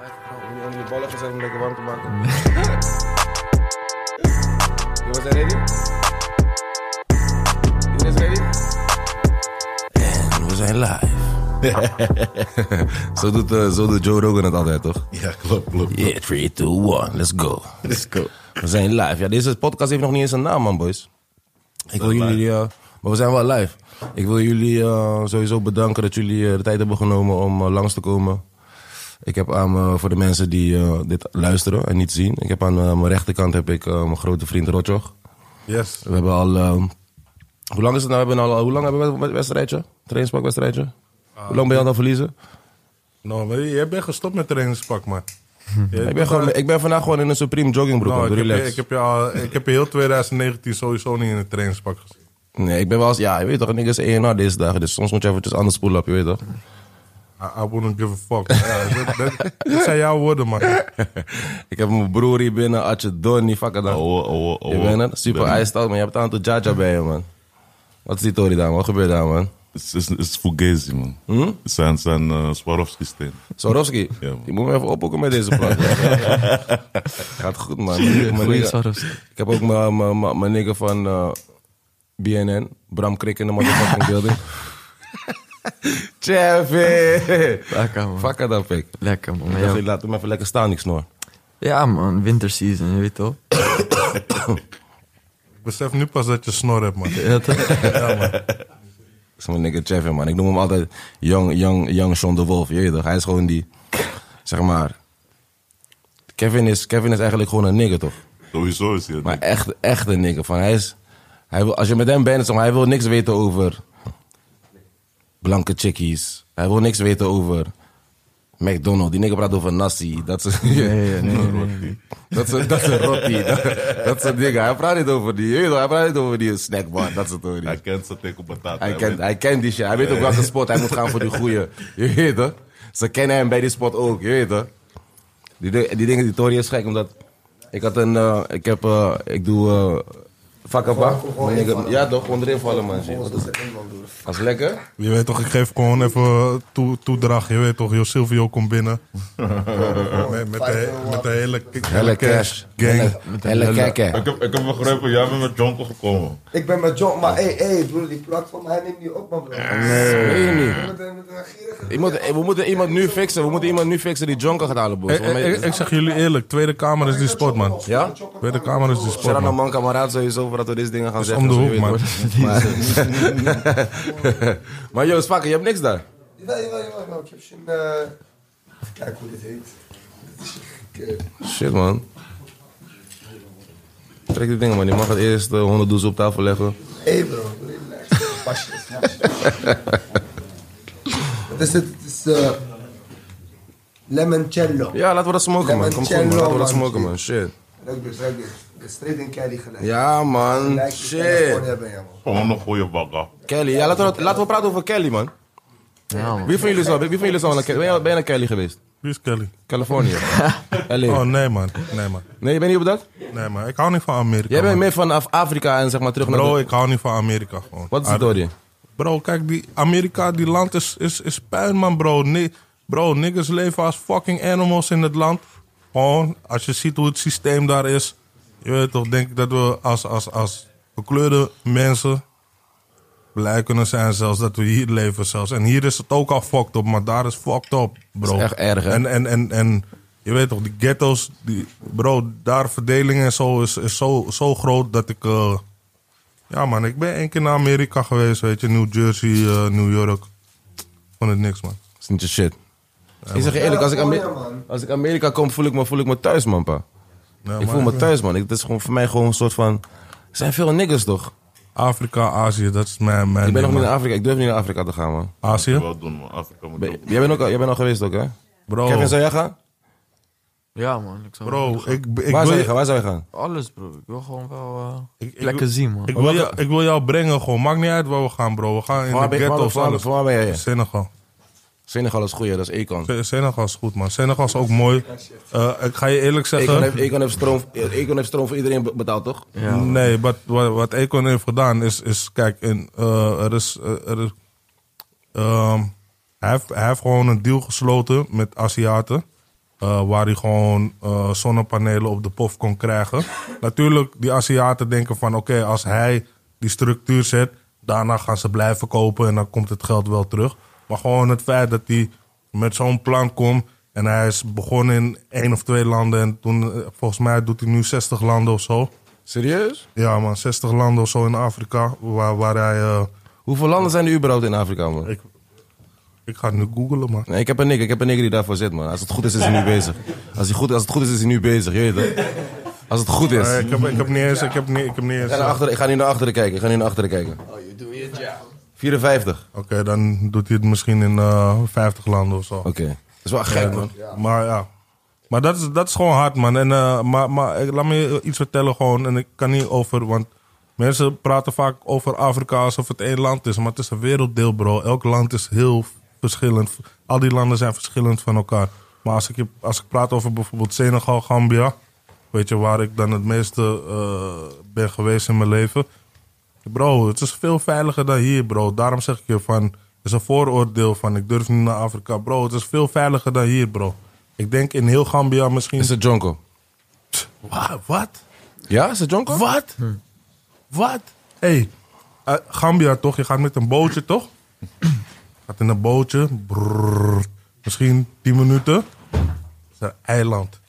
Moet je onder je bollen gezet om lekker warm te maken. you was ready? You guys ready? We zijn live. Zo doet, eh, zo doet Joe Rogan het altijd, toch? Ja, klopt, klopt. Yeah, 3, 2, 1, let's go. Let's go. We zijn live. Ja, deze podcast heeft nog niet eens een naam, man, boys. Ik wil jullie, eh, maar we zijn wel live. Ik wil jullie eh, sowieso bedanken dat jullie eh, de tijd hebben genomen om eh, langs te komen. Ik heb aan me, voor de mensen die eh, dit luisteren en niet zien, ik heb aan eh, mijn rechterkant heb ik eh, mijn grote vriend Rotjoch. Yes. We hebben al, eh, hoe lang is het nou? We hebben al, hoe lang hebben we een wedstrijdje? Trainingspakwedstrijdje? Ah, hoe lang ben je aan het verliezen? Nou, maar jij bent gestopt met trainingspak, man. Jij- Ik ben, gewoon, ik ben vandaag gewoon in een Supreme joggingbroek. Nou, man. ik, heb relax. je, ik, heb je al, ik heb je heel 2019 sowieso niet in een trainingspak gezien. Nee, ik ben wel eens... Ja, je weet toch, niggas ENR deze dagen. Dus soms moet je eventjes anders spoelen op, je weet toch. I, I wouldn't give a fuck. Ja, dat, dat- dat zijn jouw woorden, man. ik heb mijn broer hier binnen, Atje Donnie, fuck dan. Oh, oh, oh. je bent het? Super iced out, man. Je hebt een aantal Jaja bij je, man. Wat is die tory daar, man? Wat gebeurt daar, man? Het is, het is Fugazi, man. Hm? Het zijn, zijn eh, Swarovski-steen. Swarovski, Ja, man. je moet me even ophoeken met deze plaat. man. Gaat goed, man. Mijn nigga- Ik heb ook mijn- mijn- mijn mijn nigga van eh, BNN, Bram Krik in de motherfucking building. Chevy! Lekker man. Fuck dat, pik. Lekker man. Ik Ja, dacht, laat hem even lekker staan, ik snor. ja man, winterseason, je weet toch? Ik besef nu pas dat je snor hebt, man. Ja, toch? Dat is mijn nigga Chevin, man. Ik noem hem altijd Young, young, young Sean de Wolf. Je weet toch? Hij is gewoon die, zeg maar... Kevin is, Kevin is eigenlijk gewoon een nigger, toch? Sowieso is hij het. Maar echt, echt een nigger. Van, hij is, hij wil, als je met hem bent, zeg maar, hij wil niks weten over blanke chickies. Hij wil niks weten over McDonald's. Die nigger praat over nasi. Dat is, Nee, nee, nee, nee. dat is, dat is een rotti. Dat, dat soort dingen. Hij praat niet over die, je weet toch? hij praat niet over die snackbar. Dat soort dingen. Hij kent zijn tegen batata. Hij kent, weet- hij kent die shit. Hij weet ook welke spot hij moet gaan voor die goeie. Je weet het. Ze kennen hem bij die spot ook. Je weet het. Die, di- die dingen, die Tory is gek, omdat... Ik had een... eh, ik heb... eh, ik doe... eh Vakaba. Ja toch, onderin vallen man. shit. Wat is dat? Dat is lekker. Je weet toch, ik geef gewoon even toe, toedracht. Je weet toch, Jo Silvio komt binnen. met, met, de, met de hele, Helle cash. gang. Helle Eh. kekke. Ik heb, ik heb begrepen, jij bent met Jonko gekomen. Ik ben met John, maar hé, hey, hey, broer, die plak van mij neemt niet op, man, broer. Meen je niet? Met een- met een gierige- Ik moet- we moeten iemand nu fixen. We moeten iemand nu fixen die Jonker gaat halen, boys. Ik, ik, ik zeg jullie eerlijk, Tweede Kamer is die spot, man. Ja? Tweede Kamer is die Shout spot, out naar man. man, kameraad sowieso, voordat we deze dingen gaan om zeggen. de zo, je hoek, weet man. toch. Maar, maar joh, Spakker, je hebt niks daar. Jawel, jawel, jawel, jawel, Ik heb zo'n... eh, even kijken hoe dit heet. Dit is een gekke- Shit, man. Trek die dingen, man. Je mag het eerst eh, 100 doezen op tafel leggen. Hé, bro, relax. Pasje, pasje. Wat is dit? Het is... eh Lemoncello. Ja, laten we dat smoken, man. Kom goed, man. Laten we dat smoken, man. Shit. Ruik dit, ruik dit. Dit is straight dus. in Kelly gelijk. Ja, man. Gelijk in California Shit. ben je, man. Gewoon een goede bagger. Kelly. Ja, laten we, dat- laten we praten over Kelly, man. Ja man. Wie van jullie is al, wie van jullie is al naar Kelly? Ben je, ben je naar Kelly geweest? Wie is Kelly? Californië. Oh, LA. nee, man. Nee, man. Nee, je bent niet op dat? Nee, maar ik hou niet van Amerika. Jij bent man. meer van Af- Afrika en zeg maar terug naar... Bro, de- ik hou niet van Amerika gewoon. Wat is de Ah, story? Bro, kijk, die Amerika, die land is, is, is puin, man, bro. Nee, bro, niggas leven als fucking animals in het land. Gewoon, als je ziet hoe het systeem daar is. Je weet toch, denk ik dat we als, als, als gekleurde mensen blij kunnen zijn zelfs dat we hier leven zelfs. En hier is het ook al fucked up, maar daar is fucked up, bro. Dat is echt erg, hè? En, en, en, en je weet toch, die ghettos, die, bro, daar verdeling en zo is, is zo, zo groot dat ik... eh, ja man, ik ben één keer naar Amerika geweest, weet je. New Jersey, eh, New York. Vond het niks, man. is niet je shit. ik zeg je eerlijk, als ik, Ja, mooi, Amer- man. als ik Amerika kom, voel ik me, voel ik me thuis, man, pa. Ja, ik maar voel me ik- thuis, man. Ik, dat is gewoon voor mij gewoon een soort van... Er zijn veel niggers, toch? Afrika, Azië, dat is mijn... mijn Ik ben nog ding, niet naar man. Afrika. Ik durf niet naar Afrika te gaan, man. Azië? Wel doen, maar Afrika moet Ben- ook. jij, bent ook, al- jij bent al geweest ook, Oh. hè? Bro, Kevin, zou jij gaan? Ja, man. Ik zou bro ik, ik, Waar wil zou je, je gaan? Waar zou je gaan? Alles, bro. Ik wil gewoon wel eh, Ik- ik plekken wil- zien, man. ik, wil jou, ik wil jou brengen gewoon. Maakt niet uit waar we gaan, bro. We gaan in Waar de ben, waar, ghetto waar, of waar, alles. waar ben jij? Senegal. Senegal is goed, ja, dat is Econ. Se- Senegal is goed, man. Senegal is ook mooi. Eh, ik ga je eerlijk Econ zeggen. heeft, Econ heeft, stroom, Econ heeft stroom voor iedereen be- betaald, toch? Ja, man. nee, wat, wat, wat Econ heeft gedaan is, is kijk, in, eh, er is, eh, er is ehm, hij, heeft, hij heeft gewoon een deal gesloten met Aziaten. eh, waar hij gewoon eh, zonnepanelen op de pof kon krijgen. Natuurlijk, die Aziaten denken van oké, als hij die structuur zet, daarna gaan ze blijven kopen en dan komt het geld wel terug. Maar gewoon het feit dat hij met zo'n plan komt en hij is begonnen in één of twee landen en toen, eh, volgens mij doet hij nu 60 landen of zo. Serieus? Ja, man, 60 landen of zo in Afrika. Waar, waar hij. eh, Hoeveel landen zijn er überhaupt in Afrika, man? ik, ik ga het nu googlen, man. Nee, ik heb een nigger. Ik heb een nigger die daarvoor zit, man. Als het goed is, is hij nu bezig. Als, hij goed, als het goed is, is hij nu bezig. Je weet het. Als het goed is. Eh, ik, heb, ik heb niet eens. Ik heb niet, ik heb niet eens Ik ga, naar eh, achteren, ik ga nu naar achteren kijken. Ik ga nu naar achteren kijken. Oh, you do your job. 54. Oké, dan doet hij het misschien in eh 50 landen of zo. Oké. Dat is wel gek, man. Maar ja. Maar dat is, dat is gewoon hard, man. En, eh, maar maar eh, laat me je iets vertellen gewoon. En ik kan niet over... Want mensen praten vaak over Afrika alsof het één land is. Maar het is een werelddeel, bro. Elk land is heel verschillend. Al die landen zijn verschillend van elkaar. Maar als ik, je- als ik praat over bijvoorbeeld Senegal, Gambia... Weet je, waar ik dan het meeste eh, ben geweest in mijn leven... Bro, het is veel veiliger dan hier, bro. Daarom zeg ik je van, het is een vooroordeel van, ik durf niet naar Afrika. Bro, het is veel veiliger dan hier, bro. Ik denk in heel Gambia misschien... Is het Jonko? Wa- Wat? Ja, is het Jonko? Wat? Wat? Hm. hey, eh, Gambia toch? Je gaat met een bootje, toch? gaat in een bootje. brrrr, misschien 10 minuten. Het is een eiland.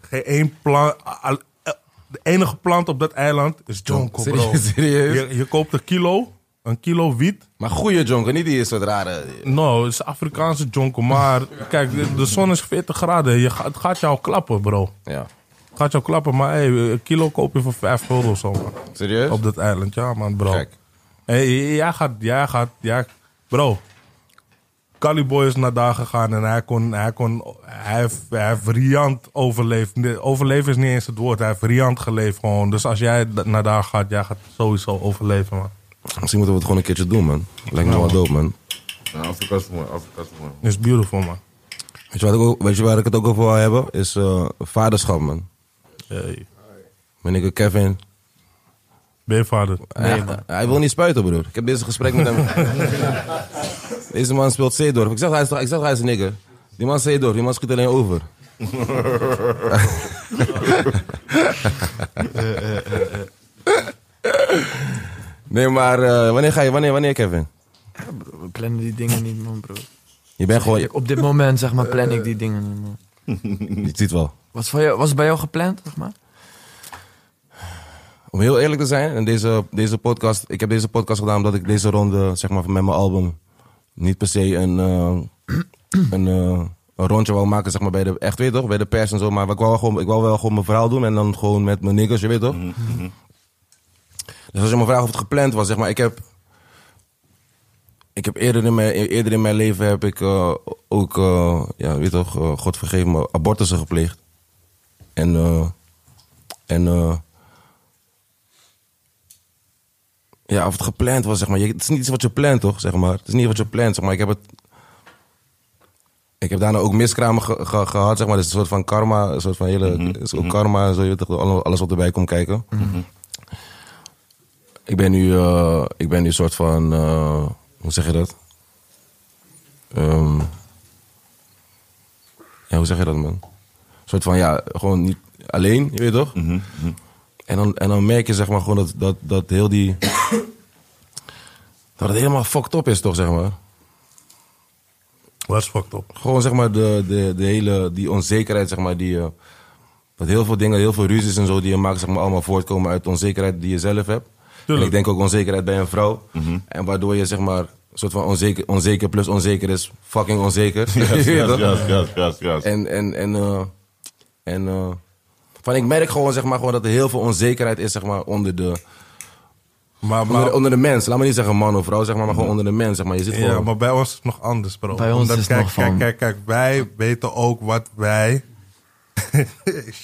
Geen één plant. al- eh, De enige plant op dat eiland is jonko, bro. Serieus? Serieus? Je, je koopt een kilo, een kilo wiet. Maar goeie Jonko, niet die soort rare... Nou, het is Afrikaanse jonko, maar kijk, de, de zon is 40 graden. Je, gaat- het gaat jou klappen, bro. Ja. Het gaat jou klappen, maar hey, een kilo koop je voor 5 gulden of zo, man. Serieus? Op dat eiland, ja man, bro. Gek. Hey, jij gaat, jij gaat, jij... Bro, Caliboy is naar daar gegaan en hij kon, hij kon, hij heeft, hij heeft riant overleefd. Nee, Overleven is niet eens het woord, hij heeft riant geleefd gewoon. Dus als jij da- naar daar gaat, jij gaat sowieso overleven, man. Misschien moeten we het gewoon een keertje doen, man. Lijkt me wel dope, man. Ja, Afrika is mooi, Afrika is mooi. Is beautiful, man. Weet je, wat ik ook, weet je waar ik het ook over wil hebben? Is eh, vaderschap, man. Hey. Mijn nigger Kevin. Ben je vader? hij, hij wil niet spuiten, broer. Ik heb deze gesprek met hem. deze man speelt Zeedorf. Ik zeg, hij is, ik zeg, hij is een nigger. Die man is Zeedorf. Die man schiet alleen over. nee, maar eh, wanneer ga je? Wanneer, wanneer, Kevin? Ja, bro, we plannen die dingen niet, man, bro. Je bent gewoon... Je, Op dit moment, zeg maar, plan ik die dingen niet, man. je ziet wel. Was, van jou, was het bij jou gepland, zeg maar? Om heel eerlijk te zijn, en deze, deze podcast, ik heb deze podcast gedaan omdat ik deze ronde, zeg maar, met mijn album niet per se een, eh, een, eh, een rondje wou maken, zeg maar, bij de, echt weet je toch, bij de pers en zo. Maar ik wou, wel gewoon, ik wou wel gewoon mijn verhaal doen en dan gewoon met mijn niggers, je weet toch. Dus als je me vraagt of het gepland was, zeg maar, ik heb, ik heb eerder in mijn, eerder in mijn leven heb ik eh, ook, eh, ja, weet je toch, eh, God vergeef me, abortussen gepleegd. En, eh, en, eh, Ja, of het gepland was, zeg maar. Je- Het is niet iets wat je plant, toch? Zeg maar. Het is niet wat je plant, zeg maar. Ik heb het... Ik heb daarna ook miskramen ge- ge- gehad, zeg maar. Dus een soort van karma, een soort van hele... is ook karma, en zo, je weet toch, alle- alles wat erbij komt kijken. Ik ben nu... eh, ik ben nu een soort van... eh, hoe zeg je dat? Ehm, ja, hoe zeg je dat, man? Een soort van, ja, gewoon niet alleen, je weet toch? En dan, en dan merk je zeg maar gewoon dat, dat, dat heel die... Dat het helemaal fucked up is, toch, zeg maar. Was fucked up. Gewoon, zeg maar, de, de, de hele, die onzekerheid, zeg maar, die... eh, dat heel veel dingen, heel veel ruzies en zo die je maakt, zeg maar, allemaal voortkomen uit onzekerheid die je zelf hebt. En Tuurlijk. ik denk ook onzekerheid bij een vrouw. En waardoor je, zeg maar, een soort van onzeker, onzeker plus onzeker is fucking onzeker. Yes, Je weet yes, toch? yes, yes, yes, yes. En, en, en, eh, en eh, van, ik merk gewoon, zeg maar, gewoon dat er heel veel onzekerheid is, zeg maar, onder de, Maar, onder, maar, de- onder de mens. Laat me niet zeggen man of vrouw, zeg maar, maar gewoon onder de mens, zeg maar. Je zit gewoon... ja, maar bij ons is het nog anders, bro. Bij ons Omdat, is het kijk, nog kijk, van- Kijk, kijk, wij weten ook wat wij... Shit,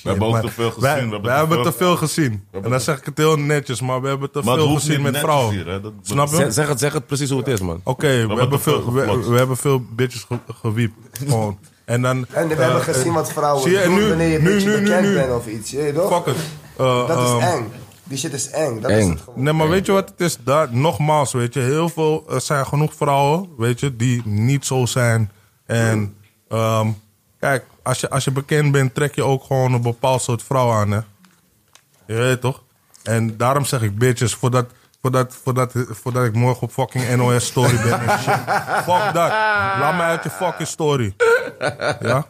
hebben ook maar te veel gezien, wij- wij we hebben te hebben veel- te veel gezien. En dan zeg ik het heel netjes, maar we hebben te Maar het veel hoeft gezien niet met netjes vrouwen. hier, hè. Dat- Snap je? Zeg, zeg het, zeg het precies hoe het is, man. Oké, we, wordt hebben er veel veel- we, geflot. we hebben veel bitches ge- gewiept. Gewoon. En dan... En we eh, hebben gezien wat vrouwen zie je, en doen nu- wanneer je een nu- beetje nu- nu- bekend nu. bent of iets. Je weet toch? Fuck it. Eh, Dat is ehm, eng. Die shit is eng. Dat is Eng. het gewoon. Nee, maar weet je wat het is? Daar, nogmaals, weet je, heel veel, er zijn genoeg vrouwen, weet je, die niet zo zijn. En ehm, kijk, als je, als je bekend bent, trek je ook gewoon een bepaald soort vrouw aan, hè. Je weet toch? En daarom zeg ik bitches, voordat, voordat, voordat, voordat ik morgen op fucking NOS story ben en shit. Fuck dat. Laat mij uit je fucking story. Ja?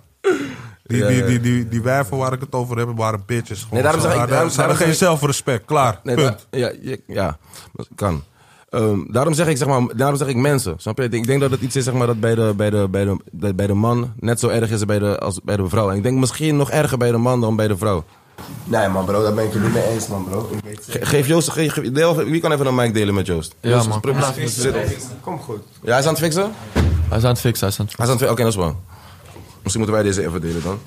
Die, die, die, die, die wijven waar ik het over heb, waren bitches. Gewoon. Nee, daarom Ze zeg ik- hadden- daarom- ze daarom hadden zeg geen ik- zelfrespect. Klaar. Nee, Punt. da- ja, je- ja, dat kan. Ehm, daarom, zeg ik, zeg maar, daarom zeg ik mensen. Snap je? Ik denk- Ik denk dat het iets is zeg maar, dat bij de, bij, de, bij, de, dat bij de man net zo erg is bij de, als bij de vrouw. En ik denk misschien nog erger bij de man dan bij de vrouw. Nee man bro, daar ben ik het niet mee eens man bro. Ik weet het. Ge- geef Joost, ge- ge- deel, wie kan even een mic delen met Joost? Ja, Joost, man. probeer- Kom maar. zit- Kom goed. Ja, hij is aan het fixen? Hij is aan het fixen, hij is aan het Hij is aan het fixen, oké, dat is wel. Misschien moeten wij deze even delen dan.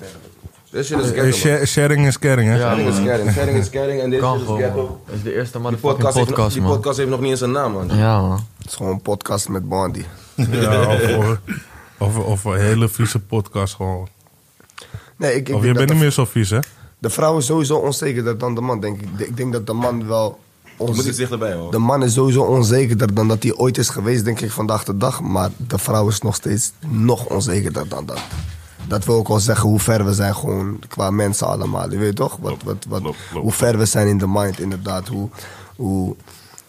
This shit is Eh, ghetto, man. sha- sharing is caring, hè? Ja, Sharing is man. caring, sharing is caring en deze Kan shit is gewoon, ghetto. man. Dat is de eerste Die motherfucking podcast, heeft, nog- podcast, die man. podcast heeft nog niet eens een naam, man. Ja, man. Het is gewoon een podcast met Bondi. Ja, of, of, of een hele vieze podcast gewoon. Nee, ik, ik Of je denk dat bent de, niet meer zo vies, hè? de vrouw is sowieso onzekerder dan de man, denk ik. De- Ik denk dat de man wel... Je moet onze- iets dichterbij, hoor. De man is sowieso onzekerder dan dat hij ooit is geweest, denk ik, vandaag de dag. Maar de vrouw is nog steeds nog onzekerder dan dat. Dat wil ook al zeggen hoe ver we zijn gewoon qua mensen allemaal. Je weet toch? Wat, wat, wat, klopt, klopt. Hoe ver we zijn in de mind, inderdaad. Hoe, hoe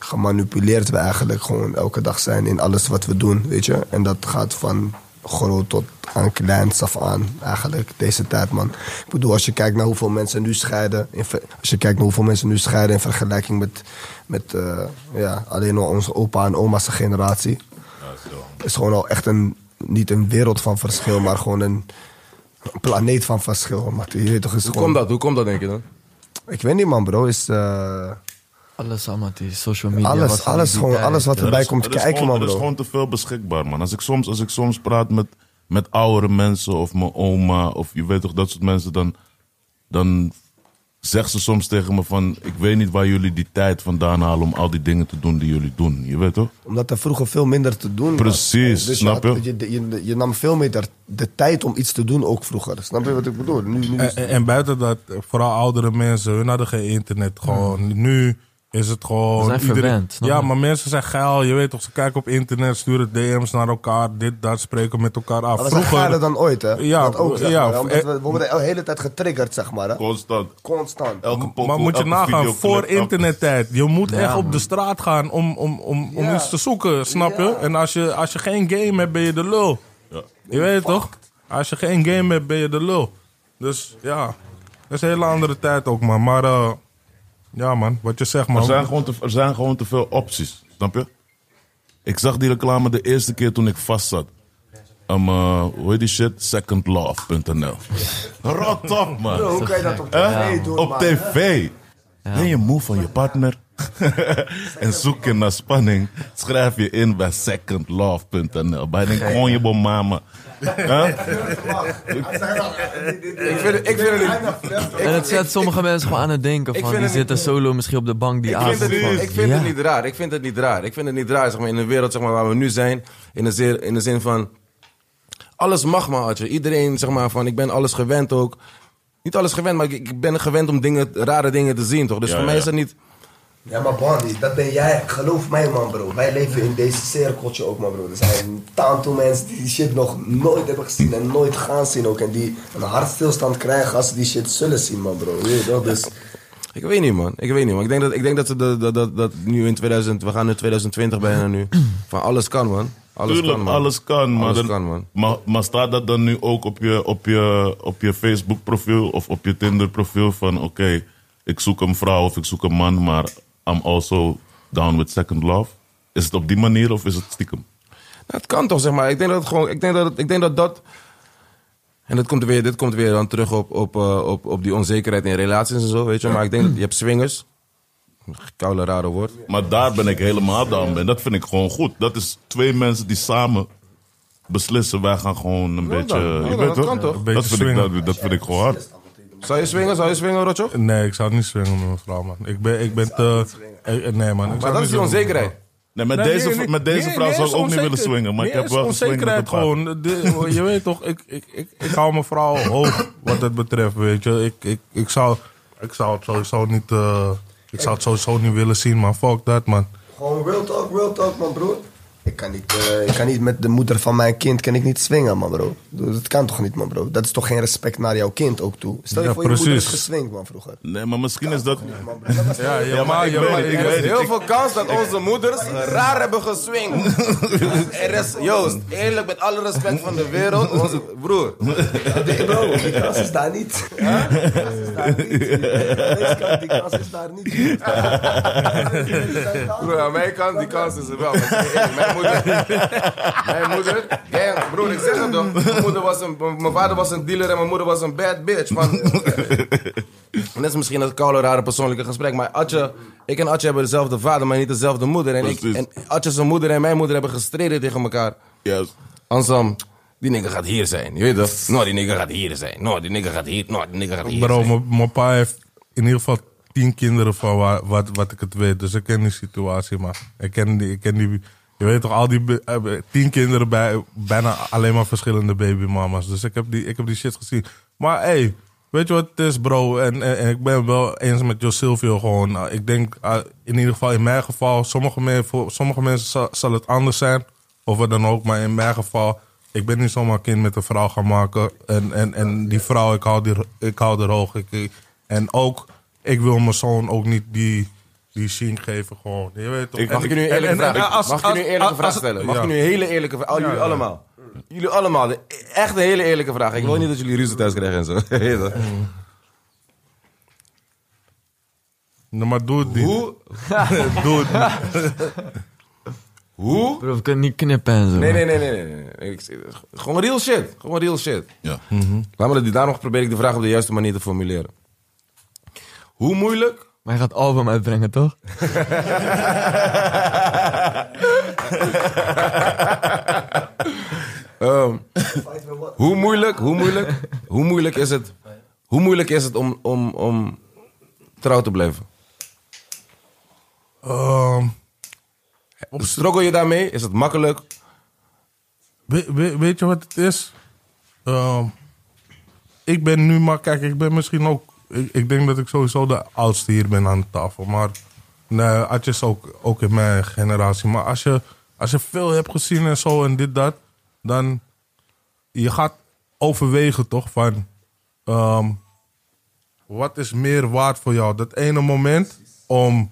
gemanipuleerd we eigenlijk gewoon elke dag zijn in alles wat we doen, weet je? En dat gaat van groot tot aan kleins af aan, eigenlijk, deze tijd, man. Ik bedoel, als je kijkt naar hoeveel mensen nu scheiden... in ver- als je kijkt naar hoeveel mensen nu scheiden in vergelijking met... met eh, ja, alleen al onze opa en oma's generatie... is gewoon al echt een... niet een wereld van verschil, maar gewoon een... een planeet van verschil. Maar je weet toch, is Hoe gewoon... komt dat? Hoe komt dat, denk je dan? Ik weet niet, man, bro. Is, eh, Alles allemaal, die social media. Alles, was allemaal alles die gewoon, tijd. alles wat- Er is- erbij komt er is kijken, gewoon- man, Er is bro. gewoon te veel beschikbaar, man. Als ik soms, als ik soms praat met, met oudere mensen of mijn oma of je weet toch, dat soort mensen, dan, dan zegt ze soms tegen me van... Ik weet niet waar jullie die tijd vandaan halen om al die dingen te doen die jullie doen. Je weet toch? omdat er vroeger veel minder te doen was. Precies, dus snap je, je? had- je, je? Je nam veel meer de, de tijd om iets te doen ook vroeger. Snap je wat ik bedoel? Nu, Eh, nu En, en- en buiten dat, eh, vooral oudere mensen, hun hadden geen internet. Gewoon, nu is het gewoon... We zijn verwend, snap ja, je? maar mensen zijn geil. Je weet toch, ze kijken op internet, sturen DM's naar elkaar. Dit, dat, spreken met elkaar af. maar we zijn Vroeger... gaarder dan ooit, hè? Ja, dat ook, zeg ja, maar, hè, omdat eh, we, we worden de hele tijd getriggerd, zeg maar. Hè? Constant. Constant. Elke pokoe, maar moet je elke nagaan, videoclip, voor elke- internettijd. Je moet echt op de straat gaan om, om, om, om Ja. iets te zoeken, snap je? En als je, als je geen game hebt, ben je de lul. Je weet het toch? Als je geen game hebt, ben je de lul. Dus ja, dat is een hele andere tijd ook, man. Maar eh, ja, man, wat je zegt, man. Er zijn, gewoon te, er zijn gewoon te veel opties, snap je? Ik zag die reclame de eerste keer toen ik vast zat. Um, eh, hoe heet die shit? Secondlove.nl. Rot op, Bro, man. hoe kan je dat op Hè? tv doen, Op man? tv. Ben je moe van je partner? en zoek je naar spanning? Schrijf je in bij secondlove.nl. Bij de konjebo mama. Ik vind, ik vind het niet... En het zet sommige mensen gewoon aan het denken van, vind die het niet- zitten solo misschien op de bank die Ik vind, avond. het, van- ik vind Ja. het niet raar. Ik vind het niet raar. Ik vind het niet raar zeg maar, in de wereld zeg maar, waar we nu zijn. In de, zeer, in de zin van. Alles mag maar, Adje. Iedereen zeg maar van. Ik ben alles gewend ook. Niet alles gewend, maar ik, ik ben gewend om dingen, rare dingen te zien, toch? Dus Ja, voor mij ja. is dat niet. Ja, maar Bondi, dat ben jij. Geloof mij, man, bro. Wij leven in deze cirkeltje ook, man, bro. Er zijn een aantal mensen die die shit nog nooit hebben gezien en nooit dus gaan zien ook. En die een hartstilstand krijgen als ze die shit zullen zien, man, bro. Weet je, dat is... Ik weet niet, man. Ik weet niet, man. Ik denk dat, ik denk dat, ze de- dat, dat, dat nu in 2000... We gaan nu 2020 bijna nu. Van alles kan, man. Alles Tuurlijk, kan, man. alles kan. Maar, Alles dan- kan, man. Maar, maar staat dat dan nu ook op je, op je, op je Facebook profiel of op je Tinder profiel van oké, ik zoek een vrouw of ik zoek een man, maar I'm also down with second love? Is het op die manier of is het stiekem? Nou, het kan toch, zeg maar. Ik denk dat het gewoon. Ik denk dat, het- ik denk dat dat. En dat komt weer, dit komt weer dan terug op, op, eh, op, op die onzekerheid in relaties en zo, weet je. Maar ik denk dat je hebt swingers. Koude rare woord. Maar daar ben ik helemaal down mee. Dat vind ik gewoon goed. Dat is twee mensen die samen beslissen, wij gaan gewoon een beetje... dan. Nou je dan, weet dat toch? kan toch? Een beetje Dat vind, ik, swingen. dat, dat vind ik gewoon hard. Zou je swingen? Zou je swingen, Rotjo? Nee, ik zou het niet swingen met mijn vrouw, man. Ik ben, ik ben te... eh, eh, Nee, man. Ik Maar dat is zou niet die swingen met mijn vrouw. onzekerheid. Nee, met Nee, deze, nee, v- nee, met deze nee, vrouw nee, zou is ik ook niet onzeker. willen swingen, maar Nee, ik heb is wel geswingd met een onzekerheid paar. gewoon. De- oh, je weet toch, ik, ik, ik, ik hou mijn vrouw hoog wat dat betreft, weet je. Ik, ik, ik, zou, ik zou het sowieso niet... eh, ik zou het sowieso niet willen zien, maar fuck dat, man. Gewoon real talk, real talk, man, broer. Ik kan, niet, eh, ik kan niet met de moeder van mijn kind kan ik niet swingen, man, bro. Dat kan toch niet, man, bro? Dat is toch geen respect naar jouw kind ook toe? Stel je Ja, voor, je moeder is precies. geswingd, man, vroeger. Nee, maar misschien is dat... Man, bro, dat was- Ja, ja, maar maar, ik ja, weet maar het, ik weet ik weet het. het. Er is heel veel kans dat onze moeders raar hebben geswingd. Er is, Joost, eerlijk met alle respect van de wereld, onze broer. Nee, bro, die kans is daar niet. Huh? Die kans is daar niet. Deze kant, Die kans is daar niet. Broer, aan mijn kant, die kans is er wel. Want, hey, hey, Mijn moeder, mijn moeder, damn, broer, ik zeg het toch. Mijn, moeder was een, mijn vader was een dealer en mijn moeder was een bad bitch. Man. En dat is misschien een koude, rare persoonlijke gesprek. Maar Atje, ik en Atje hebben dezelfde vader, maar niet dezelfde moeder. En, ik, Precies. en Atje zijn moeder en mijn moeder hebben gestreden tegen elkaar. Juist. Ansam, die nigger gaat hier zijn, je weet toch? Nou, die nigger gaat hier zijn. Nou, die nigger gaat hier, nou, die nigger gaat hier Bro, zijn. mijn- mijn pa heeft in ieder geval tien kinderen van waar, wat, wat ik het weet. Dus ik ken die situatie, maar ik ken die... Ik ken die je weet toch, al die be- eh, tien kinderen bij bijna alleen maar verschillende babymama's. Dus ik heb die, ik heb die shit gezien. Maar hey, weet je wat het is, bro? En, en, en ik ben wel eens met Jo Silvio gewoon. Nou, ik denk, ah, in ieder geval in mijn geval, sommige, me- voor sommige mensen zal, zal het anders zijn. Of wat dan ook, maar in mijn geval, ik ben niet zomaar kind met een vrouw gaan maken. En, en, en die vrouw, ik hou, die, ik hou er hoog. Ik- Ik, en ook, ik wil mijn zoon ook niet die, die zien geven, gewoon. Je weet toch? Ik- En- Mag ik je nu een en- eerlijke en- vraag en als- Mag ik je nu als- een eerlijke als- vraag als- stellen? Mag ik ja. nu een hele eerlijke vraag? Oh, jullie allemaal. Jullie allemaal. de- Echt een hele eerlijke vraag. Ik wil niet dat jullie ruzie thuis krijgen en zo. Weet je. Nee, Nou, maar doe het niet. Hoe? Doe het niet. Hoe? Bro, we kunnen niet knippen en zo. Nee, nee, nee, nee. nee, nee, nee. Ik, gewoon real shit. Gewoon real shit. Ja. Laat me dat, daarom probeer ik de vraag op de juiste manier te formuleren. Hoe moeilijk? Maar hij gaat album uitbrengen, toch? Ehm, hoe moeilijk, hoe moeilijk, hoe moeilijk is het, hoe moeilijk is het om, om, om trouw te blijven? Ehm, Struggle je daarmee? Is het makkelijk? We- we- weet je wat het is? Ehm, ik ben nu maar, kijk, ik ben misschien ook. Ik, ik denk dat ik sowieso de oudste hier ben aan de tafel. Maar nee, Atje is ook, ook in mijn generatie. Maar als je, als je veel hebt gezien en zo en dit, dat, dan. Je gaat overwegen toch van. ehm, wat is meer waard voor jou? Dat ene moment om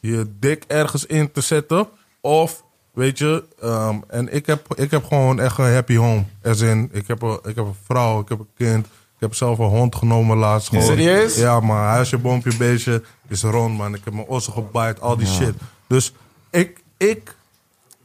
je dik ergens in te zetten. Of, weet je, ehm, en ik heb, ik heb gewoon echt een happy home. As in, ik heb, een, ik heb een vrouw, ik heb een kind. Ik heb zelf een hond genomen laatst. Gewoon. Serieus? Ja, maar huisje, boompje, beestje is rond, man. Ik heb mijn ossen gebaaid, al die shit. Dus ik, ik,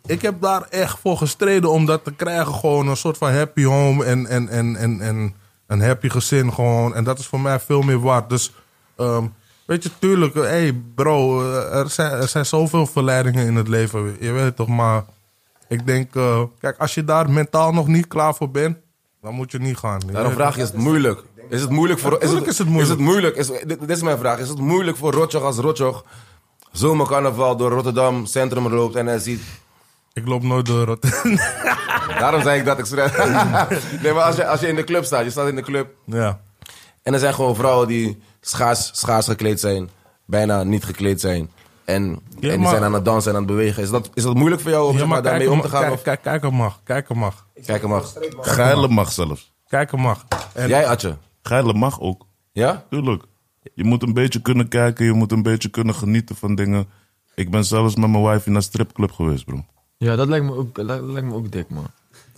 ik heb daar echt voor gestreden om dat te krijgen. Gewoon een soort van happy home en, en, en, en, en een happy gezin gewoon. En dat is voor mij veel meer waard. Dus ehm, weet je, tuurlijk, hé hey bro, eh, er zijn, er zijn zoveel verleidingen in het leven. Je weet toch, maar ik denk, eh, kijk, als je daar mentaal nog niet klaar voor bent, dan moet je niet gaan. Je Daarom weet vraag je, is het moeilijk? Is het moeilijk voor... Is Natuurlijk is het moeilijk. Is het moeilijk? Is, dit, dit is mijn vraag. Is het moeilijk voor Rotjoch als Rotjoch zomercarnaval door Rotterdam centrum loopt en hij ziet... Ik loop nooit door het. Daarom zei ik dat ik schrijf. nee, maar als je, als je in de club staat, je staat in de club ja. en er zijn gewoon vrouwen die schaars, schaars gekleed zijn, bijna niet gekleed zijn. En, Ja, en die maar- zijn aan het dansen en aan het bewegen. Is dat, is dat moeilijk voor jou om Ja, maar daarmee kijk, om te gaan? kijk, of- kijk, kijk, hem mag. Kijk, hem mag. Kijk hem af. Geilen mag zelfs. Kijk, hem mag. En Jij, Atje. Geilen mag ook. Ja? Tuurlijk. Je moet een beetje kunnen kijken, je moet een beetje kunnen genieten van dingen. Ik ben zelfs met mijn wife naar stripclub geweest, bro. Ja, dat lijkt me ook, dat lijkt me ook dik, man.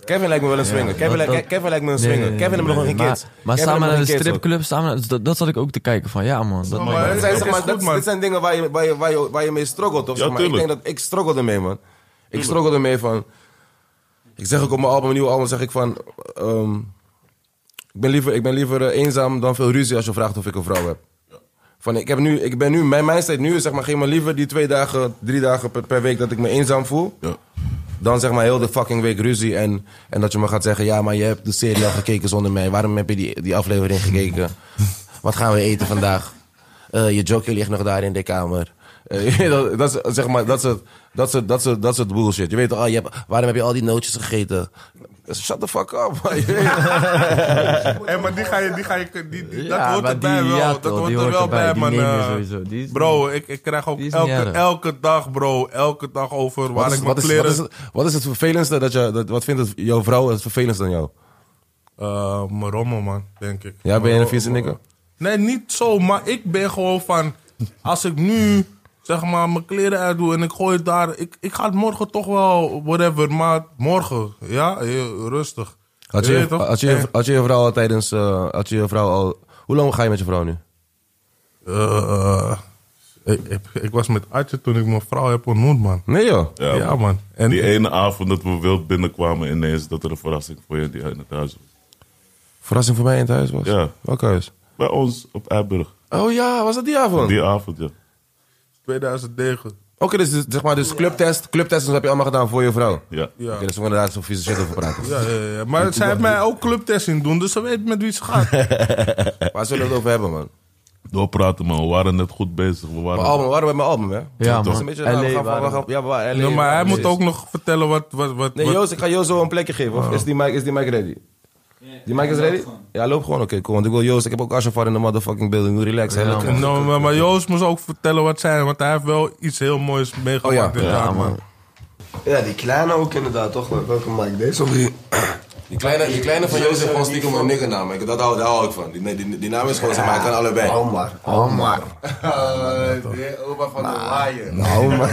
Kevin lijkt me wel een swinger. Kevin, dat- lijkt- Kevin lijkt me een Nee, swinger. nee, nee, Kevin heeft nee, nog geen nee. kids. Maar, maar Kevin samen heeft nog naar de geen kids, hoor. stripclub, samen naar- dat, dat zat ik ook te kijken van, ja man. Dat maar- maar, Maar dit zijn, Het zeg is maar, goed, dat, man. dit zijn dingen waar je, waar je, waar je, waar je mee struggelt, toch? Ja, zeg maar. Ik tuurlijk. denk dat ik struggle ermee, man. Ik struggle ermee van... Ik zeg ook op mijn album, mijn nieuwe album, zeg ik van... ehm, ik ben liever, ik ben liever eh, eenzaam dan veel ruzie als je vraagt of ik een vrouw heb. Van, ik, heb nu, ik ben nu, mijn mindset nu is zeg maar, geef me liever die twee dagen, drie dagen per, per week dat ik me eenzaam voel. Ja. Dan zeg maar heel de fucking week ruzie. En, en dat je me gaat zeggen, ja, maar je hebt de serie al gekeken zonder mij. Waarom heb je die, die aflevering gekeken? Wat gaan we eten vandaag? Eh, je jockey ligt nog daar in de kamer. Eh, dat, dat is zeg maar, dat is het, dat is het, dat is het, dat is het bullshit. Je weet toch, ah, je hebt, waarom heb je al die nootjes gegeten? Shut the fuck up. man. Je weet- Hé, Eh, maar die ga je, die ga je, die, die- Ja, dat hoort maar erbij die- wel. ja, dat toch, hoort die er hoort wel bij, erbij. Die man. neem je eh, sowieso. Die is- bro, ik, ik krijg ook Die is elke, niet erg. elke dag, bro, elke dag over waar Wat is, ik mijn wat, is, wat, kleren... is het, wat is het vervelendste dat je, dat, wat vindt het, jouw vrouw het vervelendste aan jou? Eh, mijn rommel, man, denk ik. Ja, ben je Mijn een ro- vieze nikker? Nee, niet zo, maar ik ben gewoon van... Als ik nu, zeg maar, mijn kleren uitdoe en ik gooi het daar... Ik, ik ga het morgen toch wel, whatever, maar morgen, ja, eh, rustig. Had je, weet je, toch? Eh. had, je, had je je vrouw al tijdens, eh, had je je vrouw al, hoe lang ga je met je vrouw nu? Eh, ik, ik, ik was met Adje toen ik mijn vrouw heb ontmoet, man. Nee joh. Ja, man. En Die E- ene avond dat we wild binnenkwamen, ineens dat er een verrassing voor je die uit het huis was. Verrassing voor mij in het huis was? Ja. Welk huis? Bij ons op Eiburg. Oh ja, was dat die avond? Die avond, ja. 2009. Oké, dus dus zeg maar, dus clubtest, clubtest dat heb je allemaal gedaan voor je vrouw? Ja. Oké, dus we gaan daar zo'n vieze shit over praten. Ja, ja, ja. Maar zij heeft mij ook clubtest zien doen, dus ze weet met wie ze gaat. Waar zullen we het over hebben man? Doorpraten, man. We waren net goed bezig. We waren... Mijn album, waarom bij mijn album hè? Ja, Dat is man. een beetje, LA we gaan, van- we waren gaan, ja, we waren LA, Ja, maar hij precies. moet ook Oh. nog vertellen wat... wat, wat, Nee, wat- Joost, ik ga Joost zo een plekje geven. Of is, die mic, is die mic ready? Die mic is ready? Ja, loop gewoon. Oké, cool. Want ik wil Joost, ik heb ook Ashafar in de motherfucking building. Doe relax. hè. Dat- En nou, maar, maar Joost moest ook vertellen wat zijn, want hij heeft wel iets heel moois meegemaakt. Oh ja. dit Ja, jaar, man. Ja, die kleine ook inderdaad, toch? Welke maakt deze? Of die... Die, kleine, die kleine van Joost heeft gewoon stiekem een niggernaam. Ik- Dat hou, daar hou ik van. Die, die, die naam is gewoon, zeg maar, hij kan allebei. Omar. Omar. Eh, De opa van de waaien. Omar.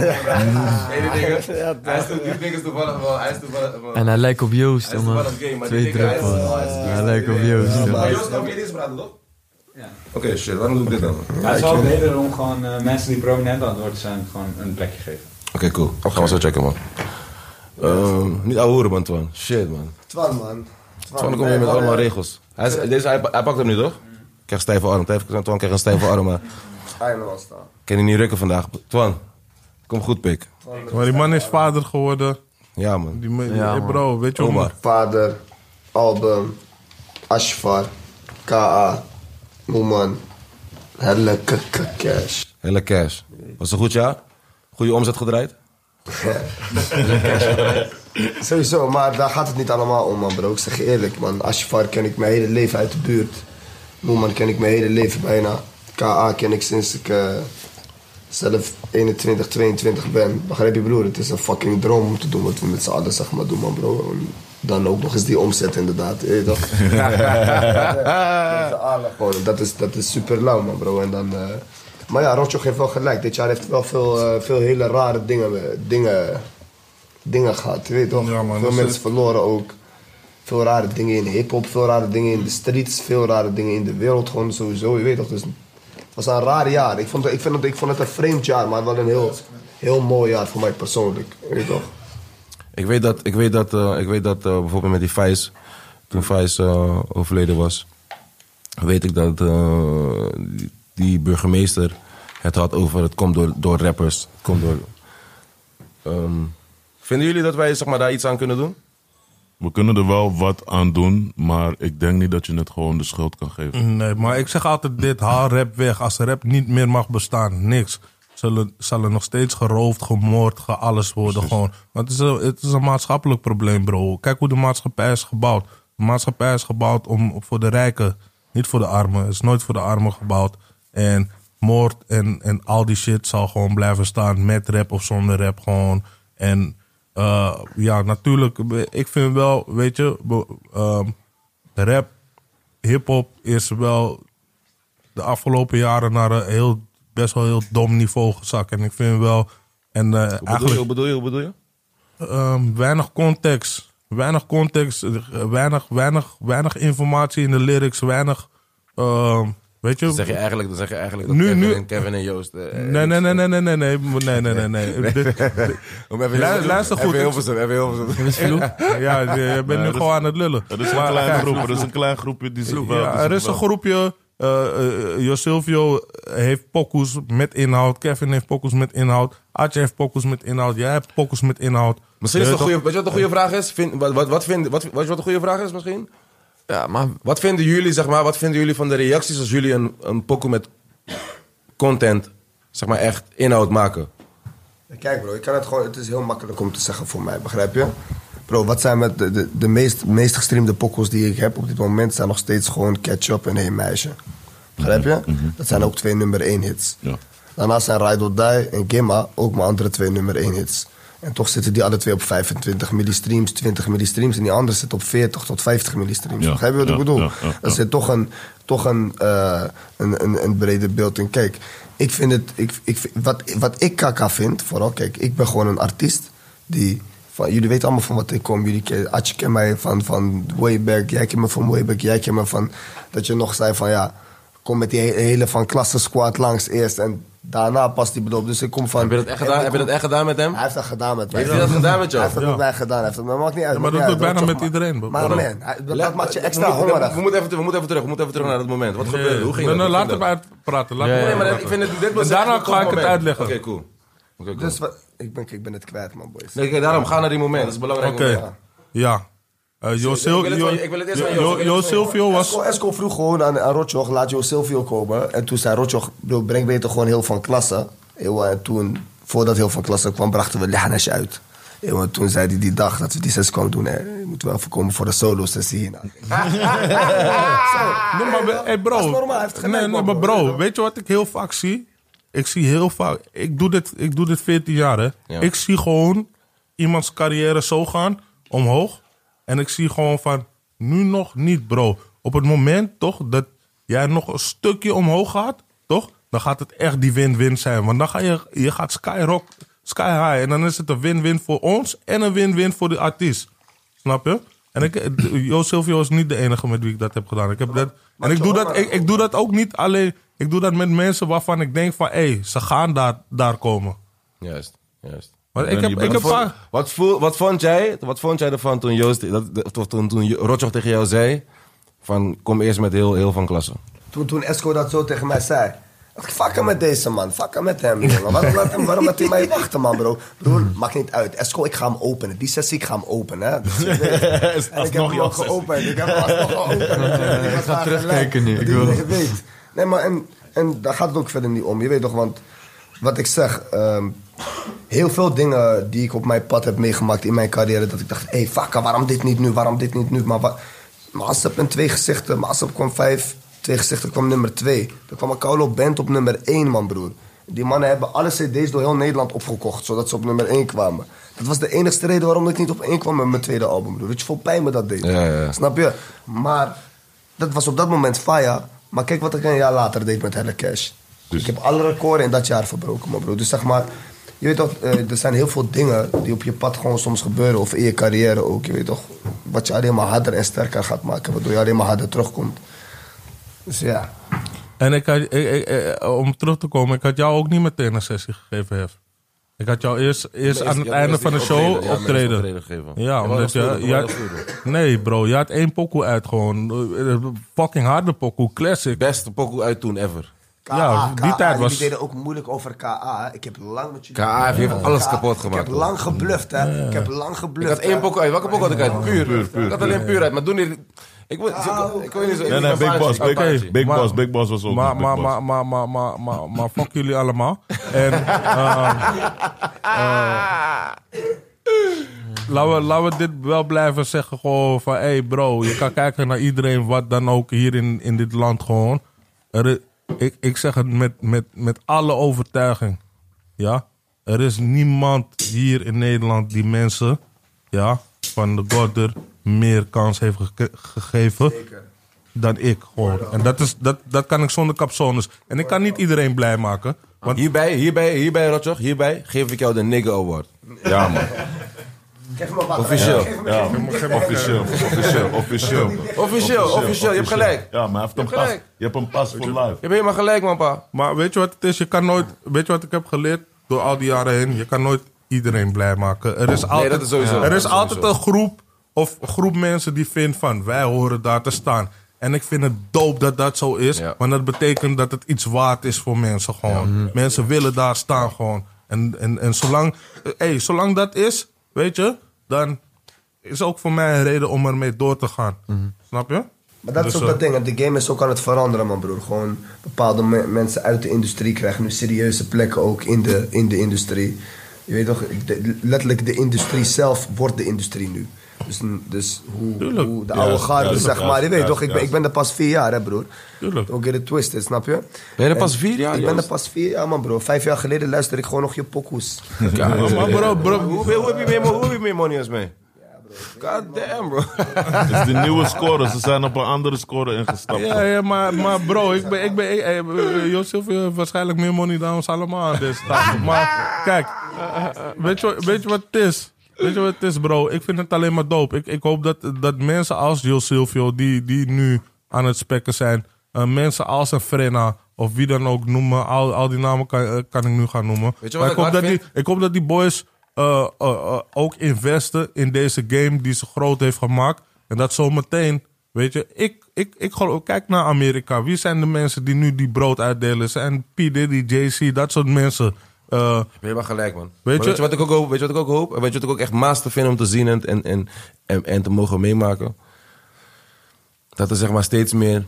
Nee, die dingen. Hij is to- die ding is toevallig wel... Hij is toevallig wel... En hij lijkt op Joost, Hij is man. toevallig gay, maar die Twee dikke- hij is- druppels. hij is- Hij lijkt op Joost, jongen. Maar Joost, ook niet eens praten, toch? Oké, shit. Waarom doe ik dit dan? Oké, Ja, het zal beter om gewoon eh, mensen die prominent aan het worden zijn, gewoon een plekje geven. cool. Gaan we zo checken, man. Ehm, niet ouwe hoeren, man, Twan. Shit, man. Twan, man. Twan kom je met allemaal regels. Hij, is- deze, hij, hij pakt hem nu toch? Ik krijg stijve arm. Twan Twan krijgt een stijve arm. maar regels. staan. Kan hij niet rukken vandaag. Twan, kom goed pik. Maar die man is vader geworden. Ja man. Die, me- die- Ja, hey, man. bro, weet je hoe... Omar. Vader, album, Ashfar, K.A., Moeman, Helle Cash. Hele cash. Was een goed jaar? Goede omzet gedraaid? Sowieso, maar daar gaat het niet allemaal om, man, bro. Ik zeg je eerlijk, man. Ashfar ken ik mijn hele leven uit de buurt. Moeman ken ik mijn hele leven bijna. K.A. ken ik sinds ik eh, zelf 21, 22 ben. Begrijp je, broer? Het is een fucking droom om te doen wat we met z'n allen, zeg maar, doen, man, bro. En dan ook nog eens die omzet, inderdaad. Je weet toch? Eh. Met z'n allen gewoon. Dat is, dat is super lauw, man, bro. En dan, eh, Maar ja, Rotjoch heeft wel gelijk. Dit jaar heeft wel veel, eh, veel hele rare dingen, eh, dingen dingen gehad. Je weet toch? Ja, man, veel dus mensen het- verloren ook. Veel rare dingen in hip-hop, veel rare dingen in de streets, veel rare dingen in de wereld. Gewoon sowieso, je weet toch? Dus het was een raar jaar. Ik vond, het- ik, vind het, ik vond het een vreemd jaar, maar wel een heel, heel mooi jaar voor mij persoonlijk. Je weet toch? Ik weet dat, ik weet dat, eh, ik weet dat eh, bijvoorbeeld met die Vijs, toen Vijs eh, overleden was, weet ik dat eh, die- die burgemeester het had over het komt door, door rappers. Het komt door. Ehm, vinden jullie dat wij zeg maar, daar iets aan kunnen doen? We kunnen er wel wat aan doen, maar ik denk niet dat je het gewoon de schuld kan geven. Nee, maar ik zeg altijd dit, haal rap weg. Als rap niet meer mag bestaan, niks. Zullen, zal er nog steeds geroofd, gemoord, gealles worden gewoon. Want het is, een, het is een maatschappelijk probleem, bro. Kijk hoe de maatschappij is gebouwd. De maatschappij is gebouwd om, voor de rijken, niet voor de armen. Het is nooit voor de armen gebouwd. En moord en, en al die shit zal gewoon blijven staan. Met rap of zonder rap gewoon. En eh, ja, natuurlijk. Ik vind wel, weet je, be- ehm, rap hip-hop is wel de afgelopen jaren naar een heel, best wel heel dom niveau gezakt. En ik vind wel. En eh, eigenlijk Hoe bedoel je, hoe bedoel je? ehm, weinig context. Weinig context, eh, weinig, weinig, weinig informatie in de lyrics, weinig. ehm, weet je? Dan zeg je eigenlijk, dan zeg je eigenlijk dat Nu- Kevin, nu- en Kevin en Joost... eh, Nee, nee, nee, nee, nee, nee, nee, nee, nee, nee, nee. Dit- Om even Lu- luister goed. Even Hilversum, even Hilversum. Ja, je je bent nu dat is- gewoon aan het lullen. Er is een Maar- klein groep, er is een klein groepje die zich wel... die Ja, zich er is wel- een groepje. eh, eh, Jo Silvio heeft pokus met inhoud. Kevin heeft pokus met inhoud. Adje heeft pokus met inhoud. Jij hebt pokus met inhoud. Misschien is Je het een weet goede... Weet je wat een goede vraag is? Vind, wat, wat, wat, vind, wat, wat, wat een goede vraag is misschien? Ja, maar Wat vinden jullie, zeg maar, wat vinden jullie van de reacties als jullie een, een pokoe met content, zeg maar echt inhoud maken? Kijk bro, ik kan het, gewoon, het is heel makkelijk om te zeggen voor mij, begrijp je? Bro, wat zijn met de, de, de meest, meest gestreamde pokkels die ik heb op dit moment zijn nog steeds gewoon Catch Up en Hey Meisje. Begrijp je? Dat zijn ook twee nummer 1 hits. Mhm, Ja. Daarnaast zijn Ride or Die en Gimma ook mijn andere twee nummer 1 hits. En toch zitten die alle twee op 25 millistreams, 20 millistreams. En die andere zit op 40 tot 50 millistreams. Ja, Begrijp je wat ja, ik bedoel? ja, ja, Dat ja. zit toch een, toch een, eh, een, een, een breder beeld in. Kijk, ik vind het, ik, ik, vind- wat, wat ik kaka vind, vooral, kijk, ik ben gewoon een artiest die. Van, jullie weten allemaal van wat ik kom. Jullie ken, Atje kent mij van, van way back. Jij kent me van way back. Jij kent me van dat je nog zei van ja, kom met die he- hele van klasse squad langs eerst en daarna pas die bedoel. Dus ik kom van. Heb je dat echt en gedaan, ik heb je kom- dat echt gedaan met hem? Hij heeft dat gedaan met mij. Heeft hij dat gedaan met jou? Hij heeft dat met mij gedaan. Hij heeft dat, maar maakt niet uit. Ja, maar dat maakt doet niet bijna uit, dat met toch- iedereen, bro. Maar Waarom? man, hij- dat, Laat- dat maakt je we extra moeten- hongerig. We moeten, even, we moeten even terug, we moeten even terug naar dat moment. Wat Nee, gebeurde? Hoe ging dat? nee, nee, Hoe laat ging hem dat? uitpraten. Laat Ja, hem ja, Nee, maar uitpraten. ik vind het, dit was En daarna echt een tof ga ik het moment. uitleggen. Oké, cool. Oké, cool. Dus wat, ik, ben, ik ben het kwijt, man, boys. Nee, kijk, daarom, ga naar die moment, dat is belangrijk. Oké, moment. ja. Eh, Jo Sil- Ik wil het van- Jo- ik wil het eerst Jo- van Joost, ik wil het Jo van Joost. Silvio was... Esco, Esco vroeg gewoon aan, aan Rotjoch, laat Jo Silvio komen. En toen zei Rotjoch, bro, breng beter gewoon heel van klasse. Eeuw, En toen, voordat heel van klasse kwam, brachten we Lihanes uit. Eeuw, En toen zei hij die dag dat we die zes kwamen doen, hè, je moet wel voorkomen voor de Nou, solo-sessie hierna. Nee, maar we- hey, bro. Dat is normaal, hij heeft gelijk, nee, nee, man, maar bro. bro, weet je wat ik heel vaak zie? Ik zie heel vaak... Ik doe dit, ik doe dit 14 jaar, hè. Ja. Ik zie gewoon iemands carrière zo gaan, omhoog. En ik zie gewoon van, nu nog niet, bro. Op het moment, toch, dat jij nog een stukje omhoog gaat, toch? Dan gaat het echt die win-win zijn. Want dan ga je, je gaat skyrock, sky high. En dan is het een win-win voor ons en een win-win voor de artiest. Snap je? En ik, Jo Silvio is niet de enige met wie ik dat heb gedaan. Ik heb dat, en ik doe dat, ik, ik doe dat ook niet alleen. Ik doe dat met mensen waarvan ik denk van, hé, ze gaan daar, daar komen. Juist, juist. Maar ik heb, ik heb Wat vond- vaak... Wat, voel, wat, vond jij, wat vond jij ervan toen, Joost, dat, dat- of toen, toen Rotjoch tegen jou zei... van kom eerst met heel, heel van klasse? Toen, toen Esco dat zo tegen mij zei. Fuck hem met deze man, fuck hem met hem, jongen. Waarom laat, hem, waarom laat hij mij wachten, man, bro? Broer, maakt niet uit. Esco, ik ga hem openen. Die sessie, ik ga hem openen, hè. Dus je weet. En ik heb hem ook geopend. Ik heb hem alsnog geopend. Ik ga terugkijken nu, ik wil- Je weet. Nee, maar en, en daar gaat het ook verder niet om. Je weet toch, want wat ik zeg... ehm, heel veel dingen die ik op mijn pad heb meegemaakt in mijn carrière... dat ik dacht, hé, hey, fucker, waarom dit niet nu? Waarom dit niet nu? Maar wat... Maasap en twee gezichten. Maasap kwam vijf. Twee gezichten kwam nummer twee. Er kwam een Kaulo Band op nummer één, man, broer. Die mannen hebben alle cd's door heel Nederland opgekocht... zodat ze op nummer één kwamen. Dat was de enige reden waarom ik niet op één kwam met mijn tweede album, broer. Weet je hoeveel pijn me dat deed? Ja, ja, ja. Snap je? Maar dat was op dat moment faya. Maar kijk wat ik een jaar later deed met Helle Cash. Dus- Ik heb alle records in dat jaar verbroken, man bro. Dus zeg maar, je weet toch, eh, er zijn heel veel dingen die op je pad gewoon soms gebeuren. Of in je carrière ook. Je weet toch, wat je alleen maar harder en sterker gaat maken. Waardoor je alleen maar harder terugkomt. Dus ja. En ik had, ik- ik- eh, om terug te komen, ik had jou ook niet meteen een sessie gegeven, Hef. Ik had jou eerst, eerst aan het ja, einde eerst van de die show optreden, ja, optreden. eerst optreden gegeven. Ja, Ja, maar omdat dat je... voelde ik, je dat had- voelde nee, bro, je had één pokoe uit gewoon. Eh, Fucking harde pokoe, classic. Beste pokoe uit toen ever. KA, Ja, die KA, tijd was- Jullie deden ook moeilijk over KA. Ik heb lang met jullie... KA heeft alles KA, kapot Ik gemaakt, heb hoor. lang gebluft, hè. Ik heb lang Ik gebluft. had één hè. pokoe uit. Welke pokoe had ik uit? Puur. Ik had alleen puur uit, maar toen... Ik, ik, wil- ik, ik wil niet zo... ik Nee, wil nee, Big een Boss. vaartje, Big, een vaartje. Big Maar- Boss, Big Boss was ook Maar, nog Big maar, Boss. maar, maar, maar, maar, maar, maar fuck jullie allemaal. En, ehm, eh, laten, we, laten we dit wel blijven zeggen gewoon van... hey bro, je kan kijken naar iedereen wat dan ook hier in, in dit land gewoon. Er i- ik, ik zeg het met, met, met alle overtuiging. Ja? Er is niemand hier in Nederland die mensen... Ja, van de Gorder meer kans heeft geke- gegeven dan ik. Gewoon. En dat, is, dat, dat kan ik zonder capsones. En ik kan niet iedereen blij maken. Want Hierbij, hierbij, hierbij, Rotjoch, hierbij geef ik jou de nigger award. Ja, man. Geef me wat. Officieel. Geef me- Ja, geef me- geef me- officieel, officieel, officieel. Officieel, officieel, je hebt gelijk. Ja, maar hij heeft een pas. gelijk. Je hebt een pas voor live. Je hebt helemaal gelijk, man, pa. Maar weet je wat het is? Je kan nooit. Weet je wat ik heb geleerd door al die jaren heen? Je kan nooit iedereen blij maken. Er is altijd, dat is sowieso. er Dat is is altijd sowieso. een groep of een groep mensen die vindt van wij horen daar te staan. En ik vind het dope dat dat zo is. Ja. Want dat betekent dat het iets waard is voor mensen gewoon. Mensen willen daar staan gewoon. En, en, en zolang, eh, hey, zolang dat is, weet je, dan is ook voor mij een reden om ermee door te gaan. Mhm. Snap je? Maar dat Dus, is ook eh, dat ding, want de game is ook aan het veranderen, man broer. Gewoon bepaalde me- mensen uit de industrie krijgen nu serieuze plekken ook in de, in de industrie. Je weet toch, de- letterlijk de industrie zelf wordt de industrie nu. Dus, dus hoe, Tuurlijk. hoe de oude Juist, garde, juist, zeg maar. Je juist, weet toch, juist, ik ben, ik juist. ben er pas vier jaar, hè broer. Tuurlijk. Ook in de twist, hè, snap je? Ben je er En pas vier jaar, Ik ben er Joost? pas vier jaar, man broer. Vijf jaar geleden luisterde ik gewoon nog je pokoes. Ja, maar bro, bro. Hoe, hoe, heb je meer, hoe heb je meer money als mij? God damn, bro. Het is de Dus nieuwe score. Ze zijn op een andere score ingestapt. Ja, ja maar, maar bro, ik ben, ik ben eh, eh, eh, Josef eh, waarschijnlijk meer money dan ons allemaal aan deze tafel. Maar kijk, weet je, wat- weet je wat het is? Weet je wat het is, bro? Ik vind het alleen maar dope. Ik, ik hoop dat, dat mensen als Jo Silvio, die, die nu aan het spekken zijn, eh, mensen als een Frenna of wie dan ook noemen, al, al die namen kan, eh, kan ik nu gaan noemen. Weet je wat Maar ik ik, hard hoop dat die, vind? ik hoop dat die boys eh, eh, eh, ook investen in deze game die ze groot heeft gemaakt. En dat zometeen, weet je, ik, ik, ik, geloof- kijk naar Amerika. Wie zijn de mensen die nu die brood uitdelen? Zijn P. Diddy, JC, dat soort mensen. Eh, Je hebt helemaal gelijk, man. Maar Weet Weet, je, je- wat ik ook hoop? Weet je wat ik ook hoop? En weet je wat ik ook echt master vind om te zien en, en, en, en, en te mogen meemaken? Dat er zeg maar steeds meer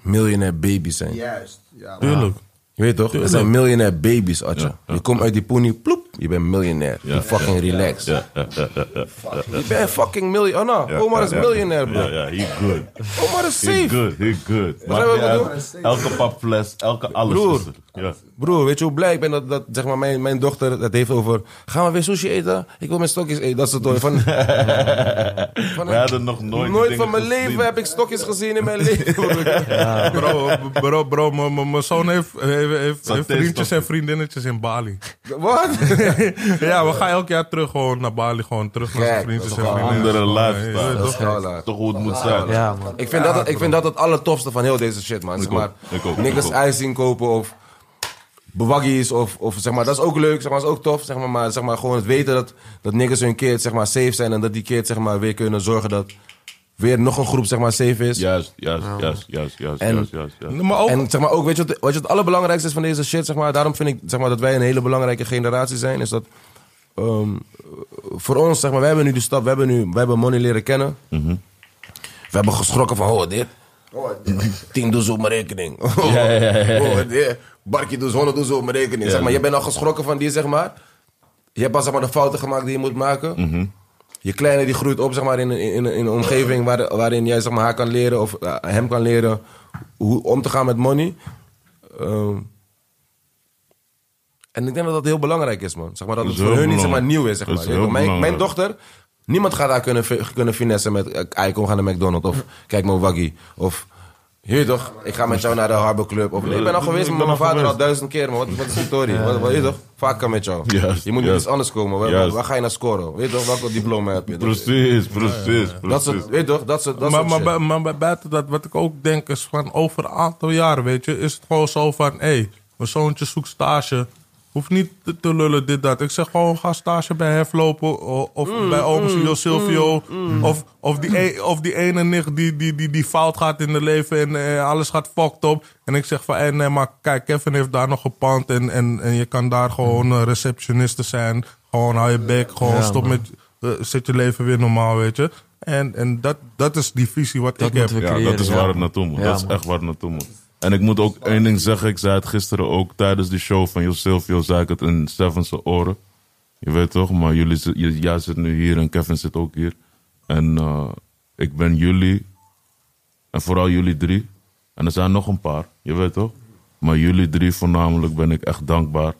miljonair baby's zijn. Juist, ja. tuurlijk. Je weet toch? Er zijn miljonair baby's, Atje. Je komt uit die poenie, ploep, je bent miljonair. je fucking relaxed. Je bent fucking miljonair. Oh, Ja, nou, Omar ja, is ja. miljonair, Ja, bro. ja, he good. Omar is He safe. good, he good. Wat Maakt hebben niet we uit. Elke papfles, elke alles Broer. is er. Ja. Broer, weet je hoe blij ik ben dat, dat zeg maar, mijn, mijn dochter het heeft over... Gaan we weer sushi eten? Ik wil mijn stokjes eten. Dat soort dingen. Van, van, We hadden nog nooit Nooit dingen van mijn gezien. leven heb ik stokjes gezien in mijn leven. Ja. Bro, bro, bro, m- m- mijn zoon heeft, heeft, heeft, heeft vriendjes stoppen. en vriendinnetjes in Bali. Wat? ja, we gaan elk jaar terug gewoon naar Bali, gewoon terug naar zijn Kijk, vriendjes en dat is wel een vriendinnetjes. andere Gewoon, lifestyle. eh, je weet Dat toch? is gewoon laag. Toch hoe het moet zijn. Ja, man. Ik vind, dat, ik vind dat het allertofste van heel deze shit, man. Zeg ook, maar, ik ook, ik niks ook. ijs zien kopen of bewaggies of, of zeg maar, dat is ook leuk, zeg maar, dat is ook tof, zeg maar, maar zeg maar gewoon het weten dat, dat niggers hun keert, zeg maar, safe zijn en dat die keert, zeg maar, weer kunnen zorgen dat weer nog een groep, zeg maar, safe is. Juist, juist, juist, juist, juist, En- juist, juist. juist. Maar ook, En zeg maar ook, weet je wat, wat je het allerbelangrijkste is van deze shit, zeg maar, daarom vind ik zeg maar, dat wij een hele belangrijke generatie zijn, is dat ehm, voor ons, zeg maar, wij hebben nu de stap, we hebben nu, wij hebben money leren kennen. We hebben geschrokken van, oh dit, Oh, 10 doezel op mijn rekening. Oh, oh, dit. barkje doezel, 100 doezel op mijn rekening. zeg maar, je bent al geschrokken van die, zeg maar. Je hebt al zeg maar, de fouten gemaakt die je moet maken. Je kleine die groeit op zeg maar, in, in, in een omgeving waar, waarin jij zeg maar, haar kan leren of eh, hem kan leren hoe om te gaan met money. Ehm, en ik denk dat dat heel belangrijk is, man. Zeg maar, dat Dat het is voor heel hun niet zeg maar, belangrijk. nieuw is. Zeg Dat maar. is Je weet heel toch, mijn, mijn belangrijk. dochter, niemand gaat daar kunnen, fi- kunnen finessen met... eh, "Ai, kom, we gaan naar McDonald's. Of kijk maar Waggy. Of, je weet toch, ik ga met jou naar de Harbor Club. Of, ik ben al dat- geweest ik met ben mijn al vader al geweest. duizend keer. Maar wat, wat is de story? Wat, wat, je weet toch, vaak kan met jou. Juist, je moet met juist. iets anders komen. Waar, Juist. waar ga je naar scoren? Weet je toch, welke diploma heb je? Precies, precies, Dat precies. soort, weet je toch, dat soort, dat maar, soort maar, shit. bu- maar bu- buiten dat, wat ik ook denk is van over een aantal jaren, weet je, is het gewoon zo van, hé, hey, mijn zoontje zoekt stage. Hoeft niet te, te lullen, dit, dat. Ik zeg gewoon, ga stage bij Hef lopen. o- Of Mm, bij Ooms Jos Silvio. Mm. Of, of, die e- of die ene nicht die, die, die, die fout gaat in het leven en eh, alles gaat fucked op. En ik zeg van, hey, nee, maar kijk, Kevin heeft daar nog een pand. En, en, en je kan daar gewoon eh, receptioniste zijn. Gewoon hou je bek, gewoon stop met... eh, zet je leven weer normaal, weet je. En, en dat, dat is die visie wat Dat ik heb. moeten we Ja, creëren. dat is waar het naartoe moet. Ja, dat is man. echt waar het naartoe moet. En ik moet ook één ding zeggen. Ik zei het gisteren ook tijdens de show van Jos Silvio. Zei ik het in Seven's oren. Je weet toch, maar jullie, zit- j- jij zit nu hier en Kevin zit ook hier. En eh, ik ben jullie. En vooral jullie drie. En er zijn nog een paar, je weet toch? Maar jullie drie voornamelijk ben ik echt dankbaar.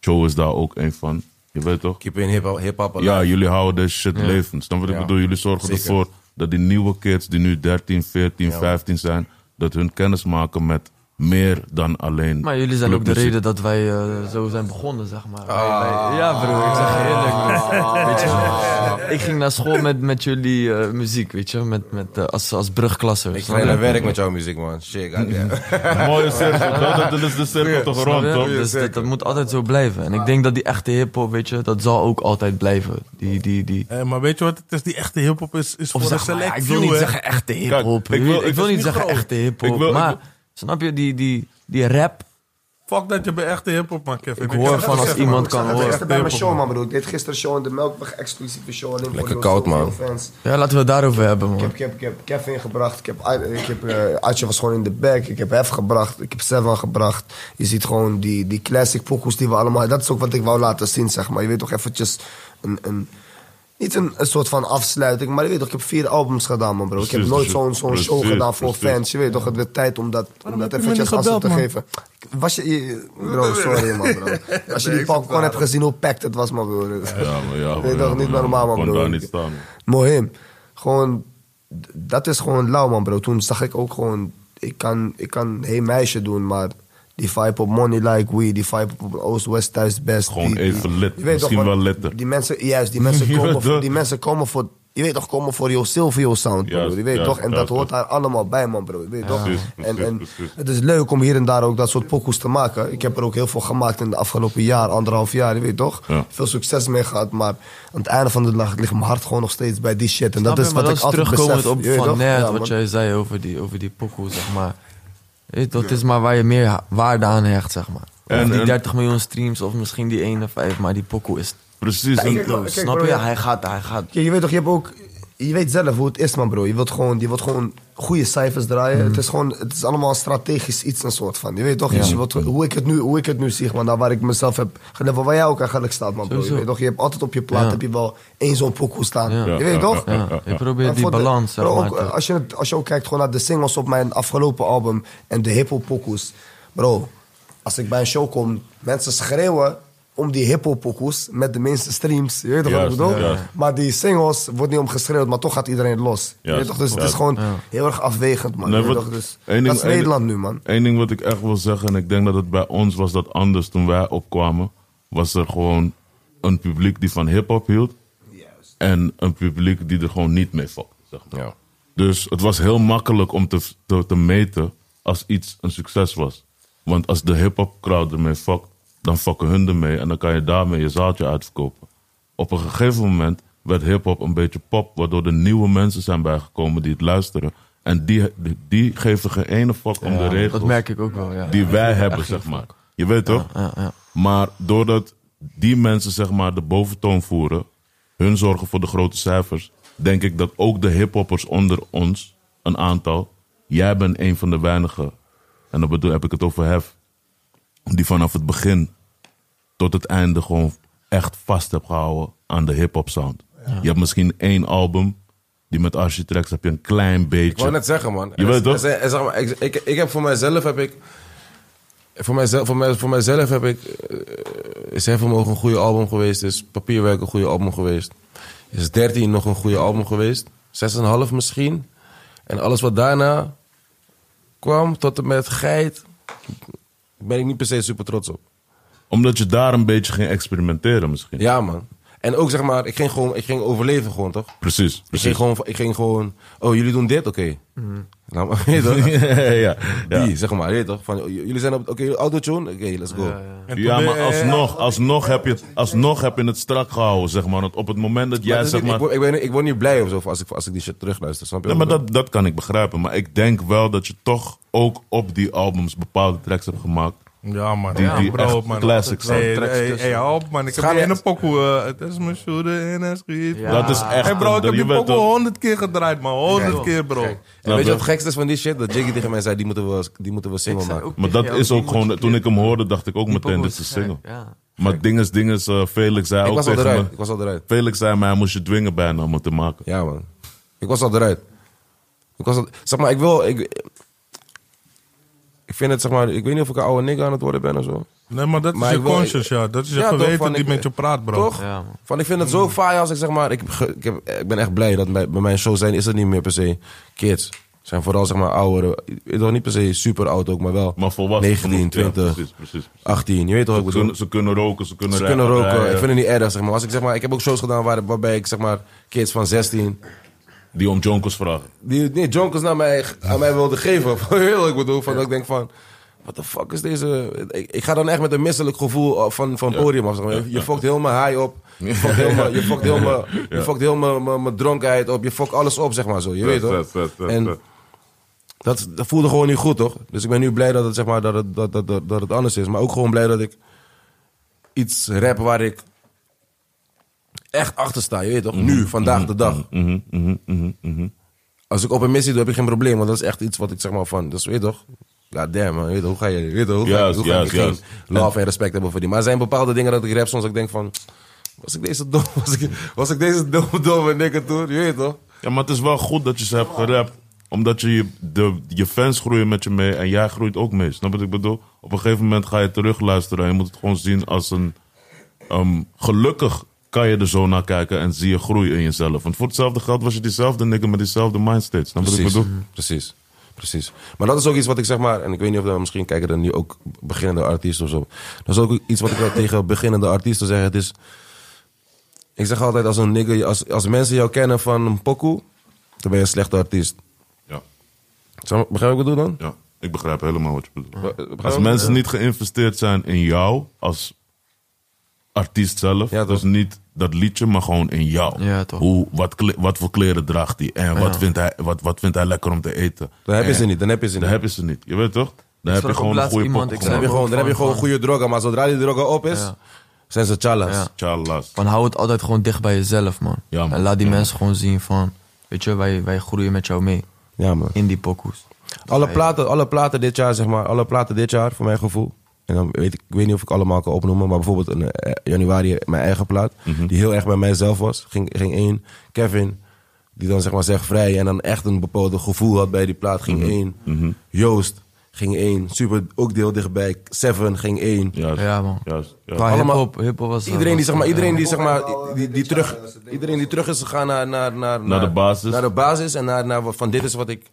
Joe is daar ook één van. Je weet toch? Keep in hip-hop, hip-hop alive. Ja, jullie houden deze shit levend. Dan wat ik Ja. bedoel, jullie zorgen Zeker. ervoor dat die nieuwe kids die nu 13, 14, 15 zijn, dat hun kennis maken met meer dan alleen. Maar jullie zijn ook de clubmuziek. reden dat wij eh, zo zijn begonnen, zeg maar. Wij- Ah. wij- ja, broer, ik zeg je eerlijk. broer. Weet je, ik ging naar school met, met jullie eh, muziek, weet je, met, met, eh, als, als brugklasser. Ik snap ga je? naar werk met jouw muziek, man. Shit, goddamn. Mooie cirkel, dat, dat is de cirkel toch Snap rond, je? toch? Dus dat, dat moet altijd zo blijven. En ik denk dat die echte hip-hop, weet je, dat zal ook altijd blijven. Die, die, die. Eh, maar weet je wat het is? Die echte hip-hop is, is Of voor een zeg maar, select ja, ik wil few, niet hè. zeggen echte hip-hop. Kijk, ik Ik wil- wil, ik ik wil is niet niet zeggen groot. echte Ik hip-hop. wil- ik Maar wil- snap je, die, die, die rap, Fuck dat je bij echte hip-hop maakt, Kevin. ik hoor van als iemand kan Ik horen. gisteren bij mijn show, man, broer. Ik deed gisteren show in de Melkweg, exclusieve show. Alleen Lekker voor de- koud, man. voor de fans. Ja, laten we het daarover hebben, Ik man. heb, ik, heb, ik heb Kevin gebracht, ik heb, Ad- ik heb eh, Adje was gewoon in de back, ik heb Hef gebracht, ik heb Seven gebracht. Je ziet gewoon die, die classic pokoes die we allemaal... Dat is ook wat ik wou laten zien, zeg maar. Je weet toch eventjes een... een niet een, een soort van afsluiting, maar je weet toch, ik heb vier albums gedaan, man, bro. ik heb Precies, nooit dus- zo'n zo'n show precies, gedaan voor precies. fans. Je weet toch, het werd tijd om dat, om dat heb je me eventjes niet als te gebeld, man? geven. Was je... je- Bro, sorry, man, bro. Als je die popcorn hebt gezien, hoe packed het was, man, bro. Ja, maar ja. Weet toch, niet normaal, man, Ik kon broer. daar niet staan. Mohim. Gewoon, d- dat is gewoon lauw, man, bro. Toen zag ik ook gewoon, ik kan, ik kan hey meisje doen, maar die vibe op Money Like We, die vibe op Oost-West thuis best. Gewoon die- die- even lit, je weet misschien man, wel litter. Die mensen, juist, die mensen Ja, komen, voor, dat- die mensen komen voor, je weet toch, komen voor jouw Silvio sound, bro. Juist, je weet ja, toch, en dat juist, hoort dat- daar allemaal bij, man, bro. Je weet toch? Precies, en, precies, en precies. het is leuk om hier en daar ook dat soort pokoes te maken. Ik heb er ook heel veel gemaakt in de afgelopen jaar, anderhalf jaar, je weet toch? Ja. Veel succes mee gehad, maar aan het einde van de dag ligt mijn hart gewoon nog steeds bij die shit. En dat Snap is je? Maar wat ik dat is altijd terugkomend besef. op je weet van toch? net, Ja, wat man. jij zei over die, over die pokoe, zeg maar. Weet je, Dat is maar waar je meer ha- waarde aan hecht, zeg maar. En- En, die en- 30 miljoen streams of misschien die 1 of 5, maar die pokoe is Precies. en- bro, tijdloos. kijk, Snap bro, je? ja. Hij gaat, hij gaat. Kijk, je weet toch, je hebt ook... Je weet zelf hoe het is, man, bro. Je wilt gewoon, je wilt gewoon goede cijfers draaien. Mhm. Het is gewoon... Het is allemaal strategisch iets, een soort van. Je weet toch? Dus je wilt, hoe, ik het nu, hoe ik het nu zie, man. Daar waar ik mezelf heb... geleverd, Waar jij ook eigenlijk staat, man, bro. Je Sowieso. weet toch? Je hebt altijd op je plaat Ja. heb je wel één zo'n pokoe staan. Ja. Je weet Ja, toch? ja, Ja, je probeert Maar die voor de- balans, zeg bro, maar. ook, te- eh, als, je, het- als je ook kijkt gewoon naar de singles op mijn afgelopen album en de hiphop-pokoes. Bro, als ik bij een show kom, mensen schreeuwen om die hiphop-pokoes met de minste streams. Je weet toch wat Juist, ik bedoel? ja. Maar die singles wordt niet om geschreeuwd, maar toch gaat iedereen los. Je weet Juist, toch? Dus het ja. is gewoon heel erg afwegend, man. Nee, je weet wat- toch? Dus, één ding- dat is één- Nederland nu, man. Eén ding wat ik echt wil zeggen, en ik denk dat het bij ons was dat anders toen wij opkwamen, was er gewoon een publiek die van hip-hop hield. En een publiek die er gewoon niet mee valt. Zeg maar. Ja. Dus het was heel makkelijk om te, te, te meten als iets een succes was. Want als de hip-hop crowd ermee fuckt, dan fucken hun ermee en dan kan je daarmee je zaaltje uitverkopen. Op een gegeven moment werd hip-hop een beetje pop, waardoor er nieuwe mensen zijn bijgekomen die het luisteren. En die, die, die geven geen ene fuck om de regels dat merk ik ook wel, ja. die wij hebben, zeg maar. Je weet toch? Maar doordat die mensen, zeg maar, de boventoon voeren, hun zorgen voor de grote cijfers, denk ik dat ook de hiphoppers onder ons, een aantal, jij bent een van de weinigen, en dan bedoel, heb ik het over Hef, die vanaf het begin tot het einde gewoon echt vast heb gehouden aan de hip-hop sound. Je hebt misschien één album, die met Architects heb je een klein Ik wou beetje. net zeggen, man. Je weet Er- toch? er zijn- er- zeg maar, ik, ik, ik heb voor mijzelf heb ik. Voor mijzelf, voor, mij, voor mijzelf heb ik. eh, is Hef Vermogen een goede album geweest? Is Papierwerk een goede album geweest? Is 13 nog een goede album geweest? 6,5 misschien. En alles wat daarna kwam, tot en met Geit. ben ik niet per se super trots op. Omdat je daar een beetje ging experimenteren misschien. Ja, man. En ook zeg maar, ik ging gewoon, ik ging overleven gewoon, toch? Precies, Ik ging precies. gewoon, ik ging gewoon oh, jullie doen dit, oké. Mm. Nou, maar, weet je toch? ja, ja, ja. Die, zeg maar, weet je toch? Van, j- jullie zijn op, oké, jullie autotune, oké, let's go. Ja, maar alsnog, alsnog, heb je het, alsnog heb je het strak gehouden, zeg maar. Want op het moment dat Maar jij, het is zeg niet- maar... ik, word, ik, ben, ik word niet blij of zo als ik, als ik die shit terugluister, snap je? Nee, maar dat, dat kan ik begrijpen. Maar ik denk wel dat je toch ook op die albums bepaalde tracks hebt gemaakt. Ja, man. Die- ja, die bro, echt man. classics zijn. Hey, Tracks hey, tussen. hey, hou op, man. Ik heb Gaan die we- ene pokoe. eh, Het is mijn shoulder in en schiet. Ja. Dat is echt... Hey bro, ik een- heb je die weet pokoe toch- honderd keer gedraaid, man. Honderd keer, bro. en weet je dat- wat het gekste is van die shit? Dat Jiggy tegen mij zei, die moeten we, die moeten we single maken. Maar dat is ook gewoon... Toen ik hem hoorde, dacht ik ook meteen, dit is een single. Ja. Maar ding is, ding is, eh, Felix zei ik ook was al tegen eruit, me... ik was al eruit. Felix zei mij, hij moest je dwingen bijna om het te maken. Ja, man. Ik was al eruit. Ik was al, zeg maar, ik wil... Ik, ik vind het, zeg maar... Ik weet niet of ik een oude nigger aan het worden ben of zo. Nee, maar dat Maar is je ik wil- conscience, ja. Dat is je Ja, toch, geweten van die ik- met je Mm. praat, bro. Toch? Ja, man. Van, ik vind het zo faai als ik zeg maar... Ik, heb ge- ik, heb, ik ben echt blij dat bij, bij mijn show zijn is het niet meer per se kids. Het zijn vooral zeg maar ouderen. Nog niet per se super oud ook, maar wel Maar volwassen. 19, genoeg, ja, 20, precies, precies. 18. Je weet toch wat Ze ik bedoel? kunnen, ze kunnen roken, ze kunnen Ze kunnen rijden, roken. rijden. Ik vind het niet erg, zeg maar. Als ik, zeg maar ik heb ook shows gedaan waar, waarbij ik zeg maar kids van 16... Die om jonkers vragen. die nee, jonkers naar mij, aan mij wilden geven. Heel, ik bedoel, van, dat ik denk van... What the fuck is deze... Ik, ik ga dan echt met een misselijk gevoel eh, van, van podium af. zeg maar. Je, je fokt heel mijn high op. Je fokt heel mijn- je fokt heel mijn- je fokt heel mijn- mijn mijn dronkenheid op. Je fokt alles op, zeg maar zo. Je weet Vet, toch? vet, vet, vet, En vet. dat, dat voelde gewoon niet goed, toch? Dus ik ben nu blij dat het, zeg maar, dat het, dat, dat, dat, dat het anders is. Maar ook gewoon blij dat ik iets rap waar ik echt achter sta. Je weet Mhm. toch? Nu, vandaag de dag. mhm, Als ik op een missie doe, heb ik geen probleem. Want dat is echt iets wat ik zeg maar van... Dus weet toch? Ja, damn man. Weet toch, hoe ga je... Weet toch, hoe ga, Juist, hoe ga juist, ik geen juist. love en respect hebben voor die. Maar er zijn bepaalde dingen dat ik rap soms dat ik denk van... Was ik deze dom? Was ik, was ik deze domme domme nikker toen? Je weet toch? Ja, maar het is wel goed dat je ze hebt gerapt. Omdat je, je- de, je fans groeien met je mee en jij groeit ook mee. Snap je wat ik bedoel? Op een gegeven moment ga je terug luisteren en je moet het gewoon zien als een... ehm, gelukkig kan je er zo naar kijken en zie je groei in jezelf. Want voor hetzelfde geld was je diezelfde nigger met diezelfde mindset. Snap je wat ik Precies, bedoel? precies, precies. Maar dat is ook iets wat ik zeg maar, en ik weet niet of dat misschien kijken er nu ook beginnende artiesten of zo. Dat is ook iets wat ik wel tegen beginnende artiesten zeg. Het is, ik zeg altijd als een nigger, als, als mensen jou kennen van een pokoe, dan ben je een slechte artiest. Ja, Zou- Begrijp ik wat ik bedoel dan? ja, ik begrijp helemaal wat je bedoelt. Be- begrijp Als ik? mensen niet geïnvesteerd zijn in jou als artiest zelf, Ja, dus toch. niet dat liedje, maar gewoon in jou. Ja, toch. Hoe, wat, kle- wat voor kleren draagt hij en wat, Ja. vindt hij, wat, wat vindt hij lekker om te eten? Dan heb je En ze niet, dan heb je ze Dan niet. heb je ze niet, je weet toch? Dan heb sprak je ook gewoon een laatst goede iemand, pop ik Dan heb je gemaakt. gewoon, dan heb je gewoon een goede droga, maar zodra die droga op is, Ja. zijn ze challahs. Ja. Tjallas. Van hou het altijd gewoon dicht bij jezelf, man. Ja, man. En laat die Ja, mensen gewoon zien van... Weet je, wij, wij groeien met jou mee. Ja, man. In die pokoes. Alle platen, alle platen dit jaar, zeg maar. Alle platen dit jaar, voor mijn gevoel. En dan weet ik, ik weet niet of ik allemaal kan opnoemen, maar bijvoorbeeld in eh, januari mijn eigen plaat, die heel erg bij mijzelf was. Ging, ging één, Kevin, die dan zeg maar zegt vrij en dan echt een bepaald gevoel had bij die plaat, ging één. Joost ging één, super ook deel dichtbij. Seven ging één. Juist, Ja, man. juist, juist. Qua Allemaal- hip-hop, hip-hop was... eh, Iedereen die, zeg maar, was- eh, iedereen die, zeg maar, die, die terug, iedereen die terug is gegaan naar, naar, naar, Naar de basis. Naar de basis en naar, naar wat- van dit is wat ik.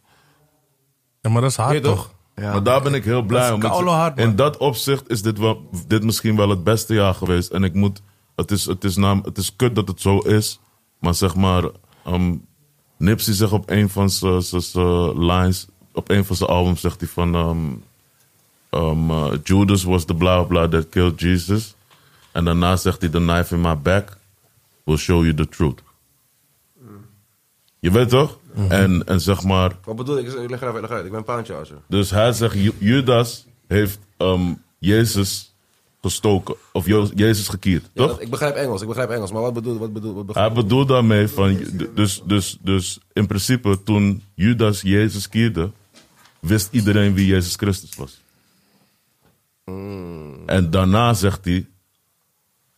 Ja, maar dat is hard, toch? toch? Ja. maar daar ben ik heel blij is om. Het- koude hard, man. in dat opzicht is dit, wel, dit misschien wel het beste jaar geweest. En ik moet. Het is, het is, naam, het is kut dat het zo is. Maar zeg maar. ehm, Nipsey zegt op een van zijn lines. Op een van zijn albums zegt hij van. ehm, ehm, eh, Judas was the blah blah that killed Jesus. En daarna zegt hij: The knife in my back will show you the truth. Je weet toch? Mhm. en, en zeg maar. Wat bedoel ik? Ik leg er even uit. Ik ben een paantje als Dus hij zegt, Ju- Judas heeft ehm, Jezus gestoken. Of Jo- Jezus gekierd, Ja, toch? dat- ik begrijp Engels, ik begrijp Engels. Maar wat bedoel wat bedoel, wat bedoel Hij bedoelt daarmee van... Dus, dus, dus in principe, toen Judas Jezus kierde... wist iedereen wie Jezus Christus was. Hmm. En daarna zegt hij...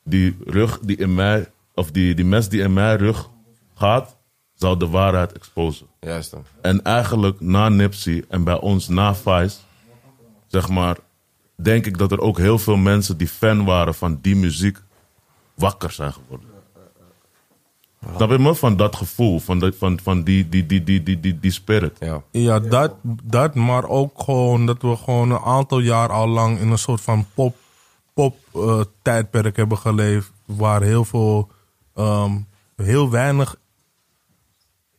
Die rug die in mij... Of die, die mes die in mijn rug gaat... zou de waarheid exposen. Ah. Juist dan. En eigenlijk na Nipsey en bij ons na Vice, zeg maar, denk ik dat er ook heel veel mensen die fan waren van die muziek wakker zijn geworden. Snap je me? Van dat gevoel, van, dat- van, van die, die, die, die, die, die, die spirit. Ja. Ja, dat, dat, maar ook gewoon dat we gewoon een aantal jaar al lang in een soort van pop, pop eh, tijdperk hebben geleefd. Waar heel veel, ehm, heel weinig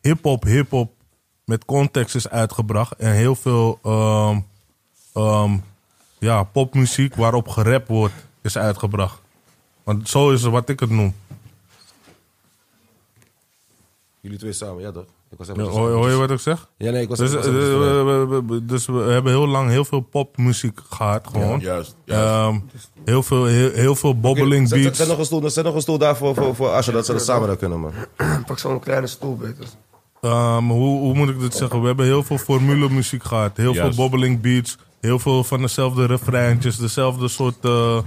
hip-hop, hip-hop met context is uitgebracht. En heel veel ehm, ehm, ja, popmuziek waarop gerap wordt, is uitgebracht. Want zo is het wat ik het noem. Jullie twee samen, ja toch? Ik was even Ja, hoor, hoor je wat ik zeg? Dus Ja, nee, ik was Dus, ik was eh, even tussendoor. we- we- we- dus we hebben heel lang heel veel popmuziek gehad, gewoon. Juist. Ehm, heel, veel, heel, heel veel bobbeling Zet- Zet, beats. zet nog een stoel, zet nog een stoel daarvoor voor, voor Asher, dat ze dat samen dat kunnen, man. Pak zo'n kleine stoel, beter. Ehm, hoe, hoe moet ik dit zeggen? We hebben heel veel formule muziek gehad. Heel Juist. veel bobbeling beats. Heel veel van dezelfde refreintjes. Dezelfde soort eh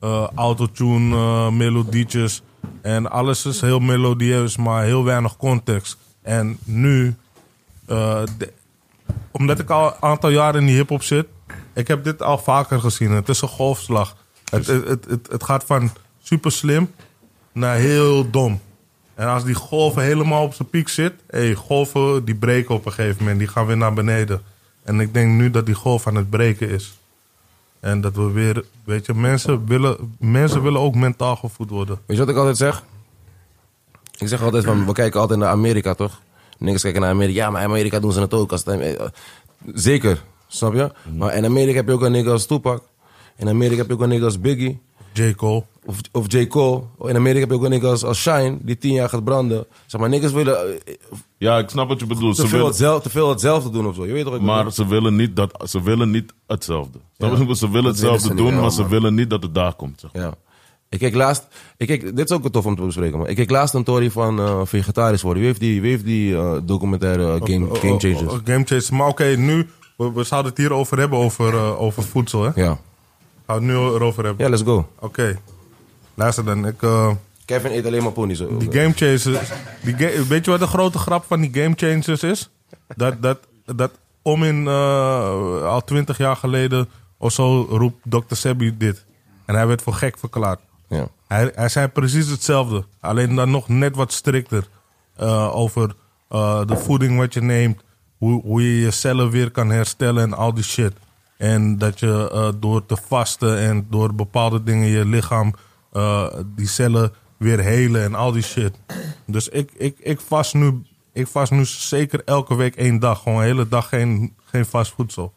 eh, autotune eh, melodietjes. En alles is heel melodieus, maar heel weinig context. En nu, eh, de- omdat ik al een aantal jaren in die hip-hop zit, ik heb dit al vaker gezien. Het is een golfslag. Het, Dus- het, het, het, het gaat van super slim naar heel dom. En als die golven helemaal op zijn piek zit, hey, golven die breken op een gegeven moment, die gaan weer naar beneden. En ik denk nu dat die golf aan het breken is. En dat we weer, weet je, mensen willen, mensen willen ook mentaal gevoed worden. Weet je wat ik altijd zeg? Ik zeg altijd van, we kijken altijd naar Amerika, toch? Niks kijken naar Amerika. Ja, maar in Amerika doen ze het ook. Als het, eh, zeker, snap je? Mhm. Maar in Amerika heb je ook een nigga als Tupac. In Amerika heb je ook een nigga als Biggie. J. Cole. Of, of J. Cole. In Amerika heb je ook een nigga als, als Shine, die tien jaar gaat branden. Zeg maar, niggas willen eh, Ja, ik snap wat je bedoelt. te Ze veel, willen, hetzelfde, te veel hetzelfde doen of zo. Je weet toch wat ik bedoel? maar ze willen, niet dat, ze willen niet hetzelfde. Snap je? Ze willen hetzelfde ze niet doen, wel, maar ze man. willen niet dat het daar komt. Zeg. Ja. Ik keek laatst, ik keek, dit is ook tof om te bespreken, maar ik keek laatst een tory van eh, vegetarisch worden. Wie heeft die, wie heeft die eh, documentaire eh, game, Oh, game oh, Changers? oh, game Changers. Maar oké, nu, we, we zouden het hier over hebben, over, eh, over voedsel, hè? Ja. Gaan we het nu erover hebben. ja, let's go. Oké. Luister dan, ik... eh, Kevin eet alleen maar ponies. hoor. Die Game Changers. Die ga- weet je wat de grote grap van die Game Changers is? Dat, dat, dat om in eh, al twintig jaar geleden of zo roept Dr. Sebi dit. En hij werd voor gek verklaard. Ja. Hij, hij zei precies hetzelfde. Alleen dan nog net wat strikter. eh, over eh, de voeding wat je neemt. Hoe, hoe je je cellen weer kan herstellen en al die shit. En dat je eh, door te vasten en door bepaalde dingen je lichaam eh, die cellen weer helen en al die shit. Dus ik, ik, ik, vast, nu, ik vast nu zeker elke week één dag. Gewoon de hele dag geen, geen vast voedsel.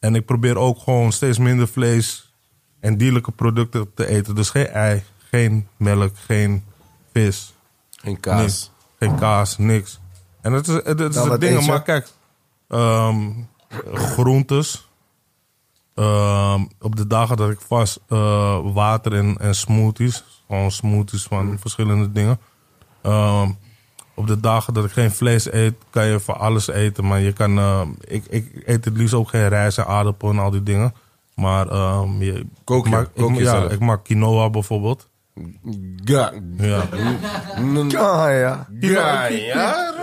En ik probeer ook gewoon steeds minder vlees en dierlijke producten te eten. Dus geen ei, geen melk, geen vis, Geen kaas. Nou, niks. geen kaas, niks. En dat is het, het, is wat het ding, eet je? maar kijk, ehm, groentes. Ehm, op de dagen dat ik vast eh, water en, en smoothies, gewoon smoothies van verschillende dingen. Ehm, op de dagen dat ik geen vlees eet, kan je van alles eten. Maar je kan, ehm, ik, ik eet het liefst ook geen rijst en aardappel en al die dingen. Maar ehm, je, Kook je- ik maak, ik- kook je ja, zelf. ik maak quinoa bijvoorbeeld. Ga. Ja. Ah, ja. Quinoa,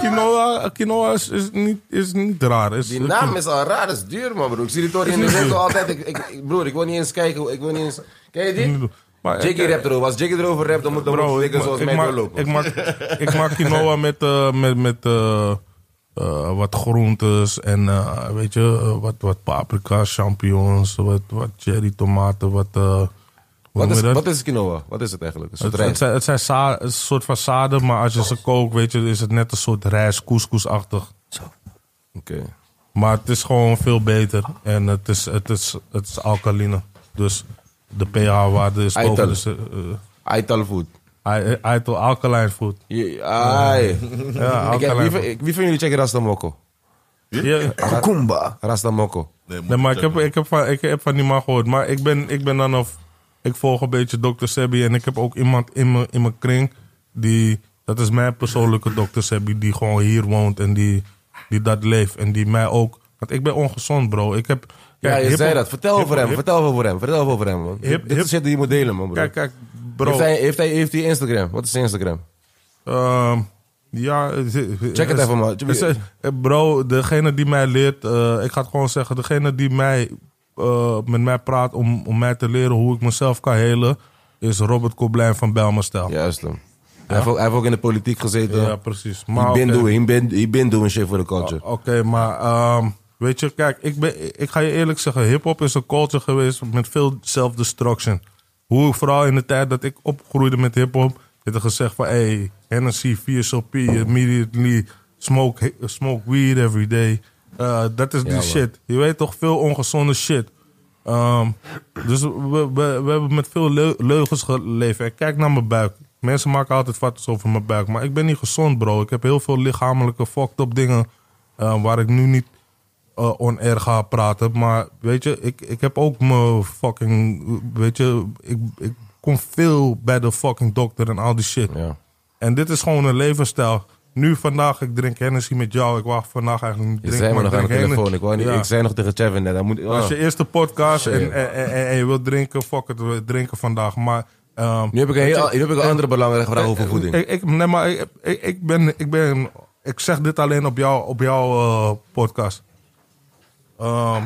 quinoa, quinoa is, is, niet, is niet raar. Is, Die naam is al raar, dat is duur man broer. Ik zie die tory in de winkel altijd. Ik, ik, ik- broer, ik wil niet eens kijken. Ik wil niet eens... Ken je die? Maar, Jackie rapt erover. Als Jackie erover rapt, dan moet dan Bro, moet ik, ik ma- zoals ik mij maak, doorlopen. ik, maak, ik maak quinoa met, eh, met, met eh, eh, wat groentes en eh, weet je, eh, wat, wat paprika, champignons, wat, wat cherry tomaten, wat... eh, Wat hoe noem is, je dat? wat is quinoa? Wat is het eigenlijk? Een soort Het, het rijst? zijn, het zijn za- een soort van zaden, maar als je ze kookt, weet je, is het net een soort rijst, couscous-achtig. Oké. Maar het is gewoon veel beter en het is, het is, het is alkaline. Dus de pH-waarde is Eitel. boven. Dus, eh, Aital food. eh, ei- eitel, alkaline food. Je- Ai. Ja, Ik heb- alkaline wie, food. van- ik- wie van jullie checken Rasta Mokko? Ja. Kokumba. Rasta Mokko. Nee, maar ik heb, ik, heb van, ik heb van die man gehoord. Maar ik ben, ik ben dan of. Ik volg een beetje Dr. Sebi. En ik heb ook iemand in mijn, in mijn kring. Die, dat is mijn persoonlijke Dr. Sebi. Die gewoon hier woont en die, die dat leeft. En die mij ook. Want ik ben ongezond, bro. Ik heb. Ja, kijk, je hip- zei dat. Vertel hip- over hem. hip- Vertel over hem. Vertel over hem, man. Hip- Dit hip- is shit die je moet delen, man, broer. Kijk, kijk, bro. Heeft hij, heeft, hij, heeft hij Instagram? Wat is zijn Instagram? Ehm, ja, Check het even, man. eh, Bro, degene die mij leert, eh, ik ga het gewoon zeggen, degene die mij, eh, met mij praat om, om mij te leren hoe ik mezelf kan helen, is Robert Koblijn van Belmastel. Ja, Juist hem. Hij, heeft ook, hij heeft ook in de politiek gezeten. Ja, precies. he, Maar been oké. doing, he, been, he been doing shit for the culture. Oké, maar ehm, weet je, kijk, ik, ben, ik ga je eerlijk zeggen, hip-hop is een culture geweest met veel self-destruction. Hoe ik vooral in de tijd dat ik opgroeide met hip-hop, werd er gezegd van hey, Hennessy, VSOP, immediately, smoke, hi- smoke weed every day. Eh, dat is die man. shit. Je weet toch veel ongezonde shit. Ehm, dus we, we, we hebben met veel leu- leugens geleefd. En kijk naar mijn buik. Mensen maken altijd foto's over mijn buik. Maar ik ben niet gezond, bro. Ik heb heel veel lichamelijke fucked up dingen. eh, waar ik nu niet eh on air ga praten. Maar weet je, ik, ik heb ook mijn fucking. Weet je, ik, ik kom veel bij de fucking dokter en al die shit. Ja. En dit is gewoon een levensstijl. Nu vandaag, ik drink Hennessy met jou. Ik wacht vandaag eigenlijk niet Je drinken. zei me maar nog aan de ik drink telefoon. Hennes- Ik, wou niet, Ja. ik zei nog tegen Chevin net. Hij moet, Als je ah. eerste podcast en, en, en, en- en je wilt drinken, fuck het, we drinken vandaag. Maar, ehm, Nu heb ik een, heel, nu heb ik een andere belangrijke vraag over voeding. Eh, ik, ik, nee, maar ik, ik, ik ben, ik ben, ik zeg dit alleen op, jou, op jouw eh, podcast. Ehm,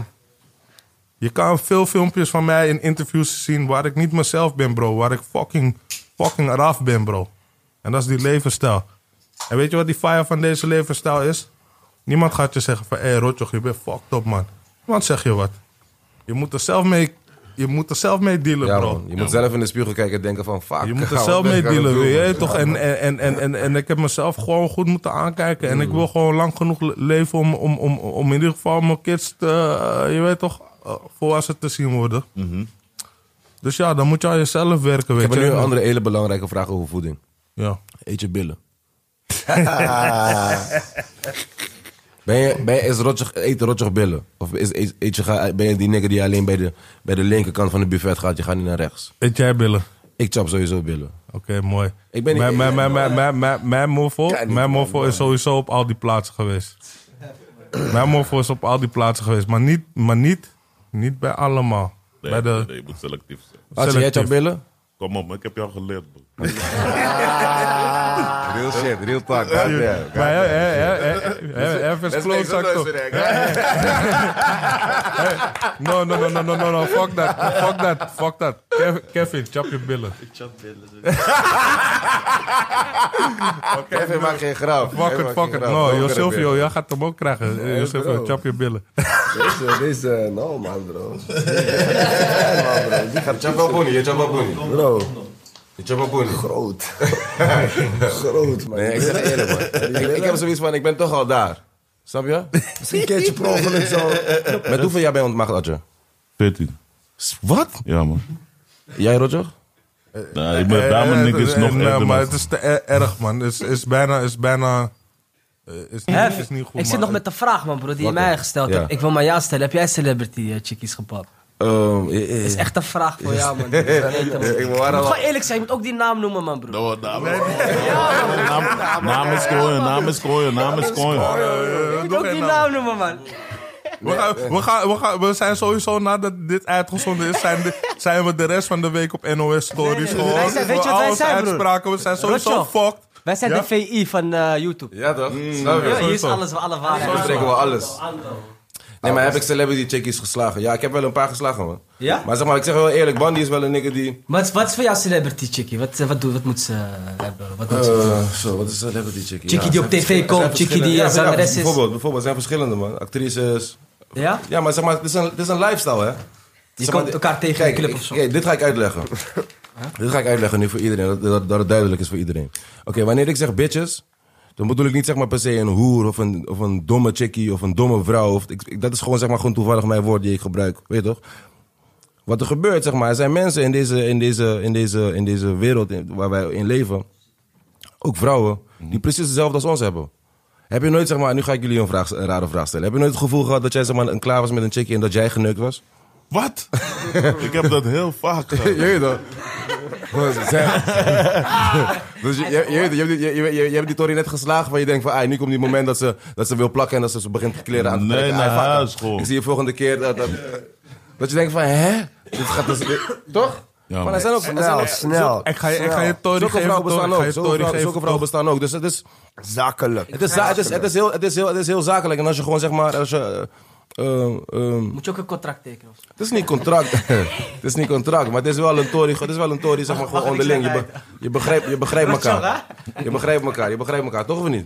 Je kan veel filmpjes van mij in interviews zien waar ik niet mezelf ben, bro. Waar ik fucking, fucking eraf ben, bro. En dat is die levensstijl. En weet je wat die fire van deze levensstijl is? Niemand gaat je zeggen van, hé hey, Rotjoch, je bent fucked up, man. Niemand zegt je wat. Je moet er zelf mee, je moet er zelf mee dealen, Ja, bro. man. Je moet zelf in de spiegel kijken en denken van, fuck. Je moet er wat zelf ben mee ik aan het dealen, doen, weet je man? toch? En, en, en, en, en, en ik heb mezelf gewoon goed moeten aankijken. En ik Mm. wil gewoon lang genoeg le- leven om, om, om, om in ieder geval mijn kids, te, eh, je weet toch, eh, volwassen te zien worden. Dus ja, dan moet je aan jezelf werken, Mhm. Ik weet heb je. nu een andere hele belangrijke vraag over voeding. Ja. Eet je billen. ben je, ben je, is rotjig, eet rotjig billen? Of is, is- eet je, ga- ben je die nigger die alleen bij de, bij de linkerkant van de buffet gaat? Je gaat niet naar rechts. Eet jij billen? Ik chap sowieso billen. Oké, mooi. Ik ben niet- mijn, mijn, mijn, mijn, mijn, mijn, mijn moffel, Kijk niet, mijn man, moffel is sowieso op al die plaatsen geweest. mijn moffel is op al die plaatsen geweest. Maar niet, maar niet, niet bij allemaal. bij de, nee, je moet selectief zijn. Als jij Selectief. chapt billen? Kom op, man, ik heb jou geleerd, bro. Real shit, real talk. Maar hè, hè, hè, hè, hè, hè, even close zak toch. No, no, no, no, no, no, no, fuck that, fuck that, fuck that. Kev- Kevin, chap je billen. Kevin maakt geen grap. Fuck it, fuck it. No, Josilvio, jij gaat hem ook krijgen. Eh, Josilvio, bro. chap je billen. Deze, deze, no man bro. Chapapoeni, je chapapoeni. Bro, Je chapapoeni. groot. groot man. Nee, ik zeg eerlijk, man. ik, ik heb zoiets van, ik ben toch al daar. Snap je? Misschien keert je per ongeluk zo. Met hoeveel jaar ben je ontmaagd, Adje? 14. Wat? Ja, man. Jij, Roger? Nou, ik ben daar, Eh, maar niks eh, nog eh, eerder, Maar man. het is te er- erg, man. Het is- is bijna, is bijna... eh, Is niet, is niet goed, ik zit man. nog met de vraag, man, bro, die je Wakker. mij gesteld Ja. hebt. Ik wil maar jou stellen. Heb jij celebrity eh, chickies gepakt? Ehm, eh, eh. Dat is echt een vraag voor jou, man. Ik wil Ik wil haar al- gewoon eerlijk zijn, je moet ook die naam noemen, man, bro. Oh, naam, naam, naam is kooien, naam is kooien, naam is kooien. Je Eh, moet ook die naam noemen, man. We, gaan, we, gaan, we, gaan, we zijn sowieso nadat dit uitgezonden is, zijn, de- zijn we de rest van de week op NOS Stories. nee, gewoon. wij zijn- Voor weet je wat wij al onze zijn, broer? uitspraken, we zijn sowieso Rotjoch. fucked. Wij zijn Ja? de VI van eh, YouTube. Ja, toch? Ja, hier is sowieso. alles, alle Dan waarheid. spreken we alles. Nee, maar heb ik celebrity chickies geslagen? Ja, ik heb wel een paar geslagen, man. Ja? Maar zeg maar, ik zeg wel eerlijk, Bandy is wel een nigger die... Wat, wat is voor jou celebrity chickie? Wat, eh, wat, doe, wat moet ze eh, hebben? Wat moet ze doen? Eh, zo, wat is celebrity chickie? Chickie Ja, die op zijn tv verschil- komt, zijn chickie verschillende- die, eh, ja, zangeres is. Bijvoorbeeld, bijvoorbeeld, zijn verschillende, man. Actrices. Eh. Ja? Ja, maar zeg maar, het is een, het is een lifestyle, hè? Je Zeg komt maar, elkaar tegen in kijk, de club ik- of zo. Kijk, dit ga ik uitleggen. Dit ga ik uitleggen nu voor iedereen, dat, dat, dat het duidelijk is voor iedereen. Oké, wanneer ik zeg bitches, dan bedoel ik niet zeg maar per se een hoer of een, of een domme chickie of een domme vrouw. Of, ik, ik- dat is gewoon zeg maar gewoon toevallig mijn woord die ik gebruik, weet je toch? Wat er gebeurt, zeg maar, er zijn mensen in deze, in deze, in deze, in deze wereld in- waar wij in leven, ook vrouwen, die precies hetzelfde als ons hebben. Heb je nooit, zeg maar, nu ga ik jullie een, vraag, een rare vraag stellen. Heb je nooit het gevoel gehad dat jij zeg maar, een klaar was met een chickie en dat jij geneukt was? Wat? Ik heb dat heel vaak gedaan. Je weet dat. Dus je, je, je, weet het, je, hebt die- je, je, je, je hebt die Tory net geslagen waar je denkt van... Ah, nu komt die moment dat ze, dat ze wil plakken en dat ze, ze begint kleren aan te Nee, trekken. naar Ah, fuck it. huis, goh. Ik zie je volgende keer dat, dat, dat je denkt van... Hè? Dit gaat dus, dit- toch? Ja, maar er man. zijn ook... er zijn Snel, ook- snel. eh, Ik ga, je- ik ga je Tory Zulke geven, vrouwen Tory. Ik bestaan ga ook. je Zulke Tory vrouwen, zulke vrouwen geven. bestaan ook. Dus het is, Zakelijk. het, is, za- het, is, het, is heel, het, is heel, het is heel zakelijk. En als je gewoon zeg maar... Als je, eh, eh, ehm, Moet je ook een contract tekenen? of zo? het is niet contract. het is niet contract, maar het is wel een tory. Het is wel een tory, zeg maar, gewoon onderling. Je, be- je begrijpt, je begrijpt elkaar. Je begrijpt elkaar, je begrijpt elkaar, toch of niet?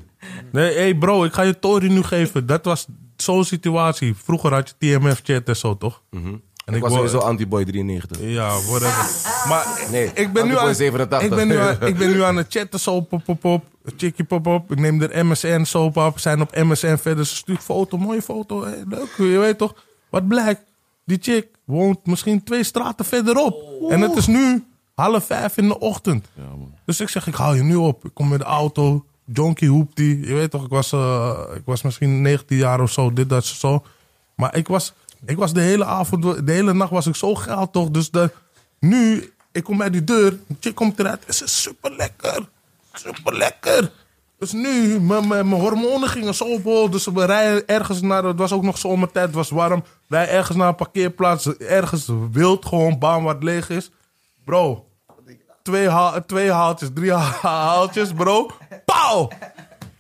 Nee, hey bro, ik ga je Tory nu geven. Dat was zo'n situatie. Vroeger had je TMF-chat en zo, toch? En Ik was wou- sowieso anti-boy 93. Ja, whatever. Maar Nee, ik, ben nu Antipool aan, 87. ik, ben nu aan, ik ben nu aan het chatten. Zo pop, pop, pop. Chickie pop, pop. Ik neem de MSN soap op. Zijn op MSN verder. Ze stuurt foto. Mooie foto. hè, leuk. Je weet toch. Wat blijkt. Die chick woont misschien twee straten verderop. En het is nu half vijf in de ochtend. Dus ik zeg, ik haal je nu op. Ik kom met de auto. Jonkie hoept die. Je weet toch, ik was, eh, ik was misschien 19 jaar of zo. Dit, dat, zo. Maar ik was, ik was de hele avond, de hele nacht was ik zo geil toch. Dus de, nu, ik kom bij die deur, een chick komt eruit. Het is super lekker. Super lekker. Dus nu, mijn- mijn mijn hormonen gingen zo op hol. Dus we rijden ergens naar, het was ook nog zomertijd, het was warm. Wij ergens naar een parkeerplaats, ergens wild, gewoon baan waar het leeg is. Bro, twee, haal, twee haaltjes, drie ha- haaltjes, bro. Pauw!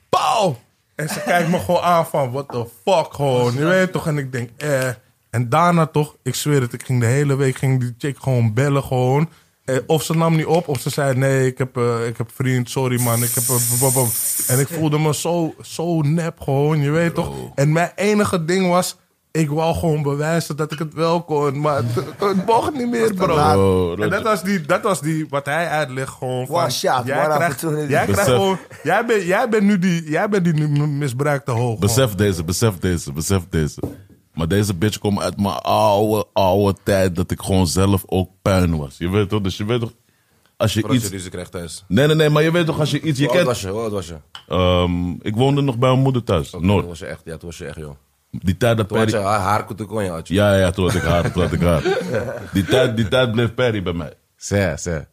Pauw! En ze kijkt me gewoon aan van, what the fuck, gewoon. Je weet toch? En ik denk, eh. En En daarna toch, ik zweer het, ik ging de hele week ging die chick gewoon bellen gewoon. Eh, Of ze nam niet op, of ze zei nee, ik heb, eh, ik heb vriend, sorry man, ik heb... eh, b- b- b- En ik voelde me zo, zo nep gewoon, je weet toch? En mijn enige ding was, ik wou gewoon bewijzen dat ik het wel kon, maar het, het mocht niet meer bro. laat. En dat was die, dat was die wat hij uitlegt gewoon van... One shot, jij one krijgt, opportunity. jij krijgt Besef. gewoon, jij bent jij bent nu die, jij bent die nu misbruikte hoog. man. Besef deze, besef deze, besef deze. Maar deze bitch komt uit mijn oude, oude tijd dat ik gewoon zelf ook puin was. Je weet toch? Dus je weet toch, als je Voordat je iets... ruzie krijgt thuis. Nee, nee, nee, maar je weet toch, als je iets... Je Hoe oud kent, was je? Hoe oud was je? Ehm, ik woonde nog bij mijn moeder thuis, Toen Noord. was je echt, ja, toen was je echt, joh. Die tijd dat Toen had je Perry... haar, haar toen kon je, had je. Ja, ja, toen had ik haar, toen had ik haar. Die tijd, die tijd bleef Perry bij mij. Zeg, zeg.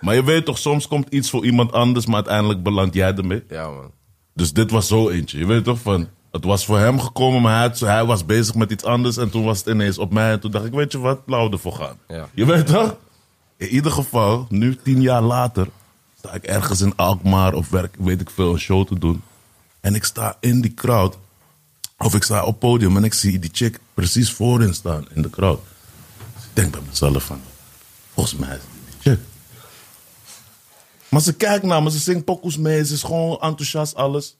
Maar je weet toch, soms komt iets voor iemand anders, maar uiteindelijk beland jij ermee. Ja, man. Dus dit was zo eentje. Je weet toch van, het was voor hem gekomen, maar hij, had- hij was bezig met iets anders. En toen was het ineens op mij. En toen dacht ik, weet je wat, laten we ervoor gaan. Ja. Je weet toch? In ieder geval, nu tien jaar later, sta ik ergens in Alkmaar of werk, weet ik veel, een show te doen. En ik sta in die crowd, of ik sta op podium en ik zie die chick precies voorin staan in de crowd. Dus ik denk bij mezelf van, volgens mij is dit die chick. Maar ze kijkt naar me, ze zingt pokoes mee, ze is gewoon enthousiast, alles.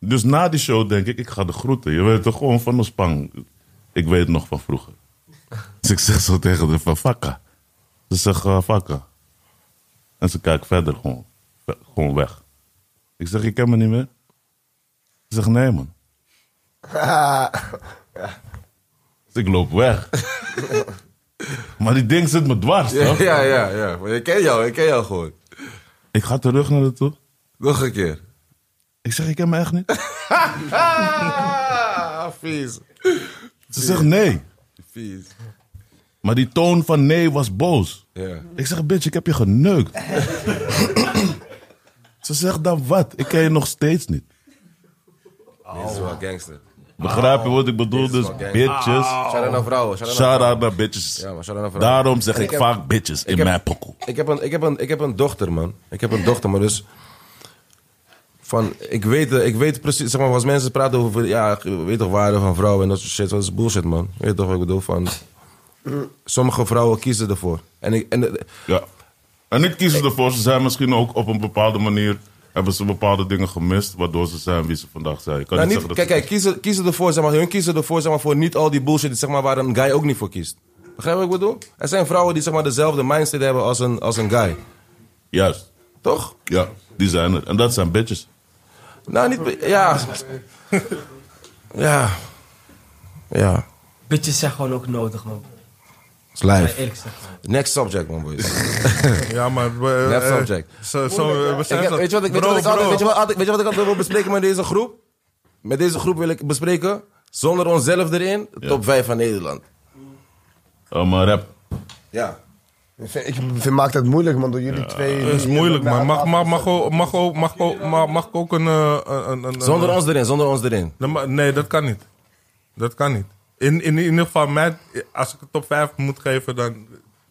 Dus na die show denk ik, ik ga de groeten. Je weet toch gewoon van de spang. Ik weet nog van vroeger. Dus ik zeg zo tegen de van Fakka. Ze zegt eh, Fakka. En ze kijkt verder gewoon, Ve- gewoon weg. Ik zeg, je kent me niet meer? Ze zegt, nee man. Dus ik loop weg. maar die ding zit me dwars, Ja, toch? ja, ja. ja. Maar ik ken jou, ik ken jou gewoon. Ik ga terug naar haar toe. Nog een keer. Ik zeg, ik ken me echt niet. Ah, vies. Ze zegt nee. Vies. Maar die toon van nee was boos. Ja. Ik zeg, bitch, ik heb je geneukt. Ze zegt dan wat? Ik ken je nog steeds niet. Dit is wel gangster. Begrijp je wat ik bedoel? Dus fucking- bitches. Shout-out naar vrouwen. Shout-out naar Shout vrouwen. out naar bitches. Ah, oh. Ja, maar shout-out naar vrouwen. Daarom zeg En ik heb- vaak bitches in heb- mijn pokoe. Ik heb, een, ik, heb een, ik heb een dochter, man. Ik heb een dochter, maar dus... Van, ik, weet, eh, ik weet precies, zeg maar, als mensen praten over... Ja, je weet toch, waarde van vrouwen en dat soort shit. Dat is bullshit, man. Je Weet toch wat ik bedoel? Van, sommige vrouwen kiezen ervoor. En ik... En, eh, Ja. En ik kies ervoor. Ze zijn misschien ook op een bepaalde manier... hebben ze bepaalde dingen gemist... waardoor ze zijn wie ze vandaag zijn. Ik kan nou, niet niet, zeggen kijk, dat ze- kijk kiezen, kiezen ervoor, zeg maar, hun kiezen ervoor zeg maar, voor niet al die bullshit zeg maar, waar een guy ook niet voor kiest. Begrijp je wat ik bedoel? Er zijn vrouwen die zeg maar, dezelfde mindset hebben als een, als een guy. Juist. Toch? Ja, die zijn er. En dat zijn bitches. Nou, niet... be- Ja. Ja. Ja. Bitches zijn gewoon ook nodig, man. It's live. Eerlijk gezegd. man. eh, Next subject, man, boys. Ja, maar... we- Left eh, subject. Zo, zo, eh, besef Ik heb- dat. weet, je wat, ik- weet, je Bro, wat ik altijd, bro. weet, je wat, altijd- weet je wat ik altijd wil bespreken met deze groep? Met deze groep wil ik bespreken, zonder onszelf erin, top 5 van Nederland. Eh, maar rap. Ja. Ik vind, ik vind- maakt het moeilijk, man, door jullie twee. Dat is moeilijk, man. Mag, mag, mag, ook- mag, ook- mag, ook- mag, mag ik ook een... eh, een, een- een- Zonder ons erin, zonder ons erin. Nee, maar- Nee, dat kan niet. Dat kan niet. In, in, ieder geval, mij, als ik een top 5 moet geven, dan...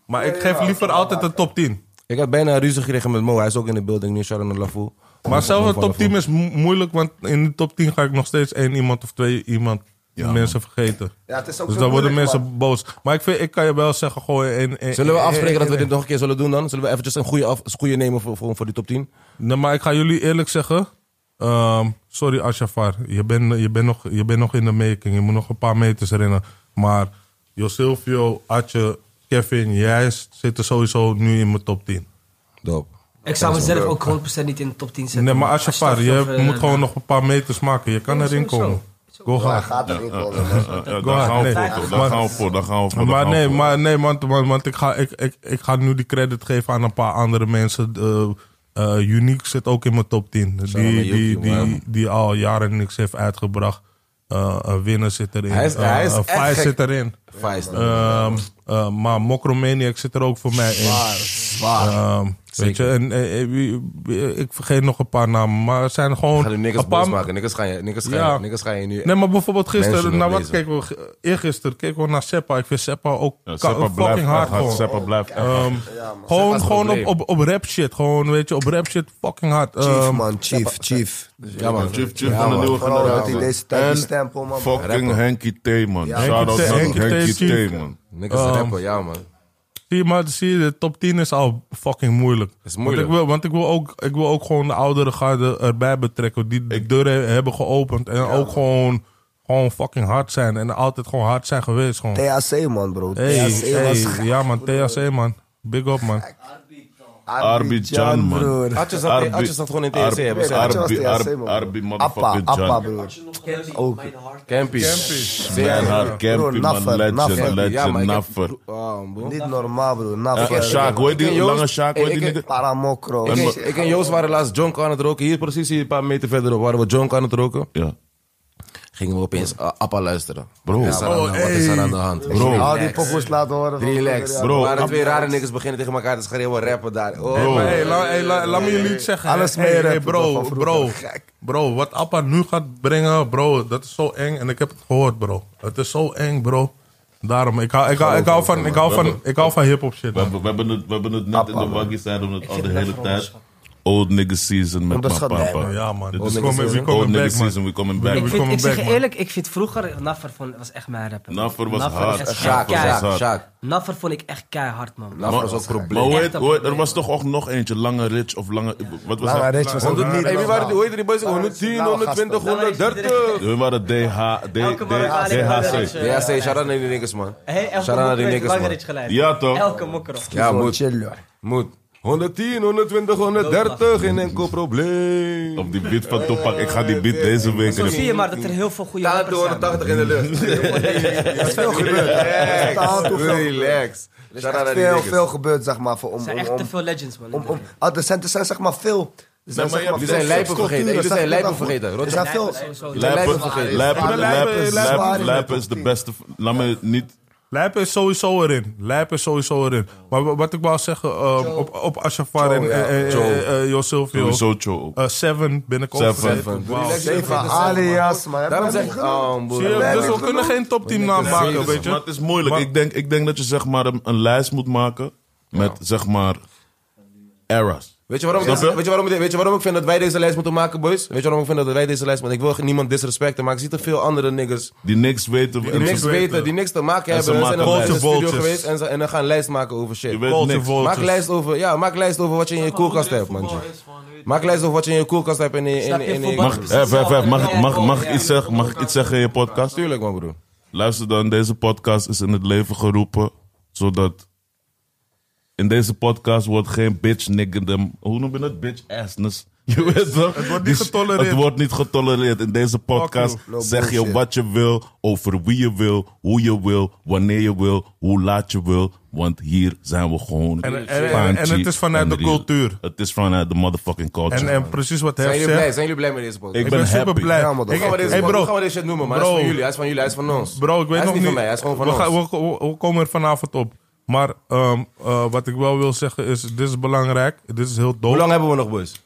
Maar ik geef liever altijd een top 10. Ik had bijna een ruzie gekregen met Mo. Hij is ook in de building nu, Sharon en Lafou. Maar zelf Mo een van top 10 Lafou. is mo- moeilijk, want in de top 10 ga ik nog steeds één iemand of twee iemand mensen vergeten. Ja, het is ook dus zo dan worden moeilijk, mensen man. boos. Maar ik, vind, ik kan je wel zeggen, gooi één... één- Zullen we één- afspreken één- dat we dit nog een keer zullen doen dan? Zullen we eventjes een goede, af, goede nemen voor, voor, voor die top 10? Nee, maar ik ga jullie eerlijk zeggen. ehm, sorry, Ashafar. Je bent je bent nog, je bent nog in de making. Je moet nog een paar meters rennen. Maar Jo Silvio, Atje, Kevin, jij s- zitten sowieso nu in mijn top 10. Doop. Ik zou mezelf ook 100% niet in de top 10 zetten. Nee, maar man. Ashafar, Als je dat, eh, moet gewoon nog een paar meters maken. Je kan Ja, erin sowieso. komen. Go Ja, hard. gaat erin komen, man. Ja, daar ahead, gaan we nee. voor, toch? Daar Maar- gaan we voor, daar gaan we voor. daar Maar gaan we nee, voor. maar nee, want, want, want ik, ga, ik, ik, ik ga nu die credit geven aan een paar andere mensen. Eh, eh, Unique zit ook in mijn top 10. Die, maar die, die, Yuki, die, man. al jaren niks heeft uitgebracht. Eh eh, Winner zit erin. Hij is- Eh, hij is eh, echt Fire gek. zit erin. Vijf. Ehm, eh, maar Mokromaniac zit er ook voor mij in. Ehm, Weet je, en, eh, eh, wie- wie- ik vergeet nog een paar namen, maar er zijn gewoon... Ga de niggers een paar- boos maken. Niggers ga je, niggers ga je, Ja. niggers ga je nu... Nee, maar bijvoorbeeld gisteren, Mensen naar wat oplezen. keken we? Ge- Eergisteren keken we naar Seppa. Ik vind Seppa ook Ja, ka- Seppa blijft fucking hard hard. gewoon. Seppa blijft echt hard. Ehm, gewoon is een gewoon op, probleem. op, op rap shit. Gewoon, weet je, op rap shit fucking hard. Chief, Ehm, man, chief, chief. ja, man. Chief, chief van de man. nieuwe Vooral dat generatie. hij deze tijd die En stempel, man. Fucking Henky T, man. Ja. Shout out Henkie T, naar Henkie T, Henky chief. T, man. Niggers Ehm, rappen, ja, man. Zie je, maar zie je, de top 10 is al fucking moeilijk. Is moeilijk. Want ik wil, want ik wil, ook, ik wil ook gewoon de oudere garde erbij betrekken. Die de deuren hebben geopend. En ook gewoon, gewoon fucking hard zijn. En altijd gewoon hard zijn geweest. Gewoon. THC, man, bro. Hey, THC hey, E was ja man, THC man. Big up man. Arbidjan, man. broer. Atje zat, Arbi- Atje zat gewoon in TSC. Arbi- E? hebben ze- Arbi- Arbi, Arbi- Arbi, Appa, motherfucker Appa, Jan. broer. Campy. Mijn haar, Campy, man. Naffer, Naffer. Legend, Ja, maar legend, ik- naffer. Oh, bro. Niet normaal, broer. Eh, eh, Sjaak, Naffer. hoor je die Ik ken Joost. lange Sjaak? Eh, Hoor je ik die ken- nigga? Paramokro. Ik, en- ik en Joost waren laatst jonk aan het roken. Hier precies, hier een paar meter verderop waren we jonk aan het roken. Ja. Gingen we opeens eh, Appa luisteren. Bro. Wat is er aan de- Oh, wat is er aan de hand? Bro. Al die pokoes laten horen. van Relax. broer, Bro. Bro. Maar de twee rare niggas beginnen tegen elkaar te schreeuwen, rappen daar. Oh, Hey, man. maar hey, la- hey, la- laat me jullie iets zeggen. Alles hey, hey, hey, meereppen toch bro, van vroeger. bro, Gek. bro, wat Appa nu gaat brengen, bro, dat is zo eng. En ik heb het gehoord, bro. Het is zo eng, bro. Daarom, ik hou, ik hou, ik hou van, ik hou van, ik hou van hip-hop shit. We man. hebben, we hebben het, we hebben het net in de waggie zijn om het al de hele tijd. Old nigga season met mijn Onderschat mij, papa. man. Ja, man. Dit We is komen- gewoon- we komen Old nigga back, man. season, we coming back. We Ik, komen vind, ik zeg back, je man. eerlijk, ik vind vroeger Naffer vond, was echt mijn rapper. Naffer was Naffer hard. was echt Sjaak, keihard. Sjaak, hard. Sjaak. Naffer vond ik echt keihard, man. Nou, dat was ook een Maar probleem. hoe heet- Echt een hoe heet- er probleem, was toch ook nog eentje, Lange Rich of Lange... Wat was Lange dat? Rich was ook niet Hey, wie waren die, normaal. hoe heette die boys? Lange Rich, 110, blauwe 120, gasten. 130. We waren DH, D, Elke D- Marokkaan in Bangladesh, DHC. eh, Ja, say, shout-out naar die niggas, man. Hey, elke Shout-out naar die mokker heeft niggas, man. Bangladesh geleid. Ja, toch? Elke mokker. Ja, Gewoon moet. chill, joh. Moet. 110, 120, 130, geen enkel probleem. Op die beat van Topak. Ik ga die beat deze week... Zo zie je maar dat er heel veel goede Staat rappers zijn. man. 180 in de lucht. Dat is veel gebeurd. Staat Relax. door veel Relax. Er is Shout-out echt naar die veel, niggas. veel gebeurd, zeg maar. Voor, Er om, zijn om, echt te om, veel legends, man. in om, de om, wereld. ah, er, zijn, er zijn zeg maar veel. Er zijn, Nee, maar zeg je maar hebt- Er zijn veel lijpen subculturen, vergeten. Er zeg zijn maar, lijpen dat- vergeten. Er Rotterdam. zijn veel. Sowieso. Lijpen Lijpen, vergeten. lijpen, Lijpen lijpen, is waar, lijpen, in lijpen de is de top beste. Laat me niet. Lijp is sowieso erin. Lijp is sowieso erin. Maar wa- wat ik wou zeggen, ehm, op, op Ashafar en eh, eh, eh, eh, Jo Silvio. Sowieso Cho ook. Eh, Seven ben ik ook Seven. vergeten. Wauw. Relax. Zeven alias, maar Daarom zeg ik, oh, broer. Zie je, Lijp Dus is we kunnen genoeg. geen top 10 naam maken, weet Maar je. het is moeilijk. Maar- ik, denk, ik denk dat je zeg maar een, een lijst moet maken met zeg maar eras. Weet je, waarom, Snap je? weet, je waarom, weet je waarom ik vind dat wij deze lijst moeten maken, boys? Weet je waarom ik vind dat wij deze lijst moeten maken? Ik wil niemand disrespecten, maar ik zie te veel andere niggas Die niks weten. die niks weten. weten, die niks te maken hebben. ze Ze zijn maken een een in de lijst. studio Vultures. geweest en, ze- en dan gaan een lijst maken over shit. Je weet Culture niks. vultures. Maak een lijst over, ja, maak een lijst over wat je in je koelkast hebt, man. Maak een lijst over wat je in je koelkast hebt en in, in, in, in, in- Mag, eh, vijf, vijf, mag, ik- mag, mag, ik iets zeggen, mag ik iets zeggen in je podcast? Tuurlijk, man, broer. Luister dan, deze podcast is in het leven geroepen. Zodat in deze podcast wordt geen bitch niggerdom. Hoe noem je dat? Bitch assness. Je weet toch? Het wordt niet getolereerd. Het wordt niet getolereerd. In deze podcast you. No zeg je bullshit. wat je wil, over wie je wil, hoe je wil, wanneer je wil, hoe laat je wil. Want hier zijn we gewoon. En- en- en- en het is vanuit de real. cultuur. Het is vanuit de motherfucking culture. En, en precies wat hij Zijn zegt. jullie blij? Zijn jullie blij met deze podcast? Ik Ik ben ben super happy. blij. Ja, man, dat Ik- gaat Hoe gaan, we hey, deze, bro, hoe gaan we deze shit noemen, maar Bro. Hij is van jullie, hij is van jullie, hij is van ons. Bro, ik weet hij is nog niet niet. van mij, hij is gewoon van we, ons. gaan- we, we- we komen er vanavond op. Maar ehm, eh, wat ik wel wil zeggen is, dit is belangrijk. Dit is heel Hoe doof. lang hebben we nog, boys?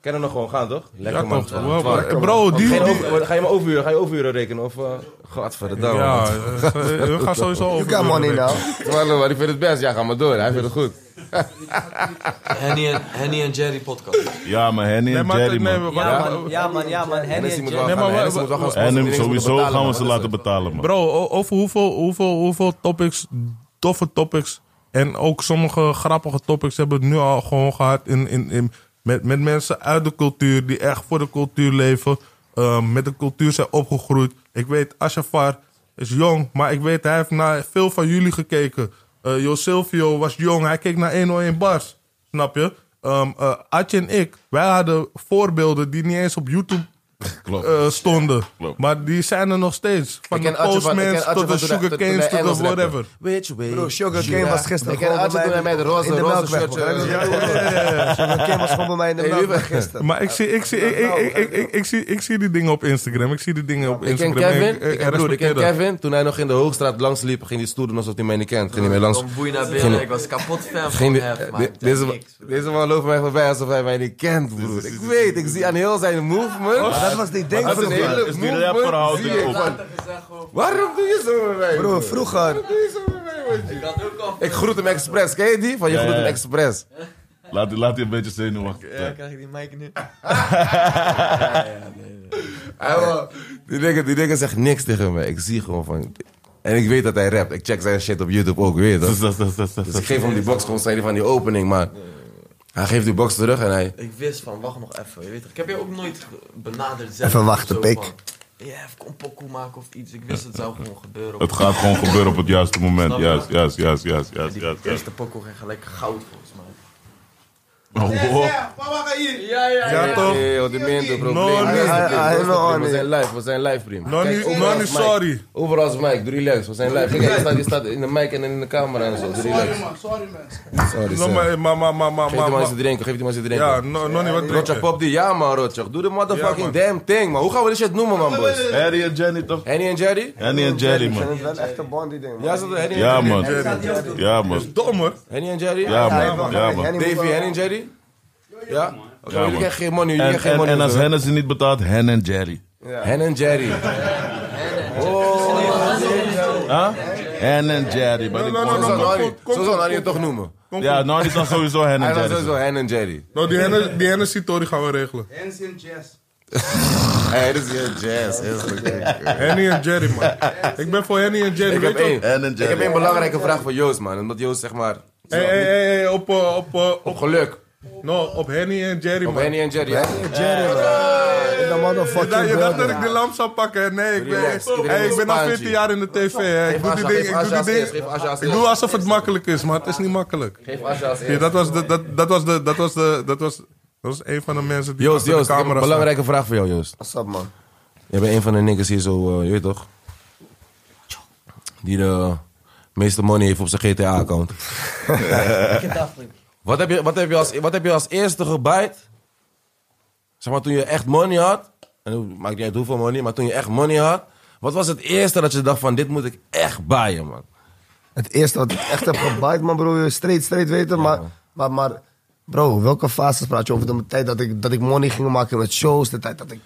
Kennen we nog gewoon gaan, toch? Lekker Ja, man. toch? Twaalf. Wel, Twaalf. eh, Bro, die... Geen die- over- ga je maar overuren, ga je overuren rekenen? Of, eh Godverdamme. ja, Ja. eh, we gaan sowieso over. You got money now. maar ik vind het best. Ja, ga maar door. Hij vindt het goed. Henny en, Henny en Jerry podcast. Ja, maar Henny Nee, en maar... Jerry, Nee, man. maar- Ja, man. Ja, man. Ja, man. Henny Hennessy en moet wel Jerry. Nee, gaan, maar Hennessy we- moet wel gaan En sponsoren, hem Hennessy moet sowieso betalen, gaan we man. ze Dat is laten het. betalen, man. Bro, o- over hoeveel, hoeveel, hoeveel, hoeveel topics, toffe topics... en ook sommige grappige topics hebben we het nu al gewoon gehad... In, in, in, met, met mensen uit de cultuur, die echt voor de cultuur leven... eh, met de cultuur zijn opgegroeid. Ik weet, Ashafar is jong, maar ik weet, hij heeft naar veel van jullie gekeken. Eh Jo Silvio was jong, hij keek naar 101 Bars. Snap je? Ehm eh, Atje en ik, wij hadden voorbeelden die niet eens op YouTube Klopt. eh, stonden. Klopt. Maar die zijn er nog steeds. Van de Postmans tot de Sugarcanes tot de whatever. Which way? Bro, Sugar Cane was gisteren Ik ken gewoon Adje bij toen mij hij met roze, in de roze melkweg. shirtje. man. Sugar Cane was gewoon bij mij in de Hey, melkweg Ruben. gisteren. Maar ik zie, ik, zie, ik, ik, ik, ik, ik, ik zie, ik zie die dingen op Instagram. Ik zie die dingen op Ik ken Instagram. en Kevin, eh, ik, ken broer, ik respecteer ken dat. Kevin, toen hij nog in de Hoogstraat langs liep, ging hij stoer doen alsof hij mij niet kent. Ging hij mij langs. Kom boei naar Geen- binnen, ik was kapot fan van Ging die- hem. de- deze, man- deze man loopt mij voorbij alsof hij mij niet kent, broer. Ik weet, ik zie aan heel zijn movement. Maar dat was die ding dat is een vroeger. hele Is die movement, rapverhaal zie die ik op- van, Waarom doe je zo met mij? Bro, vroeger. Waarom doe je zo met mij, man? Ik groet hem expres, ken je die? Van je Ja, groet hem ja. expres. Laat, laat die een beetje zenuwachtig. zijn. krijg je die mic nu? Hij wel- Die nigger, die nigger zegt niks tegen me. Ik zie gewoon van... En ik weet dat hij rapt. Ik check zijn shit op YouTube ook, weet je toch? Dus dat- dat- dat- dat- Dus ik geef hem die box, gewoon zei hij van die opening, maar... Hij geeft die box terug en hij... Ik wist van, wacht nog even. Je weet toch, ik heb je ook nooit benaderd zelf. Even wachten, Zo pik. van, Ja, even kom pokoe maken of iets. Ik wist het zou gewoon gebeuren. Het gaat gewoon gebeuren op het juiste moment. Snap je? Juist, juist, juist, juist, juist, Die juist. juist. eerste pokoe ging gelijk goud volgens mij. Oh, wow. Ja, ja, Ja, toch? Hey, wat die minder No, probleem. nee. Minder probleem, Ah, ah, minder no, probleem. We nee. zijn live, we zijn live, prima. No, Kijk, niet- overal no, is niet mic. sorry. Overal is Mike, doe relax, we zijn live. Kijk, je staat, je staat in de mic en in de camera en zo, doe relax. Sorry man, sorry man. Sorry, No, Sam. maar, maar, maar, maar, maar, Geef die man maar- eens te drinken, geef die man eens te drinken. Ja, no, no, niet wat Rotjak, drinken. pop die, ja man, Rotjak. Doe de Ja, man. motherfucking damn thing, man. Hoe gaan we dit shit noemen, man, boys? Harry en Jenny toch? Henny en Jerry? Henny en Jerry, Ik vind man. het wel echt een Bondi ding. man. Ja, is dat Henny en Ja, Jerry? man. Ja, man. Dom hoor. Henny en Jerry? Ja, hij man. mag- Ja, hij- man. hij moet Davy, wel- Henny en Jerry? Ja? Oké, Ja, jullie man. krijgen geen money, jullie En, krijgen geen en, money. en als hoor. Hennessy niet betaalt, Hen en Jerry. Hen en Jerry. Huh? Hen en Jerry. Maar No, ik no, Zo no, zou no. word- Nani- kom, zo zou Nani het toch noemen. Ja, nou, die dan sowieso Hen Hij en was Jerry. sowieso zeggen. Hen en Jerry. No, die Henne- die Hennessy-tory gaan we regelen. Hey, dit is heel jazz. heel goed. Henny en Jerry, man. Ik ben voor Henny en Jerry. Ik heb weet je één. wel. Hen en Ik heb Jerry. één belangrijke vraag voor Joost, man. Omdat Joost, zeg maar... Hey, hey, hey, hey, op, eh, op, eh, op, Op geluk. no, op Henny en Jerry, Op man. Henny en Jerry. hè? Jerry, man. In de Je dacht, je motherfucking dacht dat building. ik de lamp zou pakken. hè? Nee, ik ben, Relax, iedereen hey, ik ben al spaantje. 14 jaar in de tv. Hè. Ik Geef doe die Asja, ding. geef Ik doe die Asja eerst, ding. geef Asja als Ik doe eerst. alsof het makkelijk is, maar het is niet makkelijk. Geef Asja als Ja, eerst. dat was de, dat, dat was de, dat was de, dat was, dat was een van de mensen die Joost, achter Joost, de ik heb een camera belangrijke vraag voor jou, Joost. What's up, man? Jij bent een van de niggas hier zo, eh, je weet toch? Die de meeste money heeft op zijn GTA-account. wat, heb je, wat, heb je als, wat heb je als eerste gebijt? Zeg maar, toen je echt money had. En hoe- maakt niet uit hoeveel money, maar toen je echt money had. Wat was het eerste dat je dacht van, dit moet ik echt bijen, man? Het eerste wat ik echt heb gebiked, man, bro. je wil Straight, straight weten. Maar, maar, maar, bro, welke fases praat je over? De tijd dat ik, dat ik money ging maken met shows. De tijd dat ik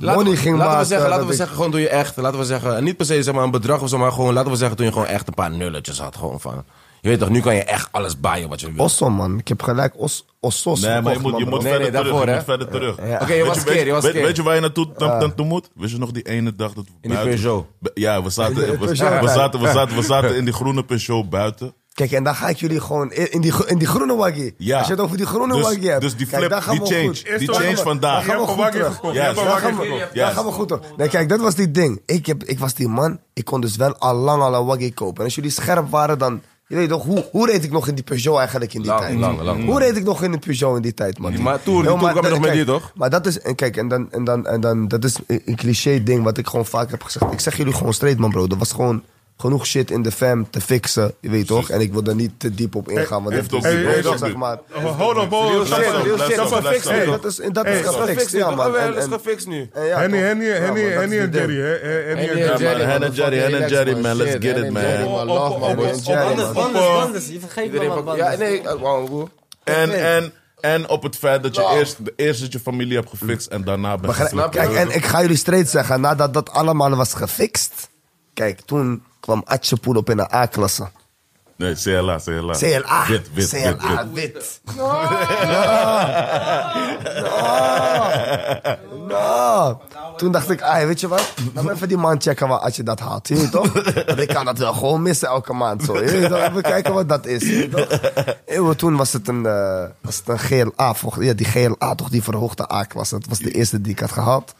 Laten money we, ging laten maken. we zeggen, laten we dat ik- zeggen gewoon toen je echt, laten we zeggen, en niet per se zeg maar een bedrag of zo, maar gewoon, laten we zeggen toen je gewoon echt een paar nulletjes had, gewoon van. Je weet toch, nu kan je echt alles bijen wat je wil. Osso, man. Ik heb gelijk os, Ossos Nee, maar je verkocht, moet, je man, moet bro. Nee, nee, verder terug. daarvoor, Je hè? moet verder terug. Oké, Weet je was weet- keer, je was weet- keer. Weet je waar je naartoe dan- dan toe moet? Wist je nog die ene dag dat we die buiten- Peugeot. Bu- Ja, we zaten, In de we, we Peugeot. zaten, we, zaten, we, zaten, in die groene Peugeot buiten. Kijk, en dan ga ik jullie gewoon in in die, gro- in die groene waggie. Ja. Als je het over die groene Dus- waggie hebt. dus die kijk, flip, daar gaan die we change. goed. Die change vandaag. staan. Daar Je gaan hebt we een goed waggie terug. verkocht. Ja, Je hebt een daar Daar waggie gaan, verkocht. we, daar gaan we goed op. Nee, kijk, dat was die ding. Ik, heb, ik was die man, ik kon dus wel al lang al een waggie kopen. En als jullie scherp waren, dan... Je weet toch, hoe, hoe reed ik nog in die Peugeot eigenlijk in die Lang, tijd? lang, lang. Hoe reed ik nog in de Peugeot in die tijd, man? maar Tour, die Yo, Tour kwam dat- nog met kijk, die, toch? Maar dat is, en kijk, en dan, en dan, en dan, dat is een een cliché ding wat ik gewoon vaak heb gezegd. Ik zeg jullie gewoon straight, man, bro. Er was gewoon genoeg shit in de fam te fixen, je weet toch? En ik wil daar niet te diep op ingaan, want heeft dat ook is die weet je heeft toch, ook zeg die- maar. Oh, Hold on, hold Real shit, on. real Dat shit. is Dat is gefixt. gefixt. Hey, Dat is, en dat Hey, is dat is gefixt, ja, man. Jawel, En- dat is en- gefixt nu. en ja, Henny, toch. Henny, Ja, Henny, man, dat Henny is en die ding. Jerry. hè. Eh, Henny en Henny Jerry. en Jerry, man, Hen en Jerry, Hen en relax, Jerry, man. Let's Shit, get Hen it, en man. Jerry, Op- op- love, man, op- boys. op- op- Jerry, Anders, man. anders, Op, eh, anders. Je vergeet me Iedereen man, pak- Ja, anders. nee, eh, wauw, broer. En, en, en op het feit dat je Nou. eerst, de- eerst dat je familie hebt gefixt en daarna bent Begrijp- geslapen. Kijk, en ik ga jullie straight zeggen, nadat dat allemaal was gefixt, kijk, toen kwam Atjepoel op in de A-klasse. Nee, CLA, CLA. CLA. Wit, wit, wit, CLA, wit. wit. No. No. No. Toen dacht ik, ah, weet je wat? Laat me even die man checken waar Atje dat haalt. Je weet toch? Want ik kan dat wel gewoon missen elke maand. Zo. Je weet toch? Even kijken wat dat is. Je weet toch? Eeuwen, toen was het een, eh, was het een GLA. volgens- Ja, die GLA toch, die verhoogde A-klasse. Dat was de eerste die ik had gehad.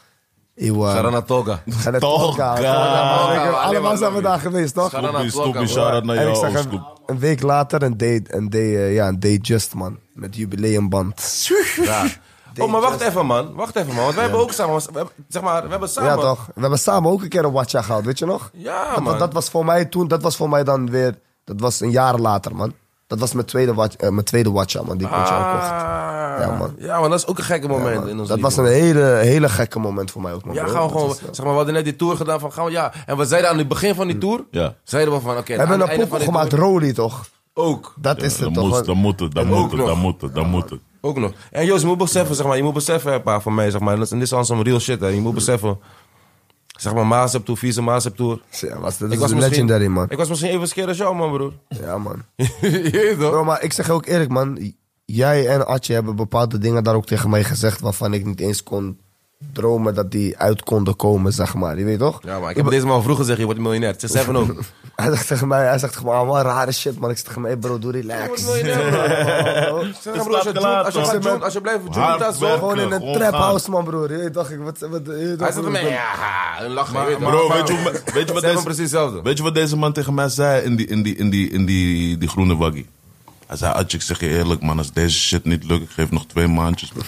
Eeuwen. Saranatoga. En het Tolga. Tolga. Tolga, man. Ik- Allemaal zijn we daar geweest, toch? Scharan- Stoepie, stoepie, shout-out naar En ik jou, zag oh, een, Scoop. een week later een day, een day, eh, ja, een day just, man. Met jubileumband. Ja. stage. Oh, maar wacht even, man. Wacht even, man. Want wij hebben ook samen... We hebben, zeg maar, we hebben samen... Ja, toch? We hebben samen ook een keer een watcha gehad, weet je nog? Ja, Want dat, man. Dat was voor mij toen, dat was voor mij dan weer, dat was een jaar later, man. Dat was mijn tweede, watch, eh, mijn tweede watcha, man, die ik met jou kocht. Ah. Ja, man. Ja, man, dat is ook een gekke Ja, moment man. in ons dat leven. was een hele, hele gekke moment voor mij ook, man. Ja, bro. gaan we Dat gewoon... was, eh, Zeg maar, we hadden net die tour gedaan van... Gaan we, ja. En we zeiden aan het begin van die tour... Ja. Zeiden we van... Oké, Mm. we hebben aan het een einde van pokoe die gemaakt, tour- Roly, toch? Ook. Dat is Dan het, toch? moet, man? dan moet het, dan Ook moet het, nog. dan moet het, dan moet het. Ook nog. En Joost, je moet beseffen, zeg maar, je moet beseffen, hè, pa, voor mij, zeg maar. En dat is- en dit is al zo'n real shit, hè. Je moet Mm. beseffen, zeg maar, Maas hebt tour, vieze Maas hebt tour. Ja, was, dat is legendary, man. Ik was misschien even scared als jou, man, broer. Ja, man. Je weet toch? Bro, maar ik zeg je ook eerlijk, man. Jij en Atje hebben bepaalde dingen daar ook tegen mij gezegd... waarvan ik niet eens kon dromen dat die uit konden komen, zeg maar. Je weet toch? Ja, maar ik heb deze man al vroeger gezegd, je wordt miljonair. Het is even ook. Hij zegt tegen mij, hij zegt gewoon, ah, wat rare shit, man. Ik zeg tegen mij, hey, bro, doe relax. nou, Zeg maar, broer, als je, staat joint- klaar, als je, toch? gaat joint- als je blijft joint, Hard dat is werken. zo. Gewoon in een eh, Gewoon trap gaan. house, man, broer. Je weet toch, ik, wat, wat, je weet Hij toch, zit broer, ermee, ik ja, ha, een lach. je weet toch? Bro, weet je, hoe, weet, je wat Zeg maar deze, precies hetzelfde. weet je wat deze man tegen mij zei in die, in die, in die, in die, die groene waggie? Hij zei, Adje, ik zeg je eerlijk man, als deze shit niet lukt, ik geef nog twee maandjes. bro."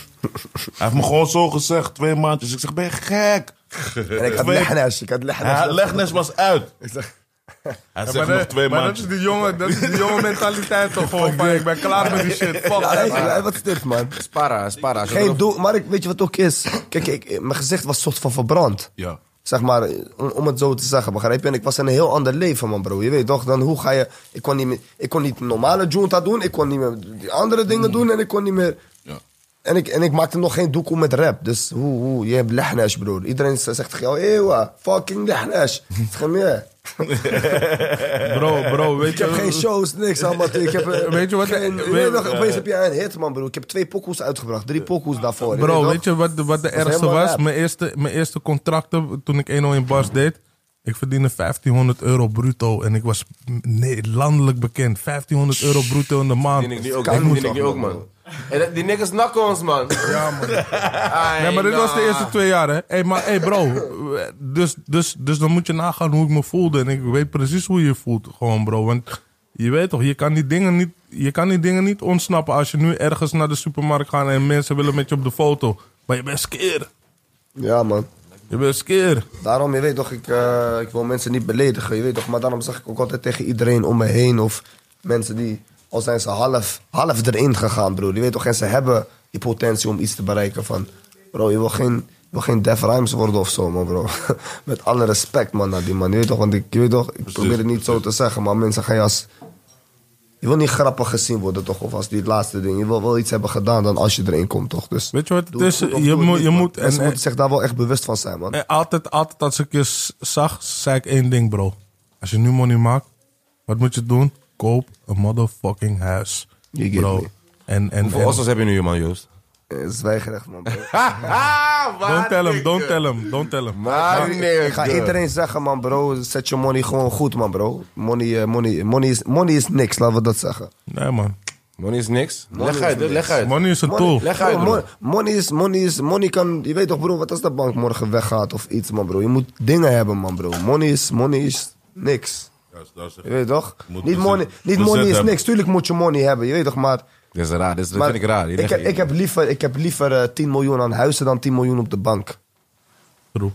Hij heeft me gewoon zo gezegd, twee maandjes. Ik zeg, ben je gek? ben- En ik had lehnes, ik had Ja, lehnes. Legnes was uit. Ik zeg, Hij maar zegt nog dat- twee maar dat maandjes. is die jonge, dat is die jonge mentaliteit toch gewoon van ik ben klaar met die shit. Fuck ja, it. hey, wat is dit, man? Spara, spara. als je Geen erop- doel, maar ik, weet je wat ook is? Kijk, ik, mijn gezicht was soort van verbrand. Ja. Zeg maar, om, om het zo te zeggen, begrijp je? En ik was in een heel ander leven, man, bro. Je weet toch, dan hoe ga je... Ik kon niet, meer, ik kon niet normale junta doen, ik kon niet meer die andere dingen doen en ik kon niet meer... Ja. En ik, en ik maakte nog geen doekoe met rap. Dus hoe, hoe, je hebt lehnash, broer. Iedereen zegt tegen jou, eeuwa, fucking lehnash. Ik zeg, nee, Bro, bro, weet ik heb geen je... shows, niks allemaal. Ik heb, eh, Weet je wat- geen- je weet- weet toch, opeens heb jij een hit, man, broer. Ik heb twee pokoes uitgebracht, drie pokoes daarvoor. Ah, Bro, toch? weet je wat, de- wat de is ergste helemaal was? rap. Mijn eerste, mijn eerste contracten, toen ik 1-0 in Bars deed... Ik verdiende 1500 euro bruto en ik was mm, nee, landelijk bekend. 1500 euro bruto in de maand. Die denk ik nu ook, Kan die niet, denk ik nu ook, man. En dat- Die niggas nakken ons, man. Ja, man. Nee, maar dit was de eerste twee jaar, hè? Hey, maar hey, bro. Dus, dus, dus dan moet je nagaan hoe ik me voelde. En ik weet precies hoe je je voelt, gewoon, bro. Want je weet toch, je kan die dingen niet, je kan die dingen niet ontsnappen. Als je nu ergens naar de supermarkt gaat en mensen willen met je op de foto. Maar je bent skeer. Ja, man. Je bent skeer. Daarom, je weet toch, ik, eh, ik wil mensen niet beledigen, je weet toch. Maar daarom zeg ik ook altijd tegen iedereen om me heen of mensen die, al zijn ze half, half erin gegaan, broer. Je weet toch, en ze hebben die potentie om iets te bereiken van... Bro, je wil geen, je wil geen Def Rhymes worden of zo, man, bro. Met alle respect, man, naar die man. Je weet toch, want ik, je weet toch, ik probeer het niet zo te zeggen, maar mensen gaan je als... Je wil niet grappig gezien worden, toch? Of als die laatste ding. Je wil wel iets hebben gedaan dan als je erin komt, toch? Dus, Weet je wat het doe het is? goed of Je doe het moet- niet, je man. moet- en- Mensen en- moeten zich daar wel echt bewust van zijn, man. En altijd, altijd als ik je s- zag, zei ik één ding, bro. Als je nu money maakt, wat moet je doen? Koop een motherfucking huis. You get Bro. me. En, en, Hoeveel en, ossos heb je nu, man, Joost? Eh, Zwijgerecht, man. bro. don't tell him, don't tell him, don't tell him. Maar nee, Ik Ah, ga iedereen zeggen, man, bro. Zet je money gewoon goed, man, bro. Money, eh, money, money, is, money is niks, laten we dat zeggen. Nee, man. Money is niks. Leg uit, leg uit. Money is een Money, tool. Leg uit, Bro, bro. mon- money, is, money, is, money kan... Je weet toch, bro, wat als de bank morgen weggaat of iets, man, bro. Je moet dingen hebben, man, bro. Money is, money is niks. Je weet toch? Moet Niet bezet- money, niet bezet money is hebben. niks. Tuurlijk moet je money hebben, je weet toch, maar... Dit is raar, dit is- dit maar vind ik raar. Ik, heb- ik heb liever, ik heb liever eh, 10 miljoen aan huizen dan 10 miljoen op de bank. True.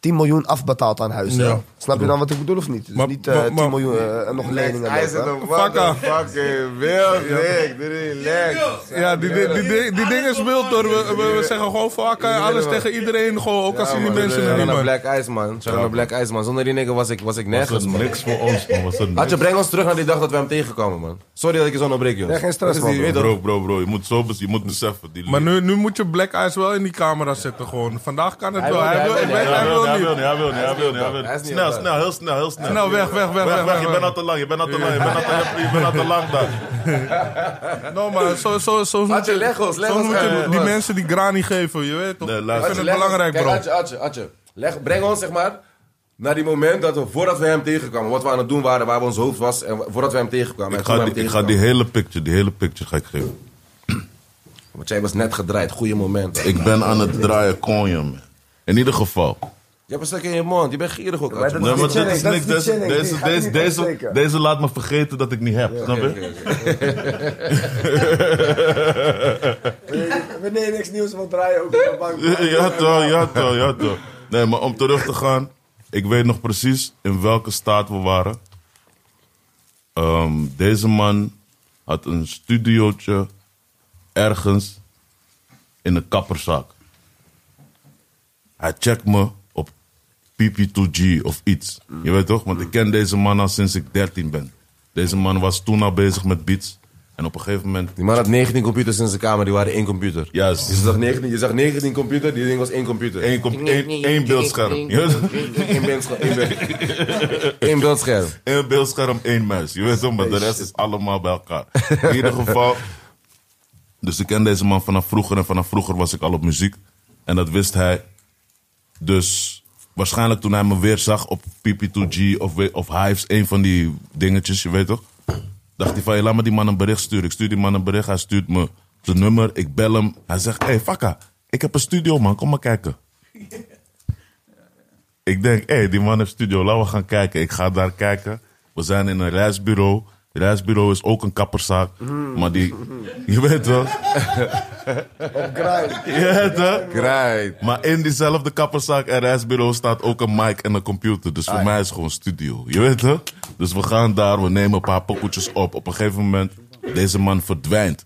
10 miljoen afbetaald aan huizen. Ja. hè? Snap je dan wat ik bedoel of niet? Dus Maar- niet eh, maar- maar- 10 miljoen eh, en nog leningen. Hij lopen, zit hè? een motherfucking wild dik. Relax. Ja, die, die, die, die, die ding is wild hoor. We, we, we zeggen gewoon vaak eh, alles tegen iedereen. Gewoon, ook als die mensen er Shout niet naar meer. Black Ice, man. Shout naar Black Ice, man. Zonder die nigger was ik, was ik Was nergens, het man. niks voor ons, man. Was het niks. Adje, breng ons terug naar die dag dat we hem tegenkwamen, man. Sorry dat ik je zo onderbreek, joh. Ja, geen stress, Dat is die- man, weet je Bro, bro, bro. Je moet zo bez- je moet beseffen. Die Maar nu, nu moet je Black Eyes wel in die camera zetten gewoon. Vandaag kan het wel. wil- Hij wil, hij ik wil- weet- Ja, hij wil hij niet. wil niet, hij wil niet, hij wil niet, hij wil Hij is niet. niet Snel, op snel, heel snel, heel snel. Nou, weg, weg, weg, Weg, weg, je weg, bent weg. al te lang, je bent al te lang, je bent al te- je bent al te lang daar. No, maar zo, zo, zo moet Adje, je, leg ons, leg zo ons moet uit, je man. die mensen die grani geven, je weet toch? Nee, ik luister. vind het Leg ons- belangrijk, Kijk, bro. Adje, Adje, Adje. Leg, breng ons, zeg maar, naar die moment dat we, voordat we hem tegenkwamen, wat we aan het doen waren, waar we ons hoofd was, en voordat we hem tegenkwamen. Ik en toen ga, we die, hem ik ga die tegenkwamen. hele picture, die hele picture ga ik geven. Want jij was net gedraaid, goede moment. Je Ik ben aan het draaien konja, man. In ieder geval. hebt een stuk in je mond, je bent gierig ook, Adje. dat- Nee, maar niet dit chilling, is dat is niks. niet Deze, chilling. Die deze, ga ik deze, niet deze, afsteken. deze laat me vergeten dat ik niet heb. Snap je? Weet nee, niks nieuws, want draai ook op de bank. Ja toch, ja toch, ja toch. Nee, maar om terug te gaan. Ik weet nog precies in welke staat we waren. Ehm, deze man had een studiootje ergens in een kapperzak. Hij checkt me op PP2G of iets. Je weet toch? Want ik ken deze man al sinds ik 13 ben. Deze man was toen al bezig met beats. En op een gegeven moment... Die man had 19 computers in zijn kamer, die waren één computer. Juist. Je zag 19, je zag 19 computer, die ding was één computer. Eén kom- één- één beeldscherm. Je weet toch? Eén beeldscherm. één beeld- Één beeldscherm. Eén beeldscherm, één muis. Je weet toch, maar de rest is allemaal bij elkaar. In ieder geval. Dus ik ken deze man vanaf vroeger en vanaf vroeger was ik al op muziek. En dat wist hij. Dus waarschijnlijk toen hij me weer zag op PP2G of, we- of Hives, een van die dingetjes, je weet toch? Dacht hij van, "Hey, laat me die man een bericht sturen. Ik stuur die man een bericht, hij stuurt me zijn nummer, ik bel hem. Hij zegt, hé hey, Fakka, ik heb een studio man, kom maar kijken. Ik denk, hé, die man heeft studio, laten we gaan kijken. Ik ga daar kijken. We zijn in een reisbureau. Het reisbureau is ook een kapperszaak. Maar die, je weet wel. Je weet wel. Right. Maar in diezelfde kapperszaak en reisbureau staat ook een mic en een computer. Dus voor mij is het gewoon studio. Je weet het? Dus we gaan daar, we nemen een paar pokoetjes op. Op een gegeven moment, deze man verdwijnt.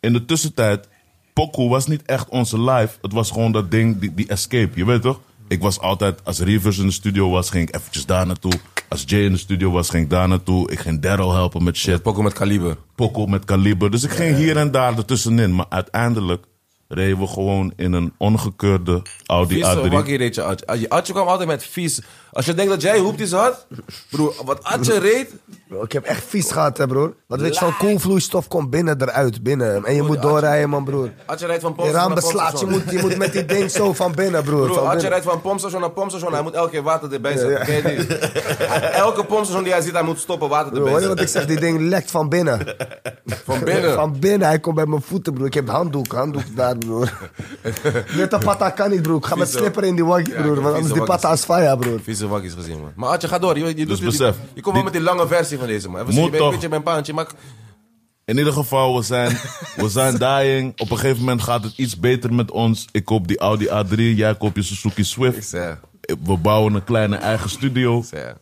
In de tussentijd, Poku was niet echt onze live. Het was gewoon dat ding, die, die escape. Je weet toch? Ik was altijd, als Rivers in de studio was, ging ik eventjes daar naartoe. Als Jay in de studio was, ging ik daar naartoe. Ik ging Daryl helpen met shit. Poco met kaliber. Poco met kaliber. Dus ik ging hier en daar ertussenin. Maar uiteindelijk reden we gewoon in een ongekeurde Audi Vieze A3. wakkie reed je Atje. Atje- Atje kwam altijd met vies. Als je denkt dat jij hoepties had, broer, wat Atje reed... Bro, ik heb echt vies gehad, hè, broer. Want weet je, zo'n koelvloeistof komt binnen eruit, binnen. En je moet doorrijden, man, broer. Atje rijdt van Je pompstation raam naar beslaat, je pompstation. moet, je moet met die ding zo van binnen, broer. Broer, Van Atje binnen. rijdt van pompstation naar pompstation. Hij moet elke keer water erbij Ja, ja. zetten. Ken je die? Elke pompstation die hij ziet, hij moet stoppen water Broer, hoor erbij je wat ik zetten. zeg? Die ding lekt van binnen. Van binnen. Van binnen, hij komt bij mijn voeten, broer. Ik heb handdoek, handdoek daar, broer. Met de patta kan niet, broer. Ik ga met Vieze- slipper in die wakkie, Ja, broer. ik heb Want anders die vieze patta is faya, broer. Vieze wakkies gezien, man. Maar Atje, ga door. Je, je, doet Dus jullie- besef, je komt wel die- met die lange versie van deze, man. Even Moet zien, je bent toch. een beetje bij een paantje, maar... In ieder geval, we zijn, we zijn dying. Op een gegeven moment gaat het iets beter met ons. Ik koop die Audi A3, jij koopt je Suzuki Swift. Zeg, We bouwen een kleine eigen studio. zeg.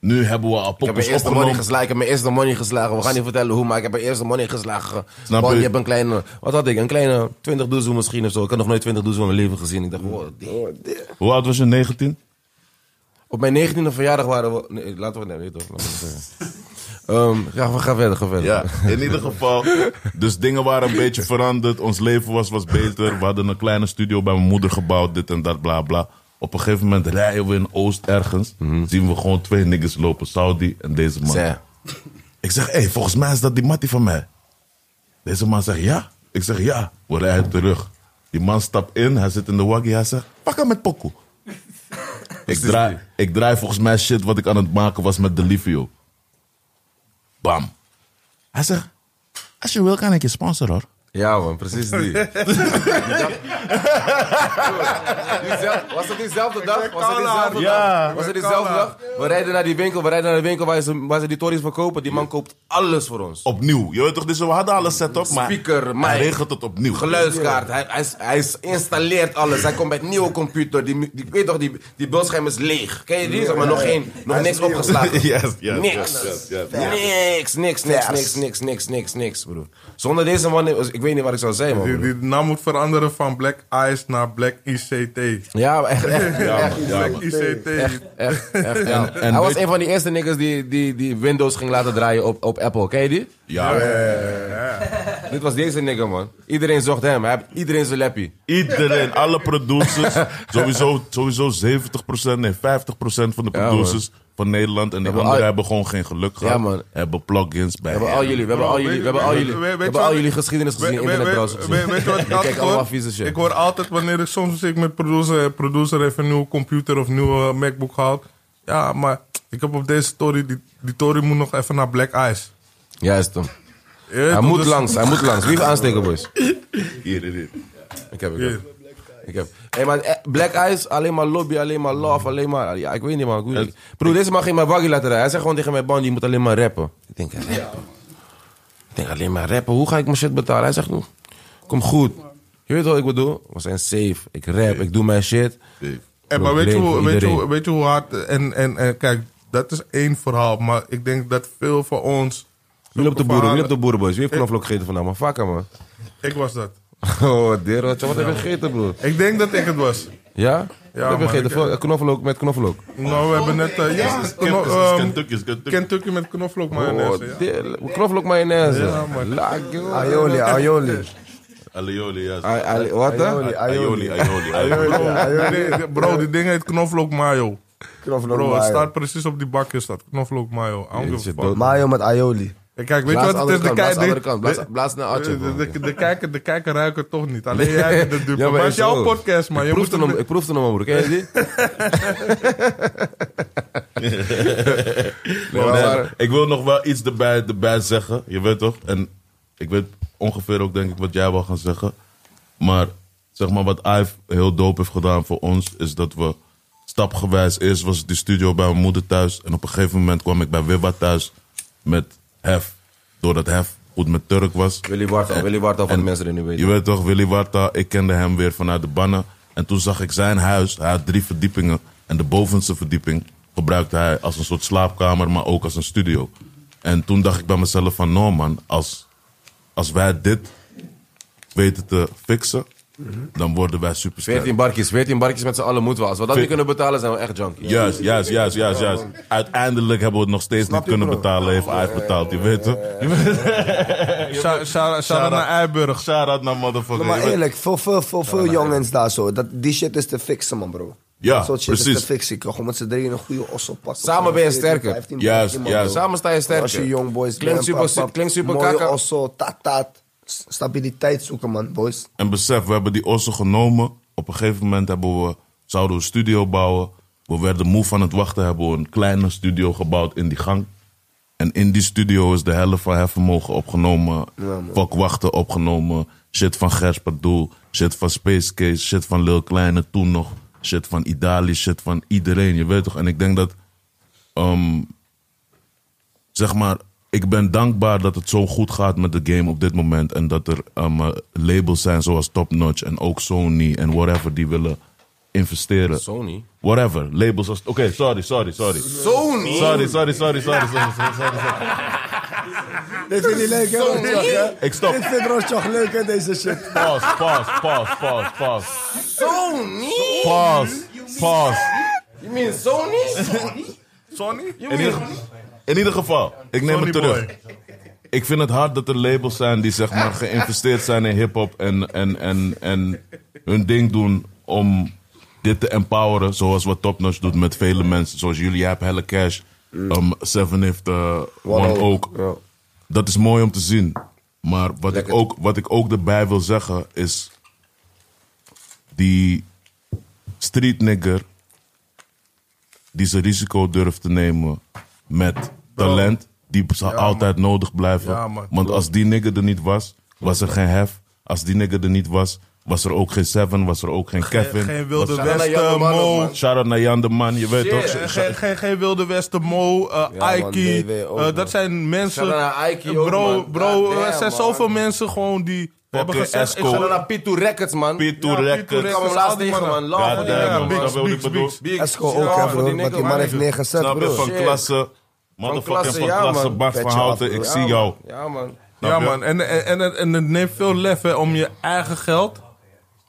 Nu hebben we al Ik heb mijn poppers eerste money opgenomen. geslagen. Ik heb mijn eerste money geslagen. We gaan niet vertellen hoe, maar ik heb mijn eerste money geslagen. Snap Want je? je hebt een kleine, wat had ik? Een kleine 20 doezoe misschien of zo. Ik had nog nooit 20 doezoe in mijn leven gezien. Ik dacht, wow, damn. Hoe oud was je, 19? Op mijn 19e verjaardag waren we. Nee, laten we. Nee, nee toch? Laten we het zeggen. Ehm, ja, we gaan verder, ga verder. Ja, in ieder geval. Dus dingen waren een beetje veranderd. Ons leven was, was beter. We hadden een kleine studio bij mijn moeder gebouwd. Dit en dat, bla bla. Op een gegeven moment rijden we in Oost ergens. Zien we gewoon twee niggas lopen. Saudi en deze man. Zeg. Ik zeg, hé, hey, volgens mij is dat die mattie van mij. Deze man zegt, ja. Ik zeg, ja. We rijden terug. Die man stapt in. Hij zit in de waggie. Hij zegt, pak hem met pokoe. ik, draai, ik draai volgens mij shit wat ik aan het maken was met Delivio. Bam. Hij zegt, als je wil kan ik je sponsoren hoor. Ja, man, precies die. Die dag- Diezelfde- was het diezelfde dag? Was het diezelfde Ja. dag? Was het diezelfde dag? We rijden naar die winkel, we rijden naar de winkel waar ze, waar ze die tories verkopen. Die man koopt alles voor ons. Opnieuw. Je weet toch, dus we hadden alles set up, maar Speaker, hij mic. regelt het opnieuw. Geluidskaart, hij, hij, is- hij is- installeert alles. Hij komt met nieuwe computer. Die, die, ik weet toch, die, die beeldscherm is leeg. Ken je die? Zeg maar, nog, geen, nog niks opgeslagen. Yes, yes, niks. yes, yes, yes. Niks, niks, niks, niks, niks, niks, niks, niks, broer. Zonder deze man, ik weet niet wat ik zou zijn, man. Die, broer. die naam moet veranderen van Black Eyes naar Black ICT. Ja, maar echt, echt, echt, Black ICT. echt, echt, ja. Hij was een van die eerste niggas die, die, die Windows ging laten draaien op, op Apple. Ken je die? Ja, Dit was deze nigger, man. Iedereen zocht hem. Hij, iedereen zijn lappie. Iedereen, alle producers. sowieso, sowieso 70%, nee, 50% van de Ja, producers van Nederland. En die Hebben anderen al- hebben gewoon geen geluk gehad. man. Hebben plugins We bij. hebben al hen. jullie, we hebben al jullie, we hebben al jullie, we Weet- weet- hebben weet- al jullie geschiedenis gezien, Weet- weet- internetbrowser weet- gezien. weet- weet je wat ik We altijd kijken allemaal hoor? vieze shit. Ik hoor altijd wanneer ik soms zit ik met producer, producer even een nieuwe computer of nieuwe eh, MacBook haalt. Ja, maar ik heb op deze story, die, die story moet nog even naar Black Eyes. Juist, hem. Je weet Hij toch, moet dus- langs, hij moet langs. Wie heeft aansteken, boys? Hier, hier, hier. Ik heb, ik Hier. heb. Ik heb. Hey, maar eh, Black Eyes, alleen maar lobby, alleen maar love, alleen maar... Ja, ik weet niet, man. Ik weet niet. Broer, deze man ging mij waggy laten rijden. Hij zei gewoon tegen mij, Bandy, je moet alleen maar rappen. Ik denk, rappen? Ik denk, alleen maar rappen. Hoe ga ik mijn shit betalen? Hij zegt, "Nou, Kom goed. Je weet wat ik bedoel? We zijn safe. Ik rap, ik doe mijn shit. Eh, maar weet je, Probleem hoe, voor weet, je, hoe- iedereen. weet je hoe hard... En, en, en kijk, dat is één verhaal. Maar ik denk dat veel van ons... Wie loopt de boeren? Wie loopt de boeren, boys? Wie heeft Ik- knoflook gegeten vandaag? Maar vakken, man. Ik was dat. Oh, dear, wat heb je gegeten, broer? Ik denk dat ik het was. Ja? Ja, Ja, heb je man, gegeten? ik- eh, Vlo- Knoflook met knoflook. Nou, we hebben net... eh, ja, kno- ehm, Kentucky is Kentucky. Kentucky met knoflook Oh, mayonaise. ja. dear. Knoflook mayonaise. Ja, man. Laat, joh. Aioli, aioli. Alioli, ja. Ai- ai- Wat, hè? Aioli, Aioli, aioli. aioli, aioli. Aioli, aioli. Nee, Bro, die ding heet knoflook mayo. Knoflook Bro, het mayo. staat precies op die bakje. Staat knoflook mayo. I don't give a Jeetje, fuck. dood. Mayo met aioli. Eh, Kijk, weet Blaas je wat andere het is? De, kant, blaas kei- andere de, kant. Blaas- Blaas naar Atje, de, broer. de, de kijker, de kijker ruikt het toch niet. Alleen jij bent de dupe. Ja, maar maar het is is jouw zo. podcast, man. Je Ik moet proefde het hem, ik proefde hem, al, broer. Ken je die? Nee, maar- nee, Ik wil nog wel iets erbij, erbij zeggen. Je weet toch? En ik weet ongeveer ook denk ik wat jij wil gaan zeggen. Maar zeg maar wat Ive heel dope heeft gedaan voor ons... is dat we stapgewijs... Eerst was die studio bij mijn moeder thuis. En op een gegeven moment kwam ik bij Wibba thuis met Hef. Doordat Hef goed met Turk was. Willy Warta, Willy Warta van de mensen die het niet Je weten. weet toch, Willy Warta, ik kende hem weer vanuit de bannen. En toen zag ik zijn huis, hij had drie verdiepingen. En de bovenste verdieping gebruikte hij als een soort slaapkamer, maar ook als een studio. En toen dacht ik bij mezelf van, no man, als, als wij dit weten te fixen, dan worden wij supersterk. 14 barkjes, 14 barkjes met z'n allen moeten we. Als we dat niet kunnen betalen, zijn we echt junkie. Juist, juist, juist, juist, juist. Uiteindelijk hebben we het nog steeds niet kunnen betalen, heeft Ive betaald, je weet toch? Shout- shout- Shout out naar Eiburg. Shout-out naar motherfucker. Maar je weet- eerlijk, voor veel, veel, veel jongens daar zo. Dat, die shit is te fixen, man, bro. Ja, Dat soort shit is precies. te fixen. Ik kan gewoon met z'n drieën een goede os oppakken. Samen Gewoon ben je 14, sterker. 15, Juist, man, juist. bro. Samen sta je sterker. Als je jong boys Klinkt bent, super- pap, pap, klinkt super mooie kaka. osso, tat, tat. S- Stabiliteit zoeken, man, boys. En besef, we hebben die ossen genomen. Op een gegeven moment hebben we, zouden we een studio bouwen. We werden moe van het wachten, hebben we een kleine studio gebouwd in die gang. En in die studio is de helft van Hefvermogen opgenomen. Fuck wachten opgenomen. Shit van Gers Doel. Shit van Space Case. Shit van Lil Kleine toen nog. Shit van Idali. Shit van iedereen, je weet toch. En ik denk dat ehm, zeg maar, ik ben dankbaar dat het zo goed gaat met de game op dit moment. En dat er ehm, eh, labels zijn zoals Top Notch en ook Sony en whatever die willen investeren. Sony? Whatever, labels als... Oké, sorry, sorry, sorry. Sony? Sorry, sorry, sorry, sorry, sorry, sorry, sorry, sorry. Dit vind je leuk, hè? Rotjoch, hè? Ik stop. Dit vindt Rotjoch leuk, hè, deze shit. Pause, pause, pause, pause, pause. Sony? Pause, pause. Sonny? In ieder, in ieder geval, ik neem Sonny het terug. boy. ik vind het hard dat er labels zijn die zeg maar geïnvesteerd zijn in hip-hop en, en, en, en hun ding doen om dit te empoweren. Zoals wat Topnotch doet met vele mensen. Zoals jullie, jij hebt Helle Cash, ehm, Seven heeft eh, One ook. Dat is mooi om te zien. Maar wat ik, ook, wat ik ook erbij wil zeggen is. Die street nigger die zijn risico durft te nemen met talent, die zal altijd nodig blijven. Ja, man. Want als die nigger er niet was, was er geen hef. Als die nigger er niet was, was er ook geen Seven, was er ook geen Kevin. Geen was- wilde Shout-out naar Jan de westen, Man ook, Mo. man. Shout-out naar Jan de Man, je weet toch? Geen- Geen, geen, geen wilde westen, Mo, eh Aiki. DW ook, eh, man. dat zijn mensen... Shout-out naar Aiki ook, Bro, man. bro God er zijn damn, zoveel man. mensen gewoon die hebben gezegd... Esco. Ik Shout-out ga naar P2 Records, man. Peer to Ja, Peer to Records. Records. kwam hem laatst tegen, man. Love, Ja, man. damn, ja, man. Bix, Snap je wat ik Bix, bedoel? Bix. Big Esco shout-out ook, hè, voor die bro. Wat nigger, die man man. heeft neergezet, Snap je? bro. Van Shit. klasse. Motherfucking klasse, van ja, klasse. man. Bart van Petje af, Houten, bro. ik Ja, zie jou. Ja, man. Ja, man. En, en, en, het- en het neemt veel lef hè, om je eigen geld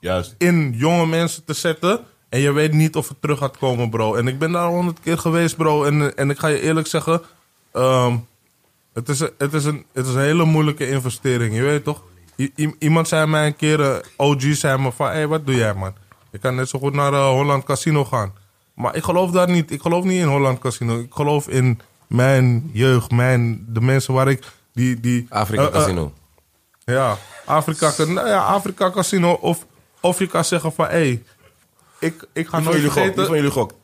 Juist. in jonge mensen te zetten. En je weet niet of het terug gaat komen, bro. En ik ben daar honderd keer geweest, bro. En, en ik ga je eerlijk zeggen... ehm, het, is, een- het, is een, het is een hele moeilijke investering, je weet toch? I- i- iemand zei mij een keer... eh, OG zei me van... Hé, hey, wat doe jij, man? Je kan net zo goed naar eh, Holland Casino gaan. Maar ik geloof daar niet. Ik geloof niet in Holland Casino. Ik geloof in mijn jeugd. Mijn, de mensen waar ik... Die, die, Afrika eh, eh, Casino. ja, Afrika, nou ja, Afrika Casino. Of, of je kan zeggen van, hé, hey, ik, ik ga Wie van nooit jullie gokt? Wie van vergeten... jullie gokt?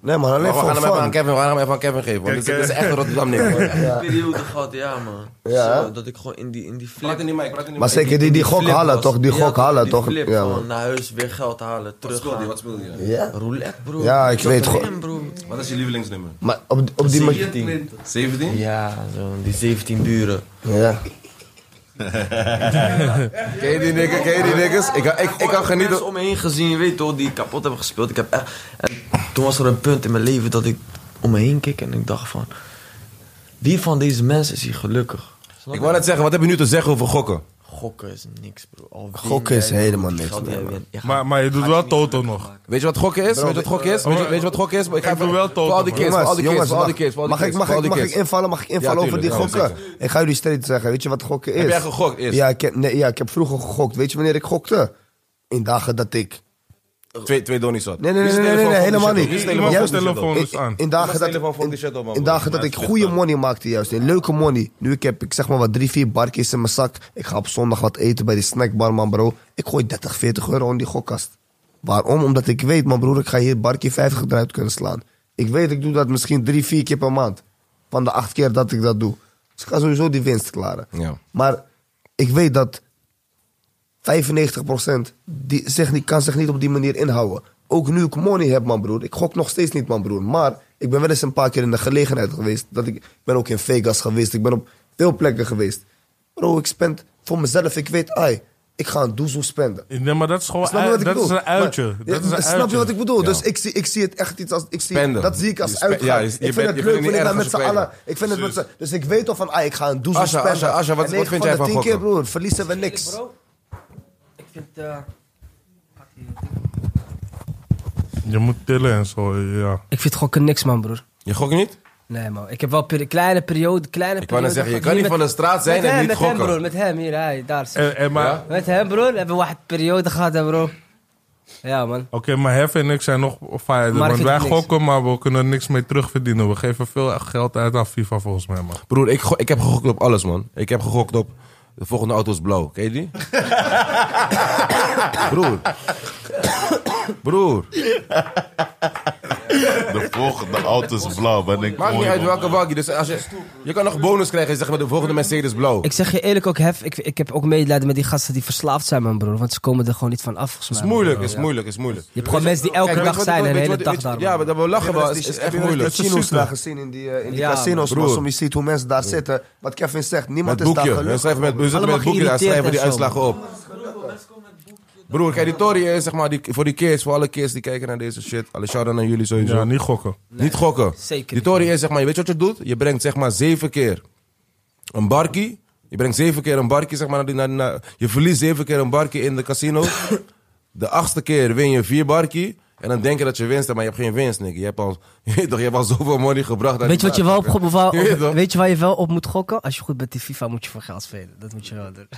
Nee, man, We alleen gaan voor hem even aan fun. Kevin, we gaan hem even aan Kevin geven. Want dit is- dit is echt een Rotterdam nigger. Een periode gehad, ja man. Ja, Zo, hè? dat ik gewoon in die, in die flip... Praat er niet mee, praat er niet Maar mee. zeker die, die gok flip halen, was. toch? Die Ja, gok halen, toch? Die flip, Ja, gewoon man. naar huis, weer geld halen, terug Speelde je, Wat speelde je? Ja. Roulette bro. Ja, ik weet gewoon- gewoon. bro. Wat is je lievelingsnummer? Maar op, op die manier... 17. 17? Ja, zo, die 17 buren. Ja. Ken je die nigger? Ken je die niggers? Ik, ik, ik, kan mensen genieten. om me heen gezien, je weet toch, die kapot hebben gespeeld. Ik heb echt... En toen was er een punt in mijn leven dat ik om me heen keek en ik dacht van... Wie van deze mensen is hier gelukkig? Ik Snap je? wou net zeggen, wat heb je nu te zeggen over gokken? Gokken is niks, bro. Al win Gokken is jij, helemaal die niks, geld die nee, jij man. wint, je gaat- Maar, maar je doet wel Toto nog. Weet je wat gokken is? Weet je wat gokken is? Weet je, weet je wat gokken is? Ik ga Ik wil wel Voor al die kids, voor al die kids, voor al die kids. voor al die mag, ik, kids, mag, voor al ik, die mag ik kids. invallen, mag ik invallen tuurlijk, over die ja, gokken? Ik ga jullie straight zeggen, weet je wat gokken is? Heb jij gegokt eerst? Ja, ik heb, nee, ja, ik heb vroeger gegokt. Weet je wanneer ik gokte? In dagen dat ik... Twee, twee donnies zat. Nee, nee, nee, nee, nee, nee, helemaal niet. Iemand Juist- zijn telefoon in- is aan. In dagen Iemands dat, telefoon vond die shit op, in, man, in broer. dagen dat Maar ik het is goede dan. money maakte juist. in Leuke money. Nu ik heb ik zeg maar wat drie, vier barkjes in mijn zak. Ik ga op zondag wat eten bij die snackbar, man bro. Ik gooi 30, 40 euro in die gokkast. Waarom? Omdat ik weet, man broer, ik ga hier barkje 50 eruit kunnen slaan. Ik weet, ik doe dat misschien drie, vier keer per maand. Van de acht keer dat ik dat doe. Dus ik ga sowieso die winst klaren. Ja. Maar ik weet dat 95% die zich niet, kan zich niet op die manier inhouden. Ook nu ik money heb, man broer. Ik gok nog steeds niet, man broer. Maar ik ben wel eens een paar keer in de gelegenheid geweest. Dat ik, ik ben ook in Vegas geweest. Ik ben op veel plekken geweest. Bro, ik spend voor mezelf. Ik weet, ai, ik ga een doezel spenden. Nee, maar dat is Oh, gewoon... eh, Snap je wat ik dat bedoel? is een uitje. Maar- Dat is Ja, een snap je wat uitje. ik bedoel? Dus ik zie, ik zie het echt iets als... Ik zie, Spenden. Dat zie ik Je als spe- uitgaan. ja, je- je ik bent- vind je het bent leuk niet wanneer ik daar erg met als z'n spelen. allen... Ik vind het met z'n- dus ik weet al van, ah, ik ga een doezel Asja, spenden. Asja, Asja, wat- En wat negen vind van jij de van tien keer, gokken? broer, verliezen we niks. Bro, ik vind... eh, Je moet tillen en zo, ja. Ik vind gokken niks, man, broer. Je gokt niet? Nee, man. Ik heb wel peri- kleine periode, kleine Ik wou periode... net zeggen, je gehad kan hier niet met- van de straat zijn en met hem, niet met gokken. Eh. Hem, broer, met hem, hier, hij, daar. zit- En, en maar... Ja? Met hem, broer, hebben we een periode gehad, hè, bro. Ja, man. Oké, maar Hef en ik zijn nog fijn. Maar ik Want vind wij het niks. gokken, maar we kunnen niks mee terugverdienen. We geven veel geld uit aan FIFA volgens mij, man. Broer, ik, go- ik heb gegokt op alles, man. Ik heb gegokt op... De volgende auto is blauw. Ken je die? Broer. Broer. De volgende auto is blauw. Ben ik Maakt niet mooi, uit man. welke waggie. Dus als je, je kan nog bonus krijgen. Zeg maar de volgende Mercedes blauw. Ik zeg je eerlijk ook, Hef, ik, ik heb ook medelijden met die gasten die verslaafd zijn, man, broer. Want ze komen er gewoon niet van af, volgens mij. is man. moeilijk, is moeilijk, is moeilijk. Je hebt gewoon mensen die elke Kijk, weet dag je wat- zijn en de weet je wat- hele dag weet je- daar, Ja, maar man. dat we lachen wel. dat is- die- is heb echt je wel eens moeilijk. die Chino's daar gezien in die, eh, in die Ja, casinos, broer. man. Soms je ziet hoe mensen daar zitten. Wat Kevin zegt, niemand Met is daar boekje. We gelukkig. schrijven met, we zitten met Allemaal het boekje daar, geïrriteerd schrijven die en zo. uitslagen op. Broer, kijk, die Tory is zeg maar die, voor die kids, voor alle kids die kijken naar deze shit. Alle shout-out aan jullie sowieso. Ja, niet gokken. Niet gokken. zeker Die Tory is zeg maar, je weet wat je doet? Je brengt zeg maar zeven keer een barkie. Je brengt zeven keer een barkie, zeg maar. Naar die, naar, naar- je verliest zeven keer een barkie in de casino. de achtste keer win je vier barkie. En dan denk je dat je winst hebt, maar je hebt geen winst, Nick. Je hebt al, je weet toch, je hebt al zoveel money gebracht. aan Weet die je wat je wel barkie. op, op- waar- Je weet toch? op- weet je waar je wel op moet gokken? Als je goed bent in FIFA moet je voor geld spelen. Dat moet je wel doen.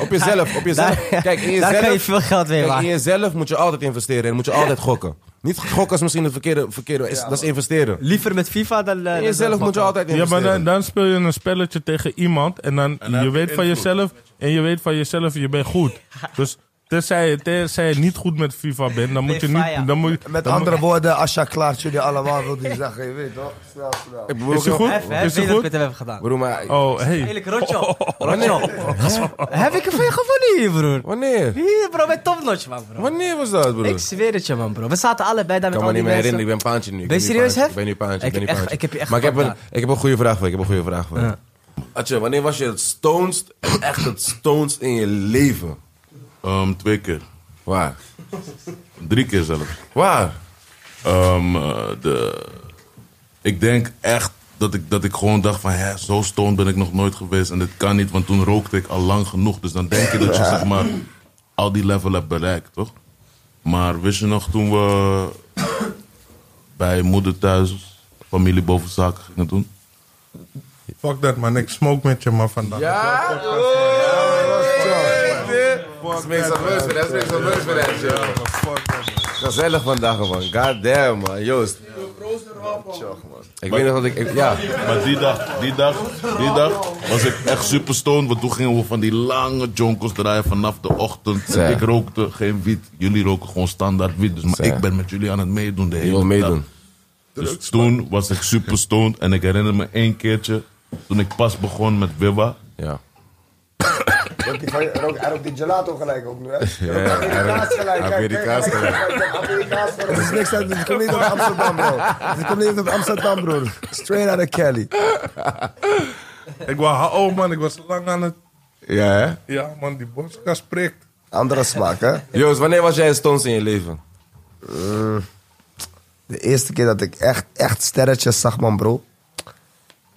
Op jezelf, op jezelf. Daar- Kijk, in jezelf, daar kan je veel geld mee kijk, maken. in jezelf moet je altijd investeren en moet je altijd gokken. Niet gokken is misschien het verkeerde, verkeerde is, dat is investeren. Liever met FIFA dan... In jezelf moet je altijd Ja, maar investeren. dan, dan speel je een spelletje tegen iemand en dan, dan je heb je weet van invloed. jezelf en je weet van jezelf je bent goed. Dus tenzij, je- tenzij je niet goed met FIFA bent, dan moet je Fire. niet... Dan moet, je- Met dan moet- andere woorden, Asja klaart jullie allemaal, wil die zeggen. Je weet toch? Snel, snel. Ik bedoel, Is hij goed? Hef, Is Hef, hij weet dat ik goed? met hem heb gedaan. Broer, maar Oh, hey. Eerlijk, Rotjo. Rotjo. Oh. Heb ik er veel gewonnen hier, broer? wanneer? Hier, bro, met topnotch, man, bro. Wanneer was dat, broer? Ik zweer het je, man, bro. We zaten allebei daar Ik met kan me al die niet meer mensen. herinneren, ik ben paantje nu. Ik Ben je nu serieus, paantje. Hef? Ik ben nu paantje, Ik ik ben heb nu echt- paantje. ik heb je echt Maar ik heb, een, gepakt ik heb een goede vraag voor je, ik heb een goede vraag voor je. Atje, wanneer was je het stonest, echt het stonest in je leven? Ehm, twee keer. Waar? Drie keer zelfs. Waar? Ehm, eh, de, ik denk echt dat ik, dat ik gewoon dacht van... Hè, zo stoned ben ik nog nooit geweest en dit kan niet. Want toen rookte ik al lang genoeg. Dus dan denk je dat je zeg maar, al die level hebt bereikt, toch? Maar wist je nog toen we bij moeder thuis... familie boven zaken gingen doen? Fuck dat man, ik smoke met je maar vandaag. Dat is meestal leuk voor dat is meestal leuk voor dat, joh. Gezellig vandaag, man. God damn, man. Joost. Ik weet nog dat ik... ik- ja. Maar die dag, die dag, die dag was ik echt super stoned. Want toen gingen we van die lange jonkels draaien vanaf de ochtend. En Zeg. ik rookte geen wiet. Jullie roken gewoon standaard wiet. Dus maar Zeg. ik ben met jullie aan het meedoen de hele wil meedoen. dag. Dus toen was ik super stoned. En ik herinner me één keertje toen ik pas begon met Wibba. Ja. Rook die van je- rook- Hij rookt die gelato gelijk ook nu, hè? Ja, Hij rookt hij rookt Amerikaans gelijk. kijk, Amerikaans kijk, kijk, kijk, kijk, Amerikaans gelijk. Het is niks uit, het komt niet uit Amsterdam, bro. Het komt niet uit Amsterdam, broer. Straight out of Cali. Ik was, oh man, ik was lang aan het Ja, hè? Ja, man, die boskast prikt. Andere smaak, hè? Joost, wanneer was jij stoned in je leven? De eerste keer dat ik echt, echt sterretjes zag, man, bro.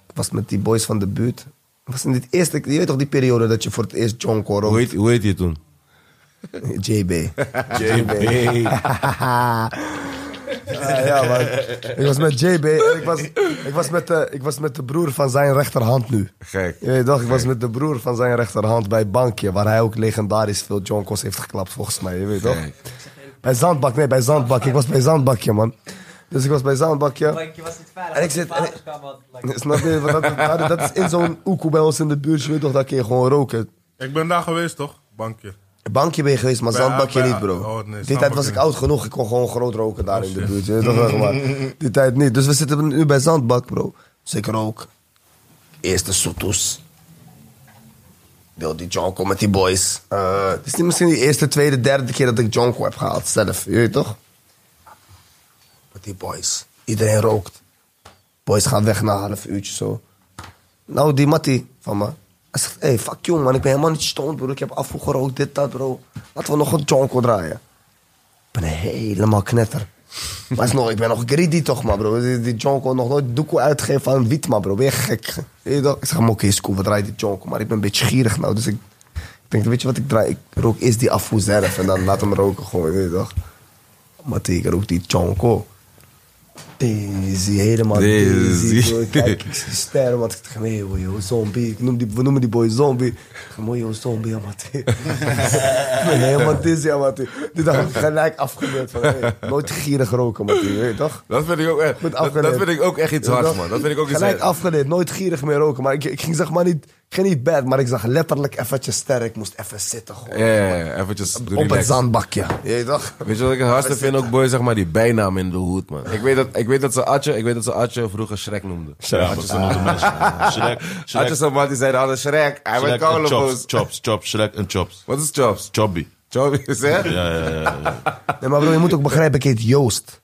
Ik was met die boys van de buurt. Ik was in dit eerste, je weet toch die periode dat je voor het eerst John Hoe Coro, heet, hoe heet je toen? JB. Ehm, JB. eh, Ah, ja, man. Ik was met JB en ik was, ik, was met de, ik was met de broer van zijn rechterhand nu. Gek. Je weet toch, ik was met de broer van zijn rechterhand bij Bankje, waar hij ook legendarisch veel Jonkos heeft geklapt, volgens mij. Je weet toch? Bij Zandbak, nee, bij Zandbak. Ik was bij Zandbakje, man. Dus ik was bij Zandbakje. Like, je niet En ik veilig. zit- want je en ik- Snap je? Want Dat, dat, dat is in zo'n oekoe bij ons in de buurt, je weet toch, dat kun je gewoon roken. Ik ben daar geweest, toch? Bankje. Bankje ben je geweest, maar Bij- zandbakje bij- niet, bro. oh, nee, die tijd was zandbakje ik oud genoeg, ik kon gewoon groot roken daar in de buurt. je weet toch, zeg maar. Die tijd niet. Dus we zitten nu bij zandbak, bro. Dus ik rook. Eerste soetoes. Deel die jonko met die boys. Eh, Het is niet misschien de eerste, tweede, derde keer dat ik jonko heb gehaald zelf. Je weet toch? Met die boys. Iedereen rookt. Boys gaan weg na een half uurtje zo. Nou, die Mattie van me. Hij zegt, hey, fuck jong man, ik ben helemaal niet stoned bro. Ik heb afgerookt, dit, dat bro. Laten we nog een jonko draaien. Ik ben helemaal knetter. Maar is nog, ik ben nog greedy toch maar bro. Die, die jonko nog nooit doekoe uitgeven aan wiet maar bro. Ben je gek? Weet je toch? Ik zeg hem, oké is cool, we draaien die jonko. Maar ik ben een beetje gierig nou, dus ik... Ik denk, weet je wat ik draai? Ik rook eerst die afvoer zelf en dan laat hem roken gewoon, weet je toch? Mattie, ik rook die jonko. Daisy, helemaal Daisy. Daisy. bro. Ik Kijk, ik zie sterren, want ik dacht, nee, boy, joh, zombie. Ik noem die, we noemen die boy zombie. Ik dacht, mooi, joh, zombie, ja, Matty. Ik ben helemaal dizzy, ja, Matty. Die dacht ik gelijk afgebeurd van, hey, nooit gierig roken, Matty, weet je toch? Dat vind ik ook echt, Goed dat, afgeleid. dat vind ik ook echt iets Weet je hards, toch? man. Dat vind ik ook iets Gelijk hards. afgeleerd, nooit gierig meer roken. Maar ik, ik ging zeg maar niet, ik ging niet bad, maar ik zag letterlijk eventjes sterk. Ik moest even zitten, gewoon. Ja, ja, ja, eventjes Op het relaxen. zandbakje, weet je toch? Weet je wat ik het hardste vind ook, boy? Zeg maar die bijnaam in de hoed, man. Ik weet dat, ik weet dat ze Atje, ik weet dat ze Atje vroeger Shrek noemde. Ja, dat zijn onze mensen. Shrek, Shrek, Atje zo'n man die zei altijd Shrek, hij werd Shrek en chops, kouwenboos. chops, chops, Shrek en chops. Wat is Chops? Chobby. Chops, is hè? Ja. Ja, ja, ja, ja. Nee, maar bro, je moet ook begrijpen, ik heet Joost.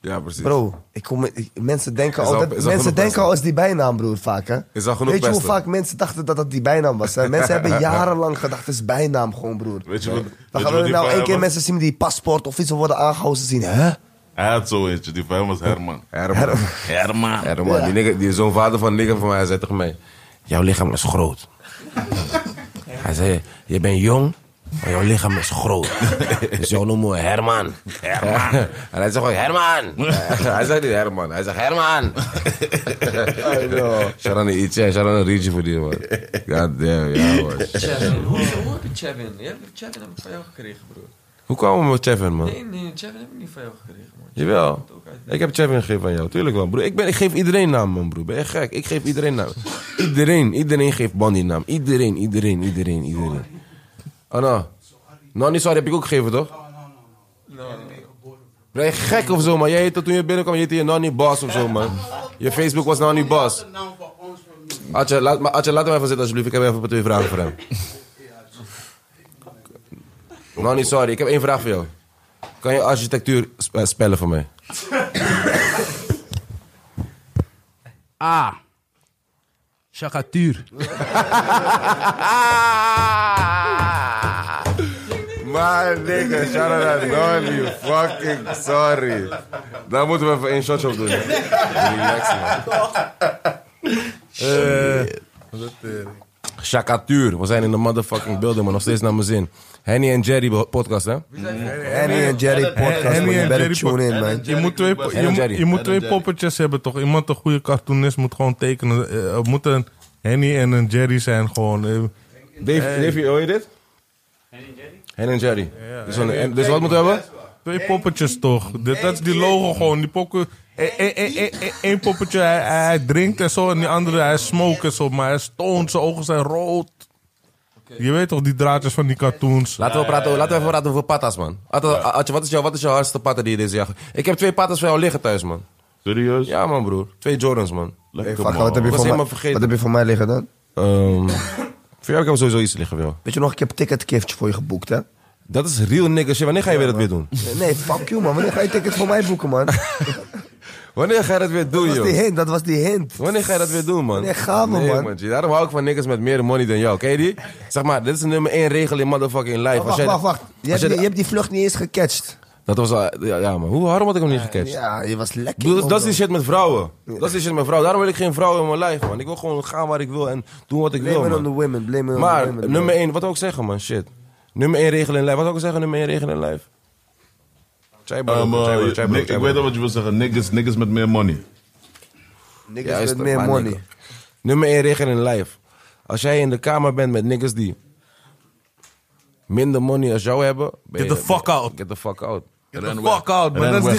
precies. Bro, ik kom, ik- mensen denken, Is al, al- dat- is al mensen genoeg denken pesten. al als die bijnaam, broer, vaak. Hè? Is al genoeg Weet je hoe pesten. vaak mensen dachten dat dat die bijnaam was? Hè? Mensen hebben jarenlang gedacht, het is bijnaam gewoon, broer. Weet je wat- weet je Dan gaan wat we die nou van één keer hem was? mensen zien die paspoort of iets worden aangehouden. Ze zien, hè? Hij had zo eentje, die van hem was Herman. Herman. Herman. Herman, die, nigger- die zo'n vader van nigger van mij, hij zei tegen mij... Jouw lichaam is groot. Hij zei, je bent jong, maar jouw lichaam is groot. Dus jou noemen we Herman. Herman. En hij zegt gewoon, Herman. Hij zegt niet Herman, hij zegt Herman. Sharon Ietje, Sharon Rietje voor die man. God damn, ja man. Chevin, hoe, hoe heb je Chevin? Ja, Chevin heb ik van jou gekregen, broer. Hoe kwamen we met Chevin man? Nee, nee, Chevin heb ik niet van jou gekregen, man. Jawel. Ik heb Chevin gegeven aan jou, tuurlijk wel, broer. Ik, ben, ik geef iedereen naam, man, broer. Ben je gek? Ik geef iedereen naam. Iedereen, iedereen geeft Bandy naam. Iedereen, iedereen, iedereen, iedereen. Oh, no. No, niet sorry, heb ik ook gegeven, toch? Ben je gek of zo, man? Jij heette toen je binnenkwam, je heette je Nonny Boss of zo, man. Je Facebook was Nonny Boss. Atje, laat, maar Atje, laat hem even zitten alsjeblieft. Ik heb even twee vragen voor hem. Nonny, sorry. Ik heb één vraag voor jou. Kan je architectuur sp- eh, spellen voor mij? A. Chagatuur. Maar nigga, shout out aan Nolly, fucking sorry. Daar moeten we even één shotje op doen. hè. Relax man. Eh, Chakatuur, we zijn in de motherfucking building, maar nog steeds naar mijn zin. Henny en Jerry bo- podcast, hè? Eh, Henny en Jerry podcast, man. Henny Je en better Jerry tune in, podcast. man. Je moet twee, po- Ed je, en moet- Jerry. je moet Ed twee en Jerry. poppetjes hebben, toch? Iemand, een goede cartoonist, moet gewoon tekenen. Eh, Er moet een Henny en een Jerry zijn, gewoon. Eh, Dave, Davey, hoor je dit? Henny en Jerry. Dus, een- en- dus wat moeten we hebben? Twee poppetjes, toch? Dit, dat is die logo, gewoon. Die pokken. eh, Eén poppetje, hij, hij drinkt en zo. En die andere, hij smoke en zo. Maar hij stoont, zijn ogen zijn rood. Je weet toch, die draadjes van die cartoons. Laten we, praten, laten we even praten over patas, man. Atje, Atje, wat is jouw, wat is jouw hardste patta die je deze jaar... ge- Ik heb twee patas voor jou liggen thuis, man. Serieus? Ja, man, broer. Twee Jordans, man. Hey, Lekker, fuck, wat heb was je voor mij- helemaal vergeten. Wat heb je voor mij liggen dan? Ehm, voor jou heb ik sowieso iets liggen, wel. Weet je nog, ik heb ticketkiftje voor je geboekt, hè? Dat is real nigga shit. Wanneer ga je weer dat weer doen? Nee, fuck you, man. Wanneer ga je tickets voor mij boeken, man? Wanneer ga je dat weer doen, Dat was die joh? hint, dat was die hint. Wanneer ga je dat weer doen, man? Wanneer gaan we, nee, man? G. Daarom hou ik van niggas met meer money dan jou. Ken je die? Zeg maar, dit is nummer één regel in motherfucking life. Als Oh, Wacht, jij- wacht, wacht. Je als hebt, jij- die, je hebt die vlucht niet eens gecatcht. Dat was al... Ja, ja, man. Hoe, waarom had ik hem niet gecatcht? Ja, je was Ik lekker. bedoel, man, dat is die bro. shit met vrouwen. Dat is die shit met vrouwen. Daarom wil ik geen vrouw in mijn lijf, man. Ik wil gewoon gaan waar ik wil en doen wat ik Blame it wil, on the man. women, blame it on the Maar women. nummer één, wat ook zeggen, man. Shit. Nummer één regel in lijf. Wat ook zeggen, nummer één regel in lijf. Chai bro, Ehm, eh, chai bro, chai bro, Nick, chai ik bro. weet al wat je wil zeggen. Niggas, niggas met meer money. Niggas Juist, met meer maar money. nigga. Nummer 1 regel in lijf. Als jij in de kamer bent met niggas die minder money als jou hebben... ben Get je- the fuck out. Get the fuck out. Get the fuck out, man. Ren Dat is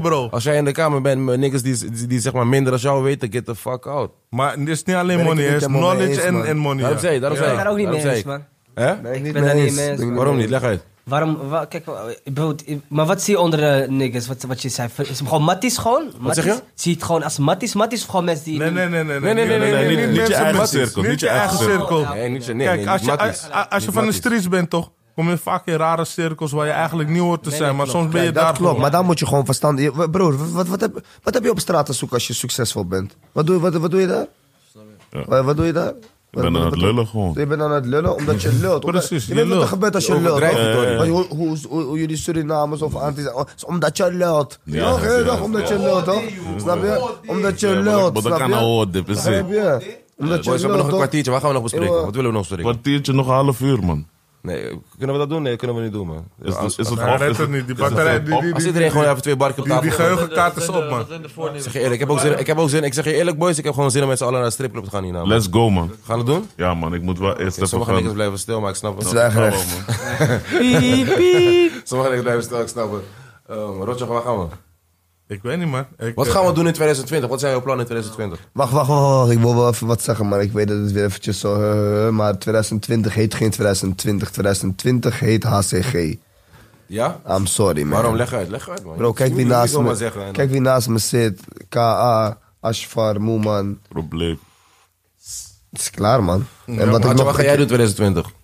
weg. Als jij in de kamer gouden regel, bent- bro. Als jij in de kamer bent met niggas die, die, die zeg maar minder als jou weten, get the fuck out. Maar het is niet alleen Ben ik money, het het is niet helemaal mee knowledge en, eens, man. en money. Daarom ja. zei je, daarom Ik zei ben je. daar ook niet mee daarom eens, zei ik. man. Hè? Ben ik Ik niet ben mee daar niet eens. mee eens, Ben ik Waarom niet? Leg uit. Waarom, wa- kijk, wa- bijvoorbeeld, eh, maar wat zie je onder eh, niggas, wat, wat je zei? Is het gewoon matties gewoon? Matties? zeg je? Zie je het gewoon als matties? Matties of gewoon mensen die... Nee, nee, nee, nee. Nee, nee, nee, nee, nee, niet je mensen eigen met- cirkel, niet je eigen cirkel. Nee, niet zo. Nee, Kijk, nee, als je, matties. als, als je Niet van de matties. streets bent, toch? Kom je vaak in rare cirkels waar je eigenlijk niet hoort te zijn. Maar soms ben je Kijk, daar dat klopt, gewoon. maar dan moet je gewoon verstand. je- Broer, wat, wat, heb, wat heb je op straat te zoeken als je succesvol bent? Wat doe, wat, wat doe je daar? Wat, wat doe je daar? Ik ben aan het lullen gewoon. Je bent aan het lullen omdat je lult. Omdat- Precies, je je weet wat er lult. gebeurt als je, Je lult. overdrijft het, hoor. Want Hoe, hoe, hoe, hoe jullie Surinamers of Antilles zijn, oh, is omdat je lult. Ja, Ja, ja, heel dag ja. omdat je lult, toch? Snap je? Omdat je Ja, maar dat- lult. maar dat Snap kan nou je? hoor, dit is het. Snap je? Omdat je Boys, we hebben nog lult, een toch? kwartiertje. Waar gaan we nog bespreken? Eeuw. Wat willen we nog bespreken? Kwartiertje, nog een half uur, man. Nee, kunnen we dat doen? Nee, kunnen we niet doen, man. Is, Als- is het Hij af? redt Is het niet, die batterij, die- die- Als iedereen gewoon even twee barken op Die, die tafel geheugenkaart is op, man. Wat zijn de voornemens? Ik zeg je eerlijk, ik heb, ook zin, ik heb ook zin. Ik zeg je eerlijk, boys, ik heb gewoon zin om met z'n allen naar de stripclub te gaan hierna. man. Let's go, man. Gaan we het doen? Ja, man, ik moet wel eerst even Sommige niggas gaan. blijven stil, maar ik snap het. Zwijgrecht. Sommige niggas blijven stil, ik snap het. Ehm, Rotjoch, waar gaan we? Ik weet niet, man. Ik, Wat eh, gaan we doen in 2020? Wat zijn jouw plannen in 2020? Wacht, wacht, wacht, wacht. Ik wil wel even wat zeggen, maar ik weet dat het weer eventjes zo... eh, eh, maar 2020 heet geen 2020. 2020 heet HCG. Ja? I'm sorry, man. Waarom? Leg uit, leg uit, man. Bro, kijk Je wie, moet niet naast zomaar me, zeggen, en kijk wie naast me zit. K.A., Ashfar, Moeman. Probleem. Het is klaar, man. en dan- wat ik Hartje, Mm, Wat nog... ga jij doen in 2020? Ik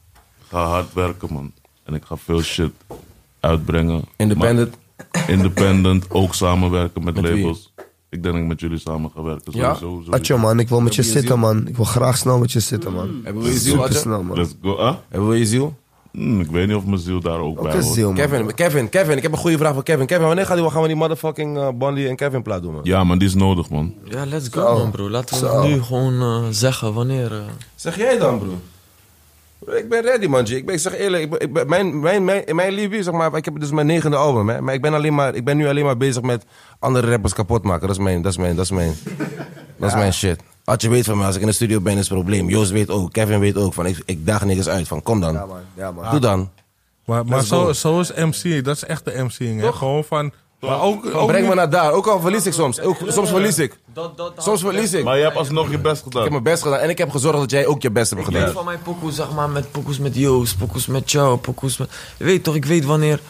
ga hard werken, man. En ik ga veel shit uitbrengen. Independent? Maar independent, ook samenwerken met, Met wie? labels. Ik denk dat ik met jullie samen ga werken. Ja? Sowieso, sowieso. Atjo, man. Ik wil met je Heb je zitten, zin? man. Ik wil graag snel met je zitten, man. Hebben we je ziel, Super Adje? snel, man. Let's go. Huh? Hebben we je ziel? Hm, ik weet niet of mijn ziel daar ook bij Oké, hoort. ziel, man. Kevin, Kevin, Kevin, ik heb een goede vraag voor Kevin. Kevin, wanneer gaat die, gaan we die motherfucking eh, Bondi en Kevin plaat doen, man? Ja, man, die is nodig, man. Ja, let's go man bro. Laten we Zo. nu gewoon eh, zeggen wanneer... eh, Zeg jij dan, broer? Broer, Ik ben ready, man. G. Ik, ben, ik zeg eerlijk, ik ben, ik ben- mijn, mijn, mijn, mijn liefie, zeg maar, ik heb dus mijn negende album, hè. Maar ik ben, alleen maar ik ben nu alleen maar bezig met andere rappers kapot maken. Dat is mijn, dat is mijn, dat is mijn, dat is mijn shit. Als je weet van mij, als ik in de studio ben, is het probleem. Joost weet ook, Kevin weet ook. Van, ik, ik daag niks uit. Van, kom dan. Ja, man. Ja, man. Doe dan. Maar, maar Let's zo, go. zo is MC, dat is echt de MC'ing. hè. Gewoon van... Maar ook, Van, ook breng me niet- naar daar. Ook al verlies ik soms. Ook, soms verlies ik. Soms verlies ik. Maar Ik je hebt alsnog je best gedaan. heb mijn best gedaan. En ik heb gezorgd dat jij ook je best hebt Ik weet gedaan. van mijn pokoes, zeg maar, met pokoes met Joost, pokoes met jou, pokoes met... Je weet toch, ik weet wanneer...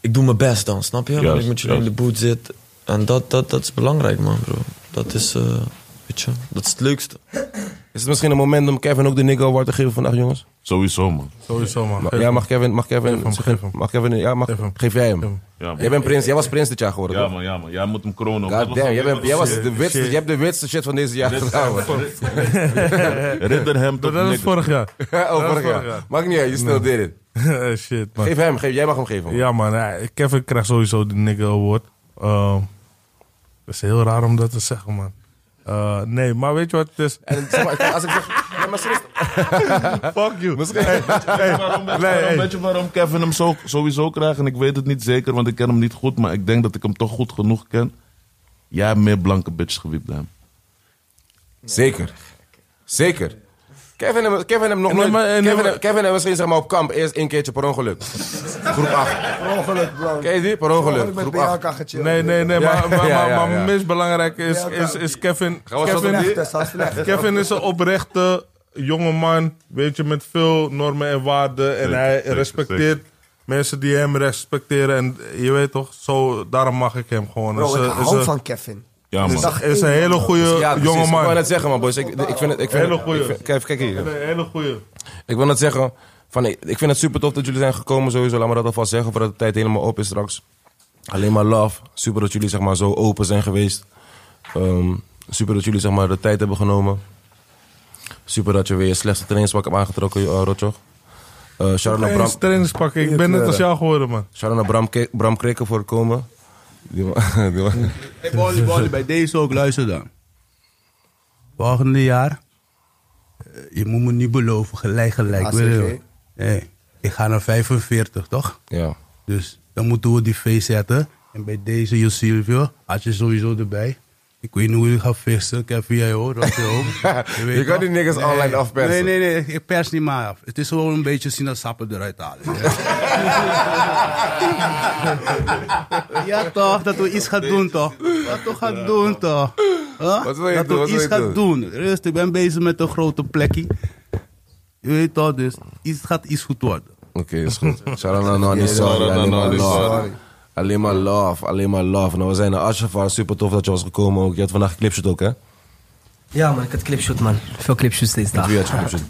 Ik doe mijn best dan, snap je? Wanneer ik met jullie in juist. de boot zit. En dat, dat, dat is belangrijk, man, bro. Dat is, eh, weet je, dat is het leukste. Is het misschien een moment om Kevin ook de Nigga Award te geven vandaag, jongens? Sowieso, man. Sowieso, man. Ma- Ja, mag Kevin, mag Kevin, Geef hem, zeg- geef hem. mag Kevin, ja, mag, Geef hem. geef jij hem. Ja, man. Jij bent prins, jij was prins dit jaar geworden, Ja, toch? man, ja, man. Jij moet hem kronen. God damn, jij, bent, jij was de witste, shit. jij hebt de witste shit van deze jaar gedaan. man. Ridder hem tot Dat dat is niks. vorig jaar. Oh, vorig vorig jaar. jaar. Maakt niet uit, je still did it. Eh, Shit, man. Geef hem, geef, jij mag hem geven. man. Ja, man. ja, Kevin krijgt sowieso de nigga award. Ehm, dat is heel raar om dat te zeggen, man. Eh, nee, maar weet je wat het is? En zeg maar, als ik zeg, nee, maar serieus, Fuck you. Hey, Waarom, weet je Nee, waarom- hey. weet je waarom Kevin hem zo, sowieso krijgt? En ik weet het niet zeker, want ik ken hem niet goed. Maar ik denk dat ik hem toch goed genoeg ken. Jij hebt meer blanke bitches gewiept dan hem. Zeker. Zeker. Kevin hem, Kevin hem nog Nee, nooit... maar- nee, Kevin, maar- hem- Kevin hem misschien zeg maar op kamp eerst één keertje per ongeluk. Groep 8. Per ongeluk, bro. Ken je die? Per ongeluk. Ik ben Groep BHK 8. gechillt. nee, nee, nee. Ja, maar maar, ja, ja, maar, maar ja. minst belangrijk is, Ja, is, is Kevin. Gaan we zo Kevin, doen? Dat is al slecht. Kevin is een oprechte jongeman. Weet je, met veel normen en waarden. En Zeker, hij zeker, respecteert zeker. mensen die hem respecteren. En je weet toch, zo, daarom mag ik hem gewoon. Bro, Is ik een- is hou een- van Kevin. Ja, man. is, is een hele goede Ja, precies. Ik wou jongeman. net zeggen, man, boys. Ik, ik vind het... Ik vind Hele het- goeie. ik vind- Kijk, kijk hier. Een hele goede. Ik wil net zeggen, van, ik ik vind het super tof dat jullie zijn gekomen sowieso. Laat me dat alvast zeggen, voordat de tijd helemaal op is straks. Alleen maar love. Super dat jullie zeg maar, zo open zijn geweest. Ehm, super dat jullie zeg maar, de tijd hebben genomen. Super dat je weer je slechtste trainingspak hebt aangetrokken, uh, Rotjoch. Eh shout-out naar Bram, Eens trainingspakken, ik ben net als jou geworden, man. shout-out naar Bram, Ke- Bram Krikken voor het komen. Die man- die man- Hey, Bolly, Bolly, bij deze ook, luister dan. Volgende jaar, eh, je moet me niet beloven, gelijk, gelijk. ACG. wil je? Hey, ik ga naar 45, toch? Ja. Dus dan moeten we die feest zetten. En bij deze, Jo Silvio, had je sowieso erbij. Ik weet niet hoe je gaat vissen. Ik heb via jou, dat je ook. weet Je kan die toch? niggas online afpersen. Nee, nee, Eh, nee. Ik pers niet maar af. Het is gewoon een beetje sinaasappen eruit halen. Ja, toch. Dat we iets gaan doen, toch. Dat we gaan doen, toch. Huh? Wat wil je dat doen? we Wat wil iets je gaan doen. Rust, ik ben bezig met een grote plekje. Je weet toch, dus iets gaat iets goed worden. Oké, is goed. Shout-out naar Nani, sorry. shout-out Alleen naar maar Nani, love. sorry. Alleen maar love, alleen maar love. Nou, we zijn naar Ashafar. Super tof dat je was gekomen ook. Je had vandaag clipshot ook, hè? Ja man, ik had clipshoot man. Veel clipshoots deze dag. Wie had je clipshot?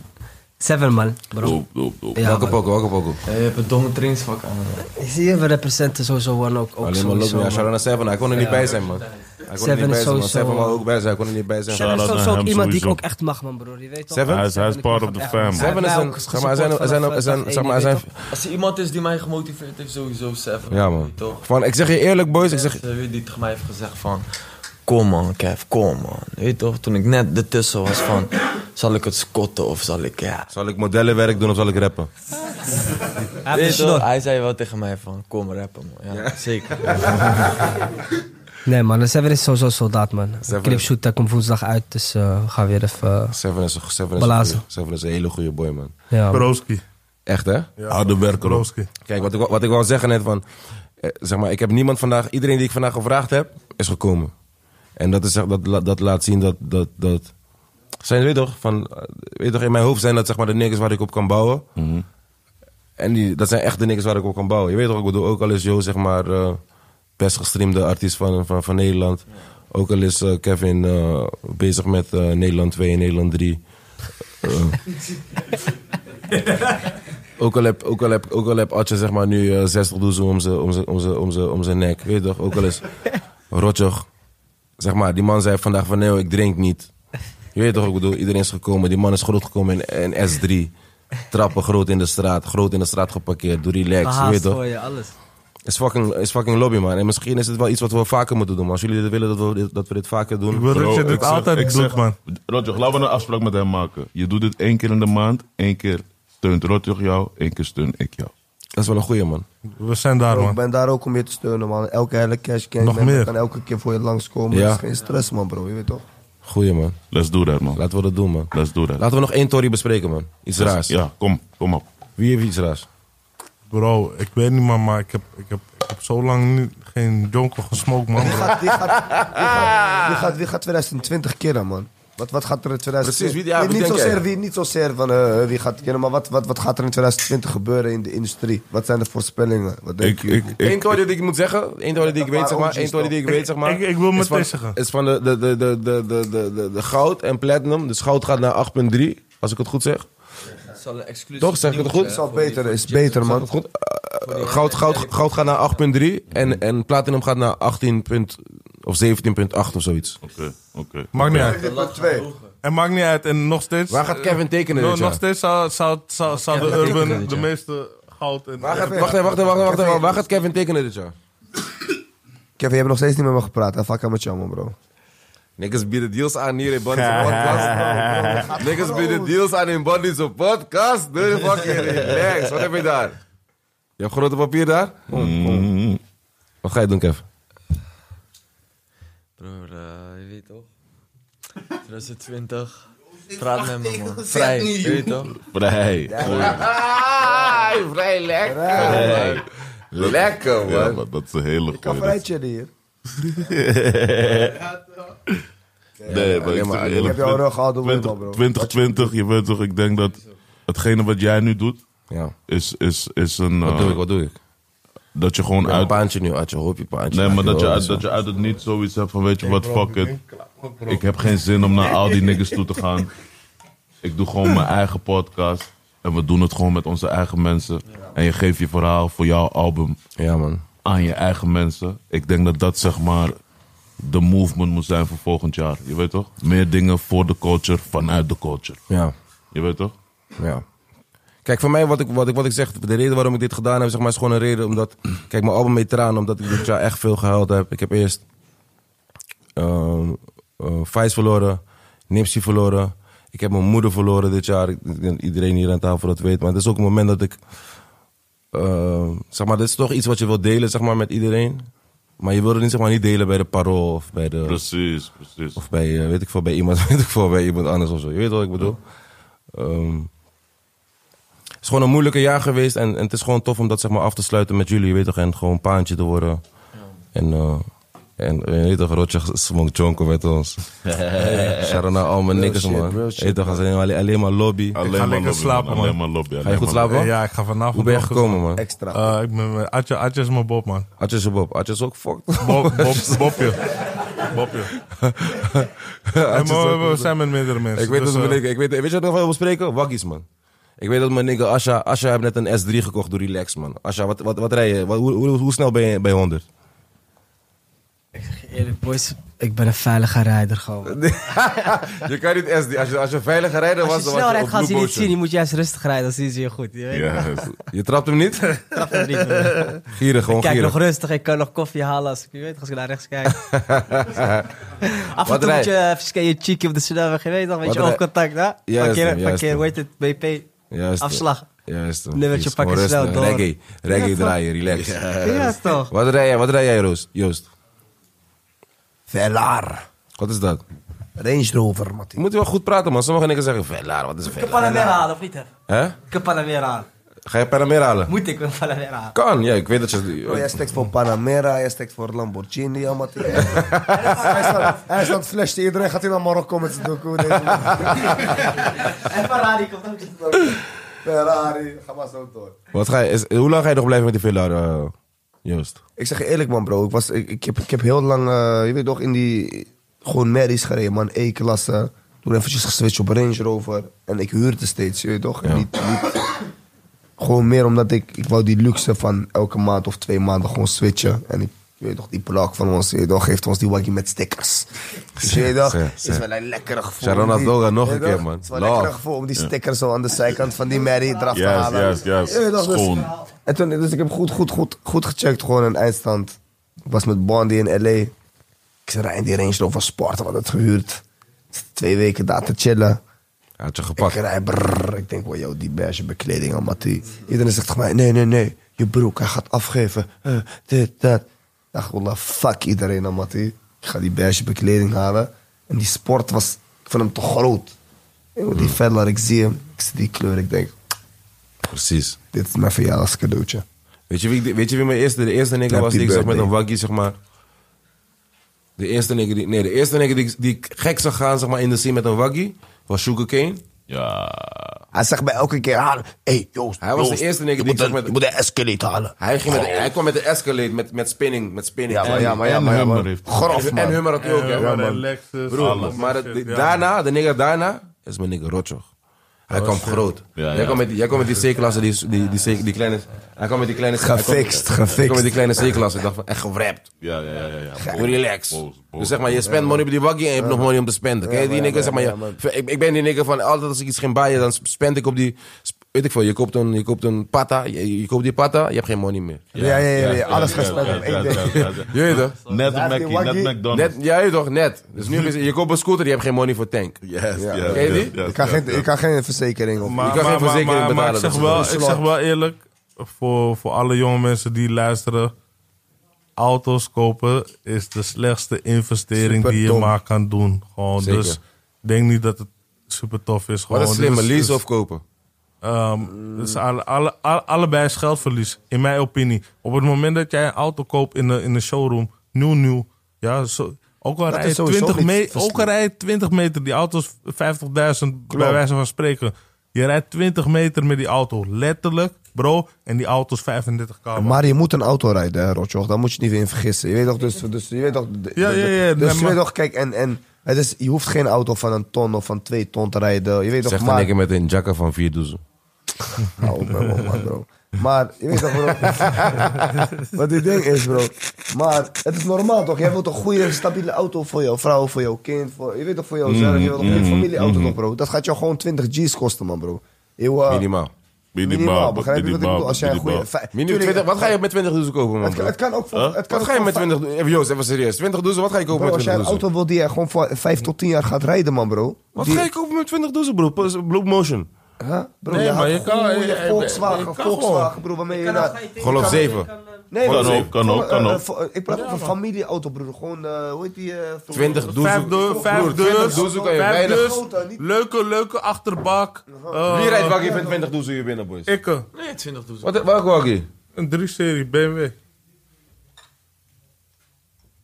Seven man, bro. Doop, doop, doop. Ja, Welke man. pokoe, welke pokoe? Ja, je hebt een domme trainingsvak aan. Zie je, we representen sowieso one ook. ook Alleen maar sowieso, lopen. Ja, man. shout-out naar Seven. Hij kon er niet bij zijn, man. Hij kon er Seven niet bij is zijn, man. sowieso- Seven was ook bij zijn. Hij kon er niet bij zijn. Shadow is Shout-out sowieso naar ook hem iemand die ik ook sowieso. echt mag, man, broer. Je weet toch? Seven? Hij is- hij is Ik part mag of hem the echt, man. fam. Seven Hij is heeft een- mij ook zeg maar, hij zijn- hij zijn- gesupport hij zijn- vanaf zeg maar, hij dag één, zijn- je weet toch? Als er iemand is die mij gemotiveerd heeft, sowieso Seven. Ja, man. Toch? Van, ik zeg je eerlijk, boys. Ik zeg... Mensen, weet je, die tegen mij heeft gezegd van... Kom man, Kev, kom man. Weet je toch, toen ik net ertussen was van... Zal ik het scotten of zal ik... Ja. Zal ik modellenwerk doen of zal ik rappen? Hij heeft Weet een je toch, snor. hij zei wel tegen mij van... Kom rappen man. Ja, zeker. Nee man, Seven is sowieso soldaat man. Seven Clipshoot, dat komt woensdag uit, dus eh, we gaan weer even... eh, Seven is, een- Seven is, een, Blazen. goeie- Seven is een hele goede boy, man. ja, man. Broski. Echt, hè? Harde werker ook. Broski. Kijk, wat ik, wou- wat ik wou zeggen net van... eh, zeg maar, ik heb niemand vandaag... Iedereen die ik vandaag gevraagd heb, is gekomen. En dat, is, echt- dat, la- dat laat zien dat... dat, dat zijn, weet je toch, van, eh, weet je toch, in mijn hoofd zijn dat zeg maar, de niggers waar ik op kan bouwen. En die, dat zijn echt de niggers waar ik op kan bouwen. Je weet toch, ik bedoel, ook al is Joe zeg maar, eh, best gestreamde artiest van, van, van Nederland. Ook al is eh, Kevin eh, bezig met eh, Nederland 2 en Nederland 3. Ook al heb, ook al heb, ook al heb Atje zeg maar nu eh, 60 doezel om zijn om zijn- om zijn- om zijn- om zijn nek. Weet je toch? Ook al is Rotjoch. Zeg maar, die man zei vandaag van nee, ik drink niet. Je weet toch, ik bedoel, iedereen is gekomen. Die man is groot gekomen in, in S3. Trappen groot in de straat, groot in de straat geparkeerd. Doe relax, je weet Gehaast toch? voor je, alles. Is fucking, is fucking lobby, man. En misschien is het wel iets wat we vaker moeten doen. man. Als jullie dit willen dat we dit, dat we dit vaker doen. Ik wil dat je dit altijd doet, man. Rotjoch, laten we een afspraak met hem maken. Je doet dit één keer in de maand. Één keer steunt Rotjoch jou. één keer steun ik jou. Dat is wel een goeie, man. We zijn daar, Bro, ik man. ben daar ook om je te steunen, man. Elke hele cash gang Nog man, meer. kan elke keer voor je langskomen. Ja. Dat is geen stress, man, bro. Je weet toch? Goeie, man. Let's do that, man. Laten we dat doen, man. Let's do that. Laten we nog één Tory bespreken, man. Iets raars. Ja, kom, kom op. Wie heeft iets raars? Bro, ik weet niet, man, maar ik heb, ik heb, ik heb zo lang niet, geen jonkel gesmokt, man. bro. Die gaat, die gaat, die gaat, die gaat 2020 keren, man. Wat, wat gaat er in 2020? Precies, wie- ja, wie niet, denk jij? zozeer, wie, niet zozeer van eh, wie gaat keren, maar wat, wat, wat gaat er in 2020 gebeuren in de industrie? Wat zijn de voorspellingen? Wat denk Ik, jullie? ik, ik, Eén toilet die ik moet zeggen, één toilet die ik weet, zeg maar, één toilet die ik weet, zeg maar. Ik- ik wil is meteen van- zeggen. Is van de, de, de, de, de, de, de, de, de goud en platinum. Dus goud gaat naar 8,3, als ik het goed zeg. Zal een exclusief Toch, zeg ik het nieuws, goed? eh, Het is al voor die- beter, is beter, man. Goed, eh, eh, goud, goud, goud gaat naar 8,3 en, en platinum gaat naar 18 punt, of 17,8 of zoiets. Oké, oké. Maakt niet uit. Punt twee. En maakt niet uit. En nog steeds... Waar gaat Kevin tekenen No- dit nog jaar? steeds zou, zou, zou, zou de Urban de meeste goud en... Waar gaat, wacht even, wacht even, wacht even, wacht even. Waar gaat Kevin tekenen dit jaar? Kevin, je hebt nog steeds niet met me gepraat. hè? Fuck aan met jou, man, bro. Niggas bieden deals aan hier in Bonnie's podcast. Niggas bieden deals aan in Bonnie's podcast. Doe de fucking relax. Wat heb je daar? Je hebt grote papier daar? Kom, kom. Mm. Wat ga je doen, Kev? Broer, eh, je weet toch? 2020. Praat met me man. Vrij, je weet toch? Vrij. Ah, vrij lekker. Lekker, Ja, man. maar dat is een hele Ik kan goeie. vrij chillen hier. Nee, maar alleen ik maar- zeg ik eerlijk, heb jou rug gehaald door 20, Wilma, bro. 2020, je weet toch, ik denk dat hetgene wat jij nu doet, Ja. is, is, is een... Wat eh, doe ik, wat doe ik? dat je gewoon Een uit... paantje nu, uit je hoopje paantje. Nee, maar dat je, uit, Zo. dat je uit het niet zoiets hebt van, weet je wat, fuck it. Ik heb geen zin om naar al die niggas toe te gaan. Ik doe gewoon mijn eigen podcast. En we doen het gewoon met onze eigen mensen. En je geeft je verhaal voor jouw album. Ja, man. aan je eigen mensen. Ik denk dat dat zeg maar de movement moet zijn voor volgend jaar. Je weet toch? Meer dingen voor de culture, vanuit de culture. Ja. Je weet toch? Ja. Kijk, voor mij, wat ik, wat, ik, wat ik zeg, de reden waarom ik dit gedaan heb, zeg maar, is gewoon een reden omdat. Kijk, mijn album heet Traan, omdat ik dit jaar echt veel gehuild heb. Ik heb eerst. ehm eh, Vijs verloren, Nipsey verloren. Ik heb mijn moeder verloren dit jaar. Ik denk Iedereen hier aan tafel dat weet. Maar het is ook een moment dat ik. ehm, zeg maar, dit is toch iets wat je wilt delen, zeg maar, met iedereen. Maar je wil het niet, zeg maar, niet delen bij de parool of bij de. Precies, precies. Of bij, eh, weet ik veel, bij iemand, weet ik veel, bij iemand anders of zo. Je weet wat ik bedoel. Ehm, het is gewoon een moeilijke jaar geweest. En, en het is gewoon tof om dat zeg maar, af te sluiten met jullie, je weet toch. En gewoon paantje te worden. En, eh en eh, je weet toch, Rotje smong chonko met ons. Shout-out naar al mijn nikkers, man. Je weet toch, als alleen, alleen- alleen maar lobby. Alleen ga maar lekker lobby, slapen, man. Alleen maar lobby. Ga je goed slapen? man? Ja, ik ga vanavond... Hoe ben je nog eens- gekomen, man? Extra. Eh, ik ben met Atje, Atje is mijn Bob, man. Had je ze Bob? Had je ze ook fucked? Bob, Bob, Bobje. Bobje. En we, we zijn met meerdere mensen. Ik weet dus, dat mijn eh, nigga- ik weet, weet je wat ik nog wel wil bespreken? Waggies, man. Ik weet dat mijn nigga Asha, Asha heeft net een S3 gekocht door Relax, man. Asha, wat, wat, wat rij je? Wat- hoe, hoe, hoe snel ben je bij 100? Eerlijk, boys, ik ben een veilige rijder gewoon. je kan niet S3. Als je, als je veilig rijden was, Als je dan was snel je rijdt, op gaan ze je Blue niet zien. Je Motion. moet juist rustig rijden, dan zien ze je goed. Je weet Ja. Je trapt hem niet? trap hem niet meer. Gierig, gewoon Ik kijk gierig. nog rustig, ik kan nog koffie halen als ik, je weet, als ik naar rechts kijk. Af en Wat toe moet rijd- je even je cheekie op de snelweg, je weet nog, weet Wat je rijd- oogcontact. hè? Juist, Parkeer, man, juist, parkeer, man. hoe heet het, BP, Juist. afslag. Juist. Nummertje Vies, pakken, gewoon snel rustig. door. Reggae, reggae Ja, toch? draaien, relax. Ja, toch. Wat rij jij, wat rij jij Roos? Joost? Velar. Wat is dat? Range Rover, Je Mattie. moet wel goed praten, man. Sommigen niks zeggen, velaar, wat is een Ik velaar? kan hem weer halen, of niet? hè? Hè? Ik kan hem weer halen. Ga je Panamera halen? Moet ik hem weer halen. Kan, ja, ik weet dat je... Bro, Oh, jij steekt voor Panamera, jij steekt voor Lamborghini, ja, Mattie. hij staat- Hij staat flash te iedereen. Gaat hij naar Marokko met zijn doekoe? deze man. En Ferrari komt ook. Ferrari, ga maar zo door. Wat ga je, is- hoe lang ga je nog blijven met die villa, eh, Joost? Ik zeg je eerlijk, man, bro. Ik, was, ik, ik, heb, ik heb heel lang, eh, je weet toch, in die. Gewoon merries gereden, man. E-klasse. Toen eventjes geswitcht op Range Rover. En ik huurde steeds, je weet toch? En Niet, niet, gewoon meer omdat ik. Ik wou die luxe van elke maand of twee maanden gewoon switchen. En ik. Je weet toch, die plak van ons, je weet toch, geeft ons die waggie met stickers. Dus je weet toch, Zeg, is zeg. wel een lekkere gevoel. Sharon om die- Adoga nog je een weet toch, keer, man. Het is wel een Love. lekkere gevoel om die stickers zo aan de zijkant van die merrie eraf te Juist, halen. juist, juist. Je weet toch, dus- Schoon. en toen, dus ik heb goed, goed, goed, goed gecheckt, gewoon een eindstand. Ik was met Bondi in L.A. Ik zei, rij in die Range Rover Sport, we hadden het gehuurd. Twee weken daar te chillen. Hij had je Ik gepakt. rij, brrr, ik denk, wow, yo, die beige bekleding aan Mattie. Iedereen zegt tegen mij, nee, nee, nee, je broek, hij gaat afgeven. Eh, dit, dat. Ach, wallah, fuck iedereen aan Mattie. Ik ga die beige bekleding halen. En die sport was, ik vond hem te groot. Yo, die veller, ik zie hem, ik zie die kleur, ik denk, Precies. dit is mijn verjaardagscadeautje. Weet je wie, ik- weet je wie mijn eerste, de eerste nigger Happy was die ik zag met een birthday. waggie, zeg maar? De eerste nigger die, nee, de eerste nigger die, ik- die ik gek zag gaan, zeg maar, in de scene met een waggie, was Sugarcane. Ja. Hij zegt bij elke keer halen. Hé, hey, Joost. Hij was de Joost, eerste nigger je die moet ik een- zag met- Je moet een escalate halen. Hij, ging met, hij kwam met de Escalade, met, met spinning, met spinning. Ja, maar En- ja, maar ja, en maar ja. Hummer maar- heeft- Grof, en, man. en Hummer had hij ook, ja. we hadden man. Lexus, Broer, alles. maar dat- die- Ja. daarna, de nigger daarna, is mijn nigger Rotjoch. Hij kwam groot. Ja, ja. Jij kwam met die- jij kwam met die C-klasse, die, die, die, C- die kleine... Hij kwam met die kleine... Gefixt, hij kwam- Hij kwam gefixt. met die kleine C-klasse. Ik dacht van, echt gewrapt. Ja, ja, ja, ja. ja. Hoe relax. Boos, boos. Dus zeg maar, je spent money op die waggie en je hebt nog money om te spenden. Ken je die maar ja, nigger? Zeg maar, maar je- ja, maar- ik, ik ben die nigger van altijd als ik iets ging baaien, dan spend ik op die... sp- Weet ik veel, je koopt een, je koopt een pata, je, je koopt die pata, je hebt geen money meer. Ja, ja, ja, ja. Alles ja, gespeeld ja, ja, op één ja, ding. ja, ja. Je weet toch? Net Laat die Mackie, waggie- net McDonald's. Net, ja, je toch, net. Dus nu heb je, je koopt een scooter, je hebt geen money voor tank. Yes, ja, Ken je ja, die? ja, Ik kan ja, geen- ja. ik kan geen verzekering op. Maar, kan geen maar, maar, verzekering maar, maar ik betalen, zeg dat is wel, een ik zeg wel eerlijk, voor, voor alle jonge mensen die luisteren, auto's kopen is de slechtste investering die je Superdom. maar kan doen. Gewoon, Zeker. dus denk niet dat het super tof is. Gewoon. Oh, Dus- Wat een slimme dus- Dit is- lease is- of kopen. Ehm, dus alle, alle, alle- allebei is geldverlies, in mijn opinie. Op het moment dat jij een auto koopt in de, in de showroom, nieuw, nieuw. Ja, zo, ook al is rij je sowieso 20 niet me- verslind. ook al rij je 20 meter, die auto is 50.000 bij wijze van spreken. Je rijdt 20 meter met die auto, letterlijk, bro. En die auto is 35 k. Maar je moet een auto rijden, hè, Rotjoch. Daar moet je niet weer in vergissen. Je weet toch, dus, dus je weet toch... de- Ja, de- ja, de- ja, nee, Dus je maar- weet toch, kijk, en... en het is, je hoeft geen auto van een ton of van twee ton te rijden. Je weet toch, Zegt maar... een nigger met een jacka van vier doezen. Hou op, man, man, man, bro. Maar je weet toch, bro. wat dit ding is, bro. Maar het is normaal toch? Jij wilt een goede, stabiele auto voor jouw vrouw, voor jouw kind. Voor, je weet toch, voor jouzelf. je wilt een goede familieauto toch, bro. Dat gaat jou gewoon 20 G's kosten, man, bro. Eeuw, eh, Minimaal. Minimaal, begrijp je wat ik minimaal, bedoel? Als jij een minimaal. goede... vij- Minimaal 20, wat ga je met 20 doezen kopen, man? Het, bro? het kan ook voor... Het kan Wat ook ga je voor met vij- 20 doezen? Even Joost, even serieus. 20 doezen, wat ga je kopen Bro, met als jij 20 een doezen? auto wil die je gewoon voor 5 tot 10 jaar gaat rijden, man, bro. Wat Die- ga je kopen met 20 doezen, bro? Pas- Blue Motion. Huh? Bro, Nee, je maar had je kan- goede je- je- Volkswagen, je kan Volkswagen, bro, waarmee je... naar- Gewoon op 7. Nee, Kan bro, ook, kan voor- ook, kan eh, ook. voor- eh, Ik praat over een familieauto, broer. Gewoon, eh, hoe heet die? eh, voor- 20 doezen. Vijf deur, Broer, vijf 20 deurs, doezen kan je vijf weinig. deurs, Grote, niet- Leuke, leuke achterbak. Eh, Wie rijdt wakkie van 20 doezen hier binnen, boys? Ikke, Nee, 20 doezel. Wat, welke wakkie? een 3-serie BMW.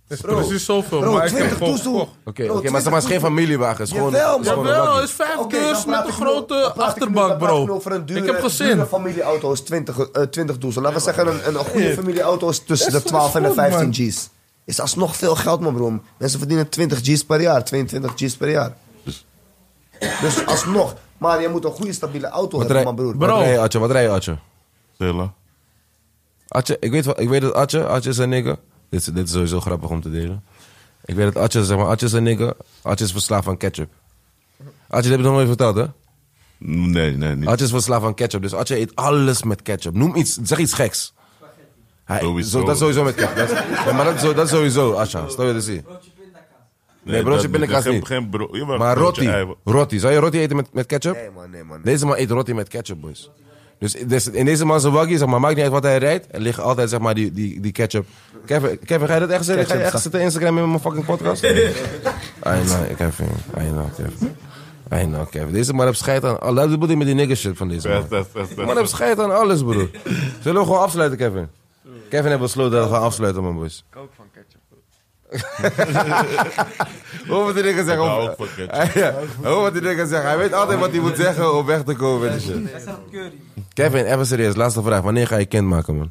Is precies zoveel, Bro, maar ik heb 20 gewoon toestoel. gekocht. Oké, oké, maar het is geen familiewagen. Het is gewoon, Jawel, het is gewoon een Jawel, wakkie. is vijf Oké, dan deurs met praat een ik nu- dan grote praat ik nu- dan achterbak, praat ik nu bro. over een dure, ik heb dure gezin. familieauto is 20, eh, 20 doezel. Laten we zeggen, een, een goede familieauto is tussen Dat de is 12 en de goed, man. 15 G's. Is alsnog veel geld, man, bro. Mensen verdienen 20 G's per jaar, 22 G's per jaar. Dus alsnog. Maar je moet een goede, stabiele auto Wat hebben, rij- man, broer. Wat rij je, Atje? Wat rij je, Atje? Stella. Atje, ik weet, wel- ik weet dat Atje, Atje is een nigger. Dit, is- dit is sowieso grappig om te delen. Ik weet dat Atje, zeg maar, Atje is een nigger. Atje is verslaafd aan ketchup. Atje, dat heb je nog nooit verteld, hè? Nee, nee, niet. Atje is verslaafd aan ketchup. Dus Atje eet alles met ketchup. Noem iets, zeg iets geks. Hij, Sowieso. Zo, dat sowieso met ketchup. Dat, is- nee, maar dat, zo- dat sowieso, Atje. Stel je dat zien. Nee, broodje dat- pindakaas geen- niet. Geen bro- jawel, Maar broodje roti, ei. roti. Zou je roti eten met, met ketchup? Nee, man, nee, man. Deze man eet roti met ketchup, boys. Dus dus in deze man zijn waggie, zeg maar, maakt niet uit wat hij rijdt. Er ligt altijd, zeg maar, die, die, die ketchup. Kevin, Kevin, ga je dat echt zeggen? Ga je echt zitten Instagram in mijn fucking podcast? I know, Kevin. I know, Kevin. I know, Kevin. Deze man heeft scheid aan... Oh, dat bedoel ik met die nigger shit van deze man. Best, best, best, Man heeft best. scheid aan alles, broer. Zullen we gewoon afsluiten, Kevin? Kevin heeft besloten dat we gaan afsluiten, man, boys. Ik ook van ketchup. Hoor wat die nigger zeggen. Ik hou hoor- ook van Ja, Hoor wat die nigger zeggen. Hij weet altijd wat hij moet zeggen om weg te komen. met die shit. Kevin, even serieus. Laatste vraag. Wanneer ga je kind maken, man?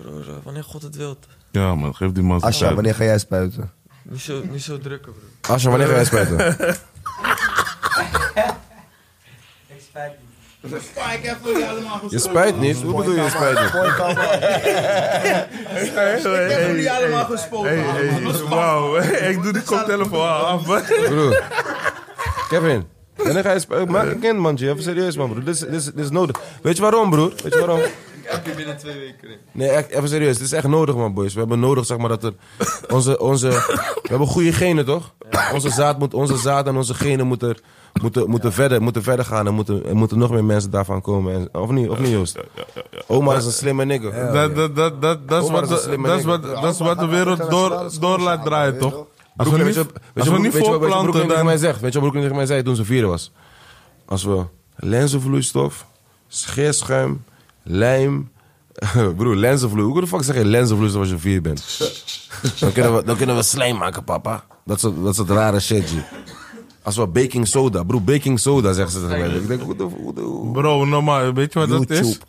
Broer, eh, wanneer God het wilt. Ja, man, geef die man zijn Asja, tijd. wanneer ga jij spuiten? Niet zo, niet zo drukken, broer. Asja, wanneer ga jij spuiten? Je spuit niet? Hoe bedoel je je spuit niet? Wauw, ik doe die koptelefoon af. Broer. Kevin, wanneer ga je spuiten? eh, Maak een kind, man. G. Even serieus, man, broer. Dit is, dit, is, dit is nodig. Weet je waarom, broer? Weet je waarom? Heb je binnen twee weken in. Nee, echt, even serieus. Dit is echt nodig, man, boys. We hebben nodig, zeg maar, dat er... Onze, onze, we hebben goede genen, toch? Onze, zaad moet, onze zaad en onze genen moeten, moeten, moeten, verder, moeten verder gaan. En moeten, er moeten nog meer mensen daarvan komen. En, of niet, of niet, Joost? Oma is een slimme nigger. Dat, dat, dat, dat, dat, is Omar wat Oh, is een de, slimme dat, is nigger. wat, dat is wat de wereld door, door laat draaien, toch? Als we Broekling, niet, weet je- weet als je we wat niet Broekling- weet je wat Broekling voorplanten, tegen mij dan... zegt? Weet je wat Broekling tegen mij zei toen ze vierde was? Als we lenzenvloeistof, scheerschuim, lijm... Broer, lenzenvloei. Hoe de fuck zeg je lenzenvloeistof als je vier bent? dan, kunnen we, dan kunnen we slijm maken, papa. Dat soort, dat soort rare shit, G. Als we baking soda... Broer, baking soda, zeggen ze tegen mij. Ik denk, hoe de... Hoe de hoe- Bro, normaal, weet je wat dat is? YouTube.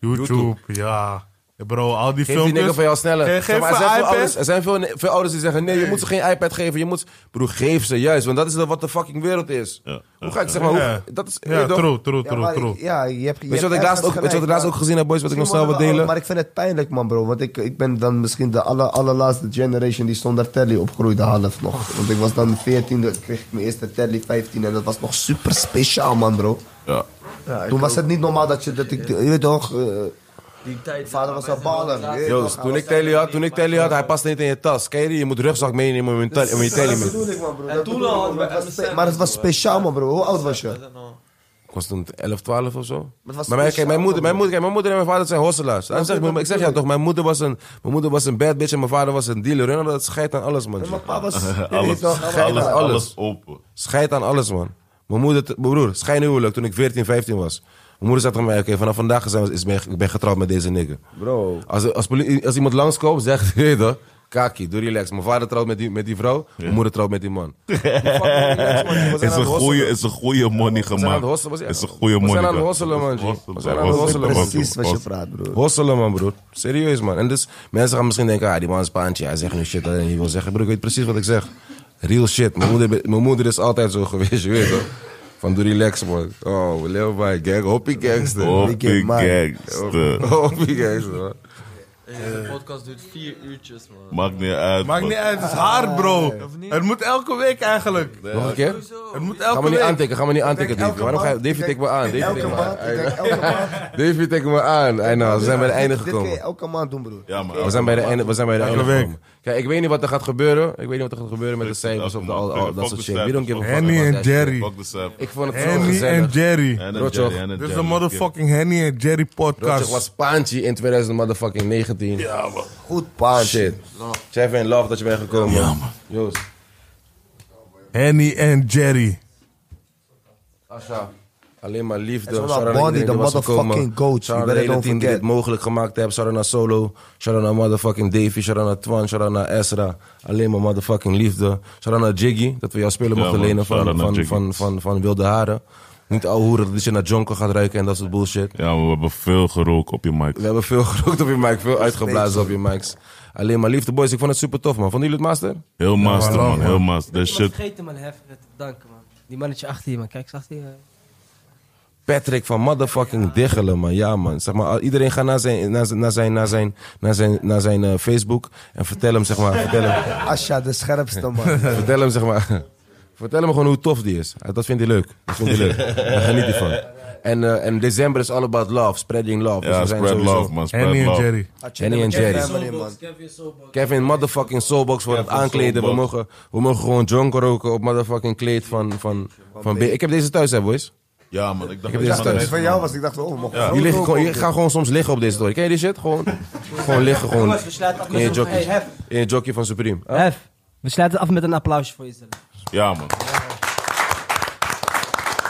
YouTube. ja. Bro, al die Geef die filmpjes... nigger van jou sneller. Eh, Zeg Geef maar, er zijn, een veel iPad. ouders, er zijn veel, veel ouders die zeggen... Nee, je moet ze geen iPad geven. Je moet... Broer, geef ze juist. Want dat is wat de fucking wereld is. Hoe ga ik zeg maar... Ja, Hoe, dat is, weet ja je toch? true, true, Ja, true, maar true. ik- Ja, je hebt, Weet je je hebt wat ik laatst ergens ook, weet je wat ik gelijk, laatst maar- ook gezien heb, boys? Wat ik nog Misschien snel wil worden we delen? oud, Maar ik vind het pijnlijk, man, bro. Want ik, ik ben dan misschien de aller, allerlaatste generation die zonder telly opgroeide half nog. Want ik was dan 14, toen kreeg ik mijn eerste telly 15 en dat was nog super speciaal, man, bro. Ja. toen was het niet normaal dat je dat ik, je weet toch, eh, Die tijd. vader was een baler. je weet Joost, toch, dus toen hij ik was- telly had, toen ik telly had, hij past niet in je tas. Ken je die? Je moet rugzak meenemen om je telly, om je telly Dat mee te bedoel ik, man, bro. Dat toen bedoel ik, al man. hadden we Maar het was MSN spe- Maar het was speciaal, man, bro. Hoe oud was je? Ik was toen 11, 12 of zo. Maar was mijn, kijk, mijn, speciaal, moeder, mijn, man. moeder, kijk, mijn moeder en mijn vader zijn hosselaars. Dat zeg, ik- ik zeg jou toch, mijn moeder, was een, mijn moeder was een bad bitch en mijn vader was een dealer. En dat scheidt aan alles, man. Mijn pa was... je weet Alles, toch, alles, hij- alles, alles. open. Scheid aan alles, man. Mijn moeder, mijn broer, schijnhuwelijk toen ik 14, 15 was. Mijn moeder zei tegen mij, oké, vanaf vandaag zijn we, is, ben, ik- ik ben getrouwd met deze nigger. Bro. Als, als, poli- als iemand langskomt, zegt hij, hey, toch, kaki, doe relax. Mijn vader trouwt met die, met die vrouw, mijn moeder trouwt met die man. Fuck, relax, man. We zijn aan Is het een hosselen. goeie, is een goeie money We zijn aan het gemaakt. hosselen. We zijn- Is een goeie money. We zijn aan het gemaakt. hosselen, man. G. We zijn aan het hosselen. man. Precies wat je praat, bro. Hosselen, man, broer. Serieus, man. En dus, mensen gaan misschien denken, ah, die man is paantje. Hij zegt nu shit dat hij niet wil zeggen. Broer, ik weet precies wat ik zeg. Real shit. Mijn moeder, mijn moeder is altijd zo geweest, je weet toch? Van doe relax, man. Oh, we leven bij gang. Hoppie gangster. Hoppie man. gangster. Hoppie gangster, man. De podcast duurt vier uurtjes, man. Maakt niet uit. Maakt man. niet uit, het is hard, bro. niet? Het moet elke week eigenlijk. Nog een keer? Het moet Ga elke me niet week. aantikken, ga me niet aantikken, Davy. Waarom ga je... Davy, tik me aan. Davy, tik me aan. Davy, tik me aan. Ei, nou, we zijn bij het einde Dit kun je gekomen. elke maand doen, broer. Ja, maar We zijn bij de einde, we zijn bij de einde week. gekomen. Kijk, ik weet niet wat er gaat gebeuren. Ik weet niet wat er gaat gebeuren met de cijfers of de, al, al- dat soort shit. We don't give a fuck Henny about en that shit. Jerry. Fuck the sap. Ik vond het zo Henny en gezellig. Jerry. Henny en Rotjoch. Jerry, Henny en Dit is de Jerry. motherfucking Henny en Jerry Rotjoch was podcast. Paantje in 2019. Ja, man. Goed paardje. Ah, Shit. Chef en love dat je bent gekomen. Ja, man. Joost. Henny en Jerry. Asha. Alleen maar liefde. En Sarah Shout-out Bonnie, aan iedereen de die was motherfucking gekomen. coach. You Shout-out aan het better hele don't team die dit forget. mogelijk gemaakt heeft. Shout-out naar Solo. Shout-out naar motherfucking Davy. Shout-out naar Twan. Shout-out naar Ezra. Alleen maar motherfucking liefde. Shout-out naar Jiggy. Dat we jouw spelen Ja, mochten man. lenen van, Shout-out van, naar van, Jiggy. van, van, Wilde Haren. Niet ouwe hoeren dat je naar Jonko gaat ruiken en dat soort bullshit. Ja, maar we hebben veel gerookt op je mic. We hebben veel gerookt op je mic. Veel uitgeblazen op je mics. Alleen maar liefde, boys. Ik vond het super tof, man. Vonden jullie het master? Heel master, man. Heel master. Ik This was shit. vergeten, man, Heffer, te bedanken, man. Die mannetje achter je, man. Kijk, eens achter je. Oh. Patrick van motherfucking Diggelen, man. Ja, man. Zeg maar, iedereen gaat naar zijn, naar zijn, naar zijn, naar zijn, naar zijn, naar zijn eh, Facebook en vertel hem, zeg maar, vertel hem, Asja, de scherpste man. vertel hem, zeg maar, vertel hem gewoon hoe tof die is. Eh, Dat vindt hij leuk. Dat vindt hij leuk. Daar geniet hij van. En, eh, en december is all about love, spreading love. Dus Ja, we zijn spread sowieso- love, man. Spread Henny en love. Jerry. Henny en Jerry. Family, man. Kevin motherfucking Soulbox voor het Kevin aankleden. We Soulbox. mogen, we mogen gewoon jonker roken op motherfucking kleed van, van, van B. Ik heb deze thuis, hè, boys. Ja, man. Ik heb dacht dat deze je- thuis. Als het van jou was, ik dacht, oh, we mogen Je, groot ligt, gewoon, ook je gaat gewoon soms liggen op deze toren. Ken je die shit? Gewoon, gewoon liggen, gewoon Jongens, we sluiten af in met je een... jockey. Hey, Hef. In je jockey van Supreme. Huh? Hef, we sluiten af met een applausje voor jezelf. Ja, man.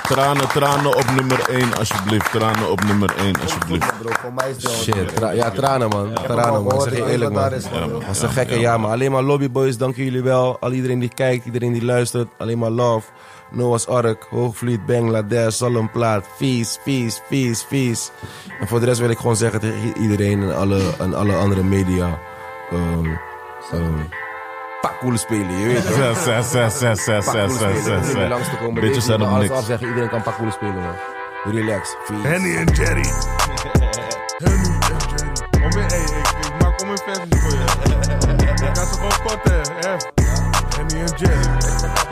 Tranen, tranen op nummer 1, alsjeblieft. Tranen op nummer 1, alsjeblieft. bro. Voor mij is dat... Shit, tra- ja, tranen man. Tranen man, ik zeg je eerlijk man. Was een gekke jaar, maar alleen maar lobbyboys, dank jullie wel. Al iedereen die kijkt, iedereen die luistert, alleen maar love. Noah's Ark, Hoogvliet, Bangladesh, Zalmplaat, vies, vies, vies, vies. En voor de rest wil ik gewoon zeggen tegen i- iedereen en alle, en alle andere media. ehm ehm pak cool spelen, je weet toch? Zes, zes, zes, zes, zes, Pak cool zes, spelen, zes, er hoeft zes, niet meer langs te zes. komen. Beetje Deze zijn moet op alles niks. afzeggen, iedereen kan pak cool spelen man. Relax, vies. Henny en Jerry. Henny en Jerry. Kom in, hey, ik, ik maak om een versie voor je. Ik ga ze gewoon korten, hè. Henny en Jerry.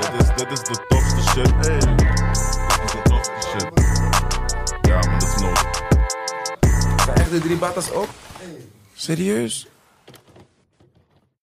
Dit is, dit is de tofste shit. Hey. Dit is de tofste shit. Ja, man, dat is nodig. Zijn echt de drie batas ook? Serieus?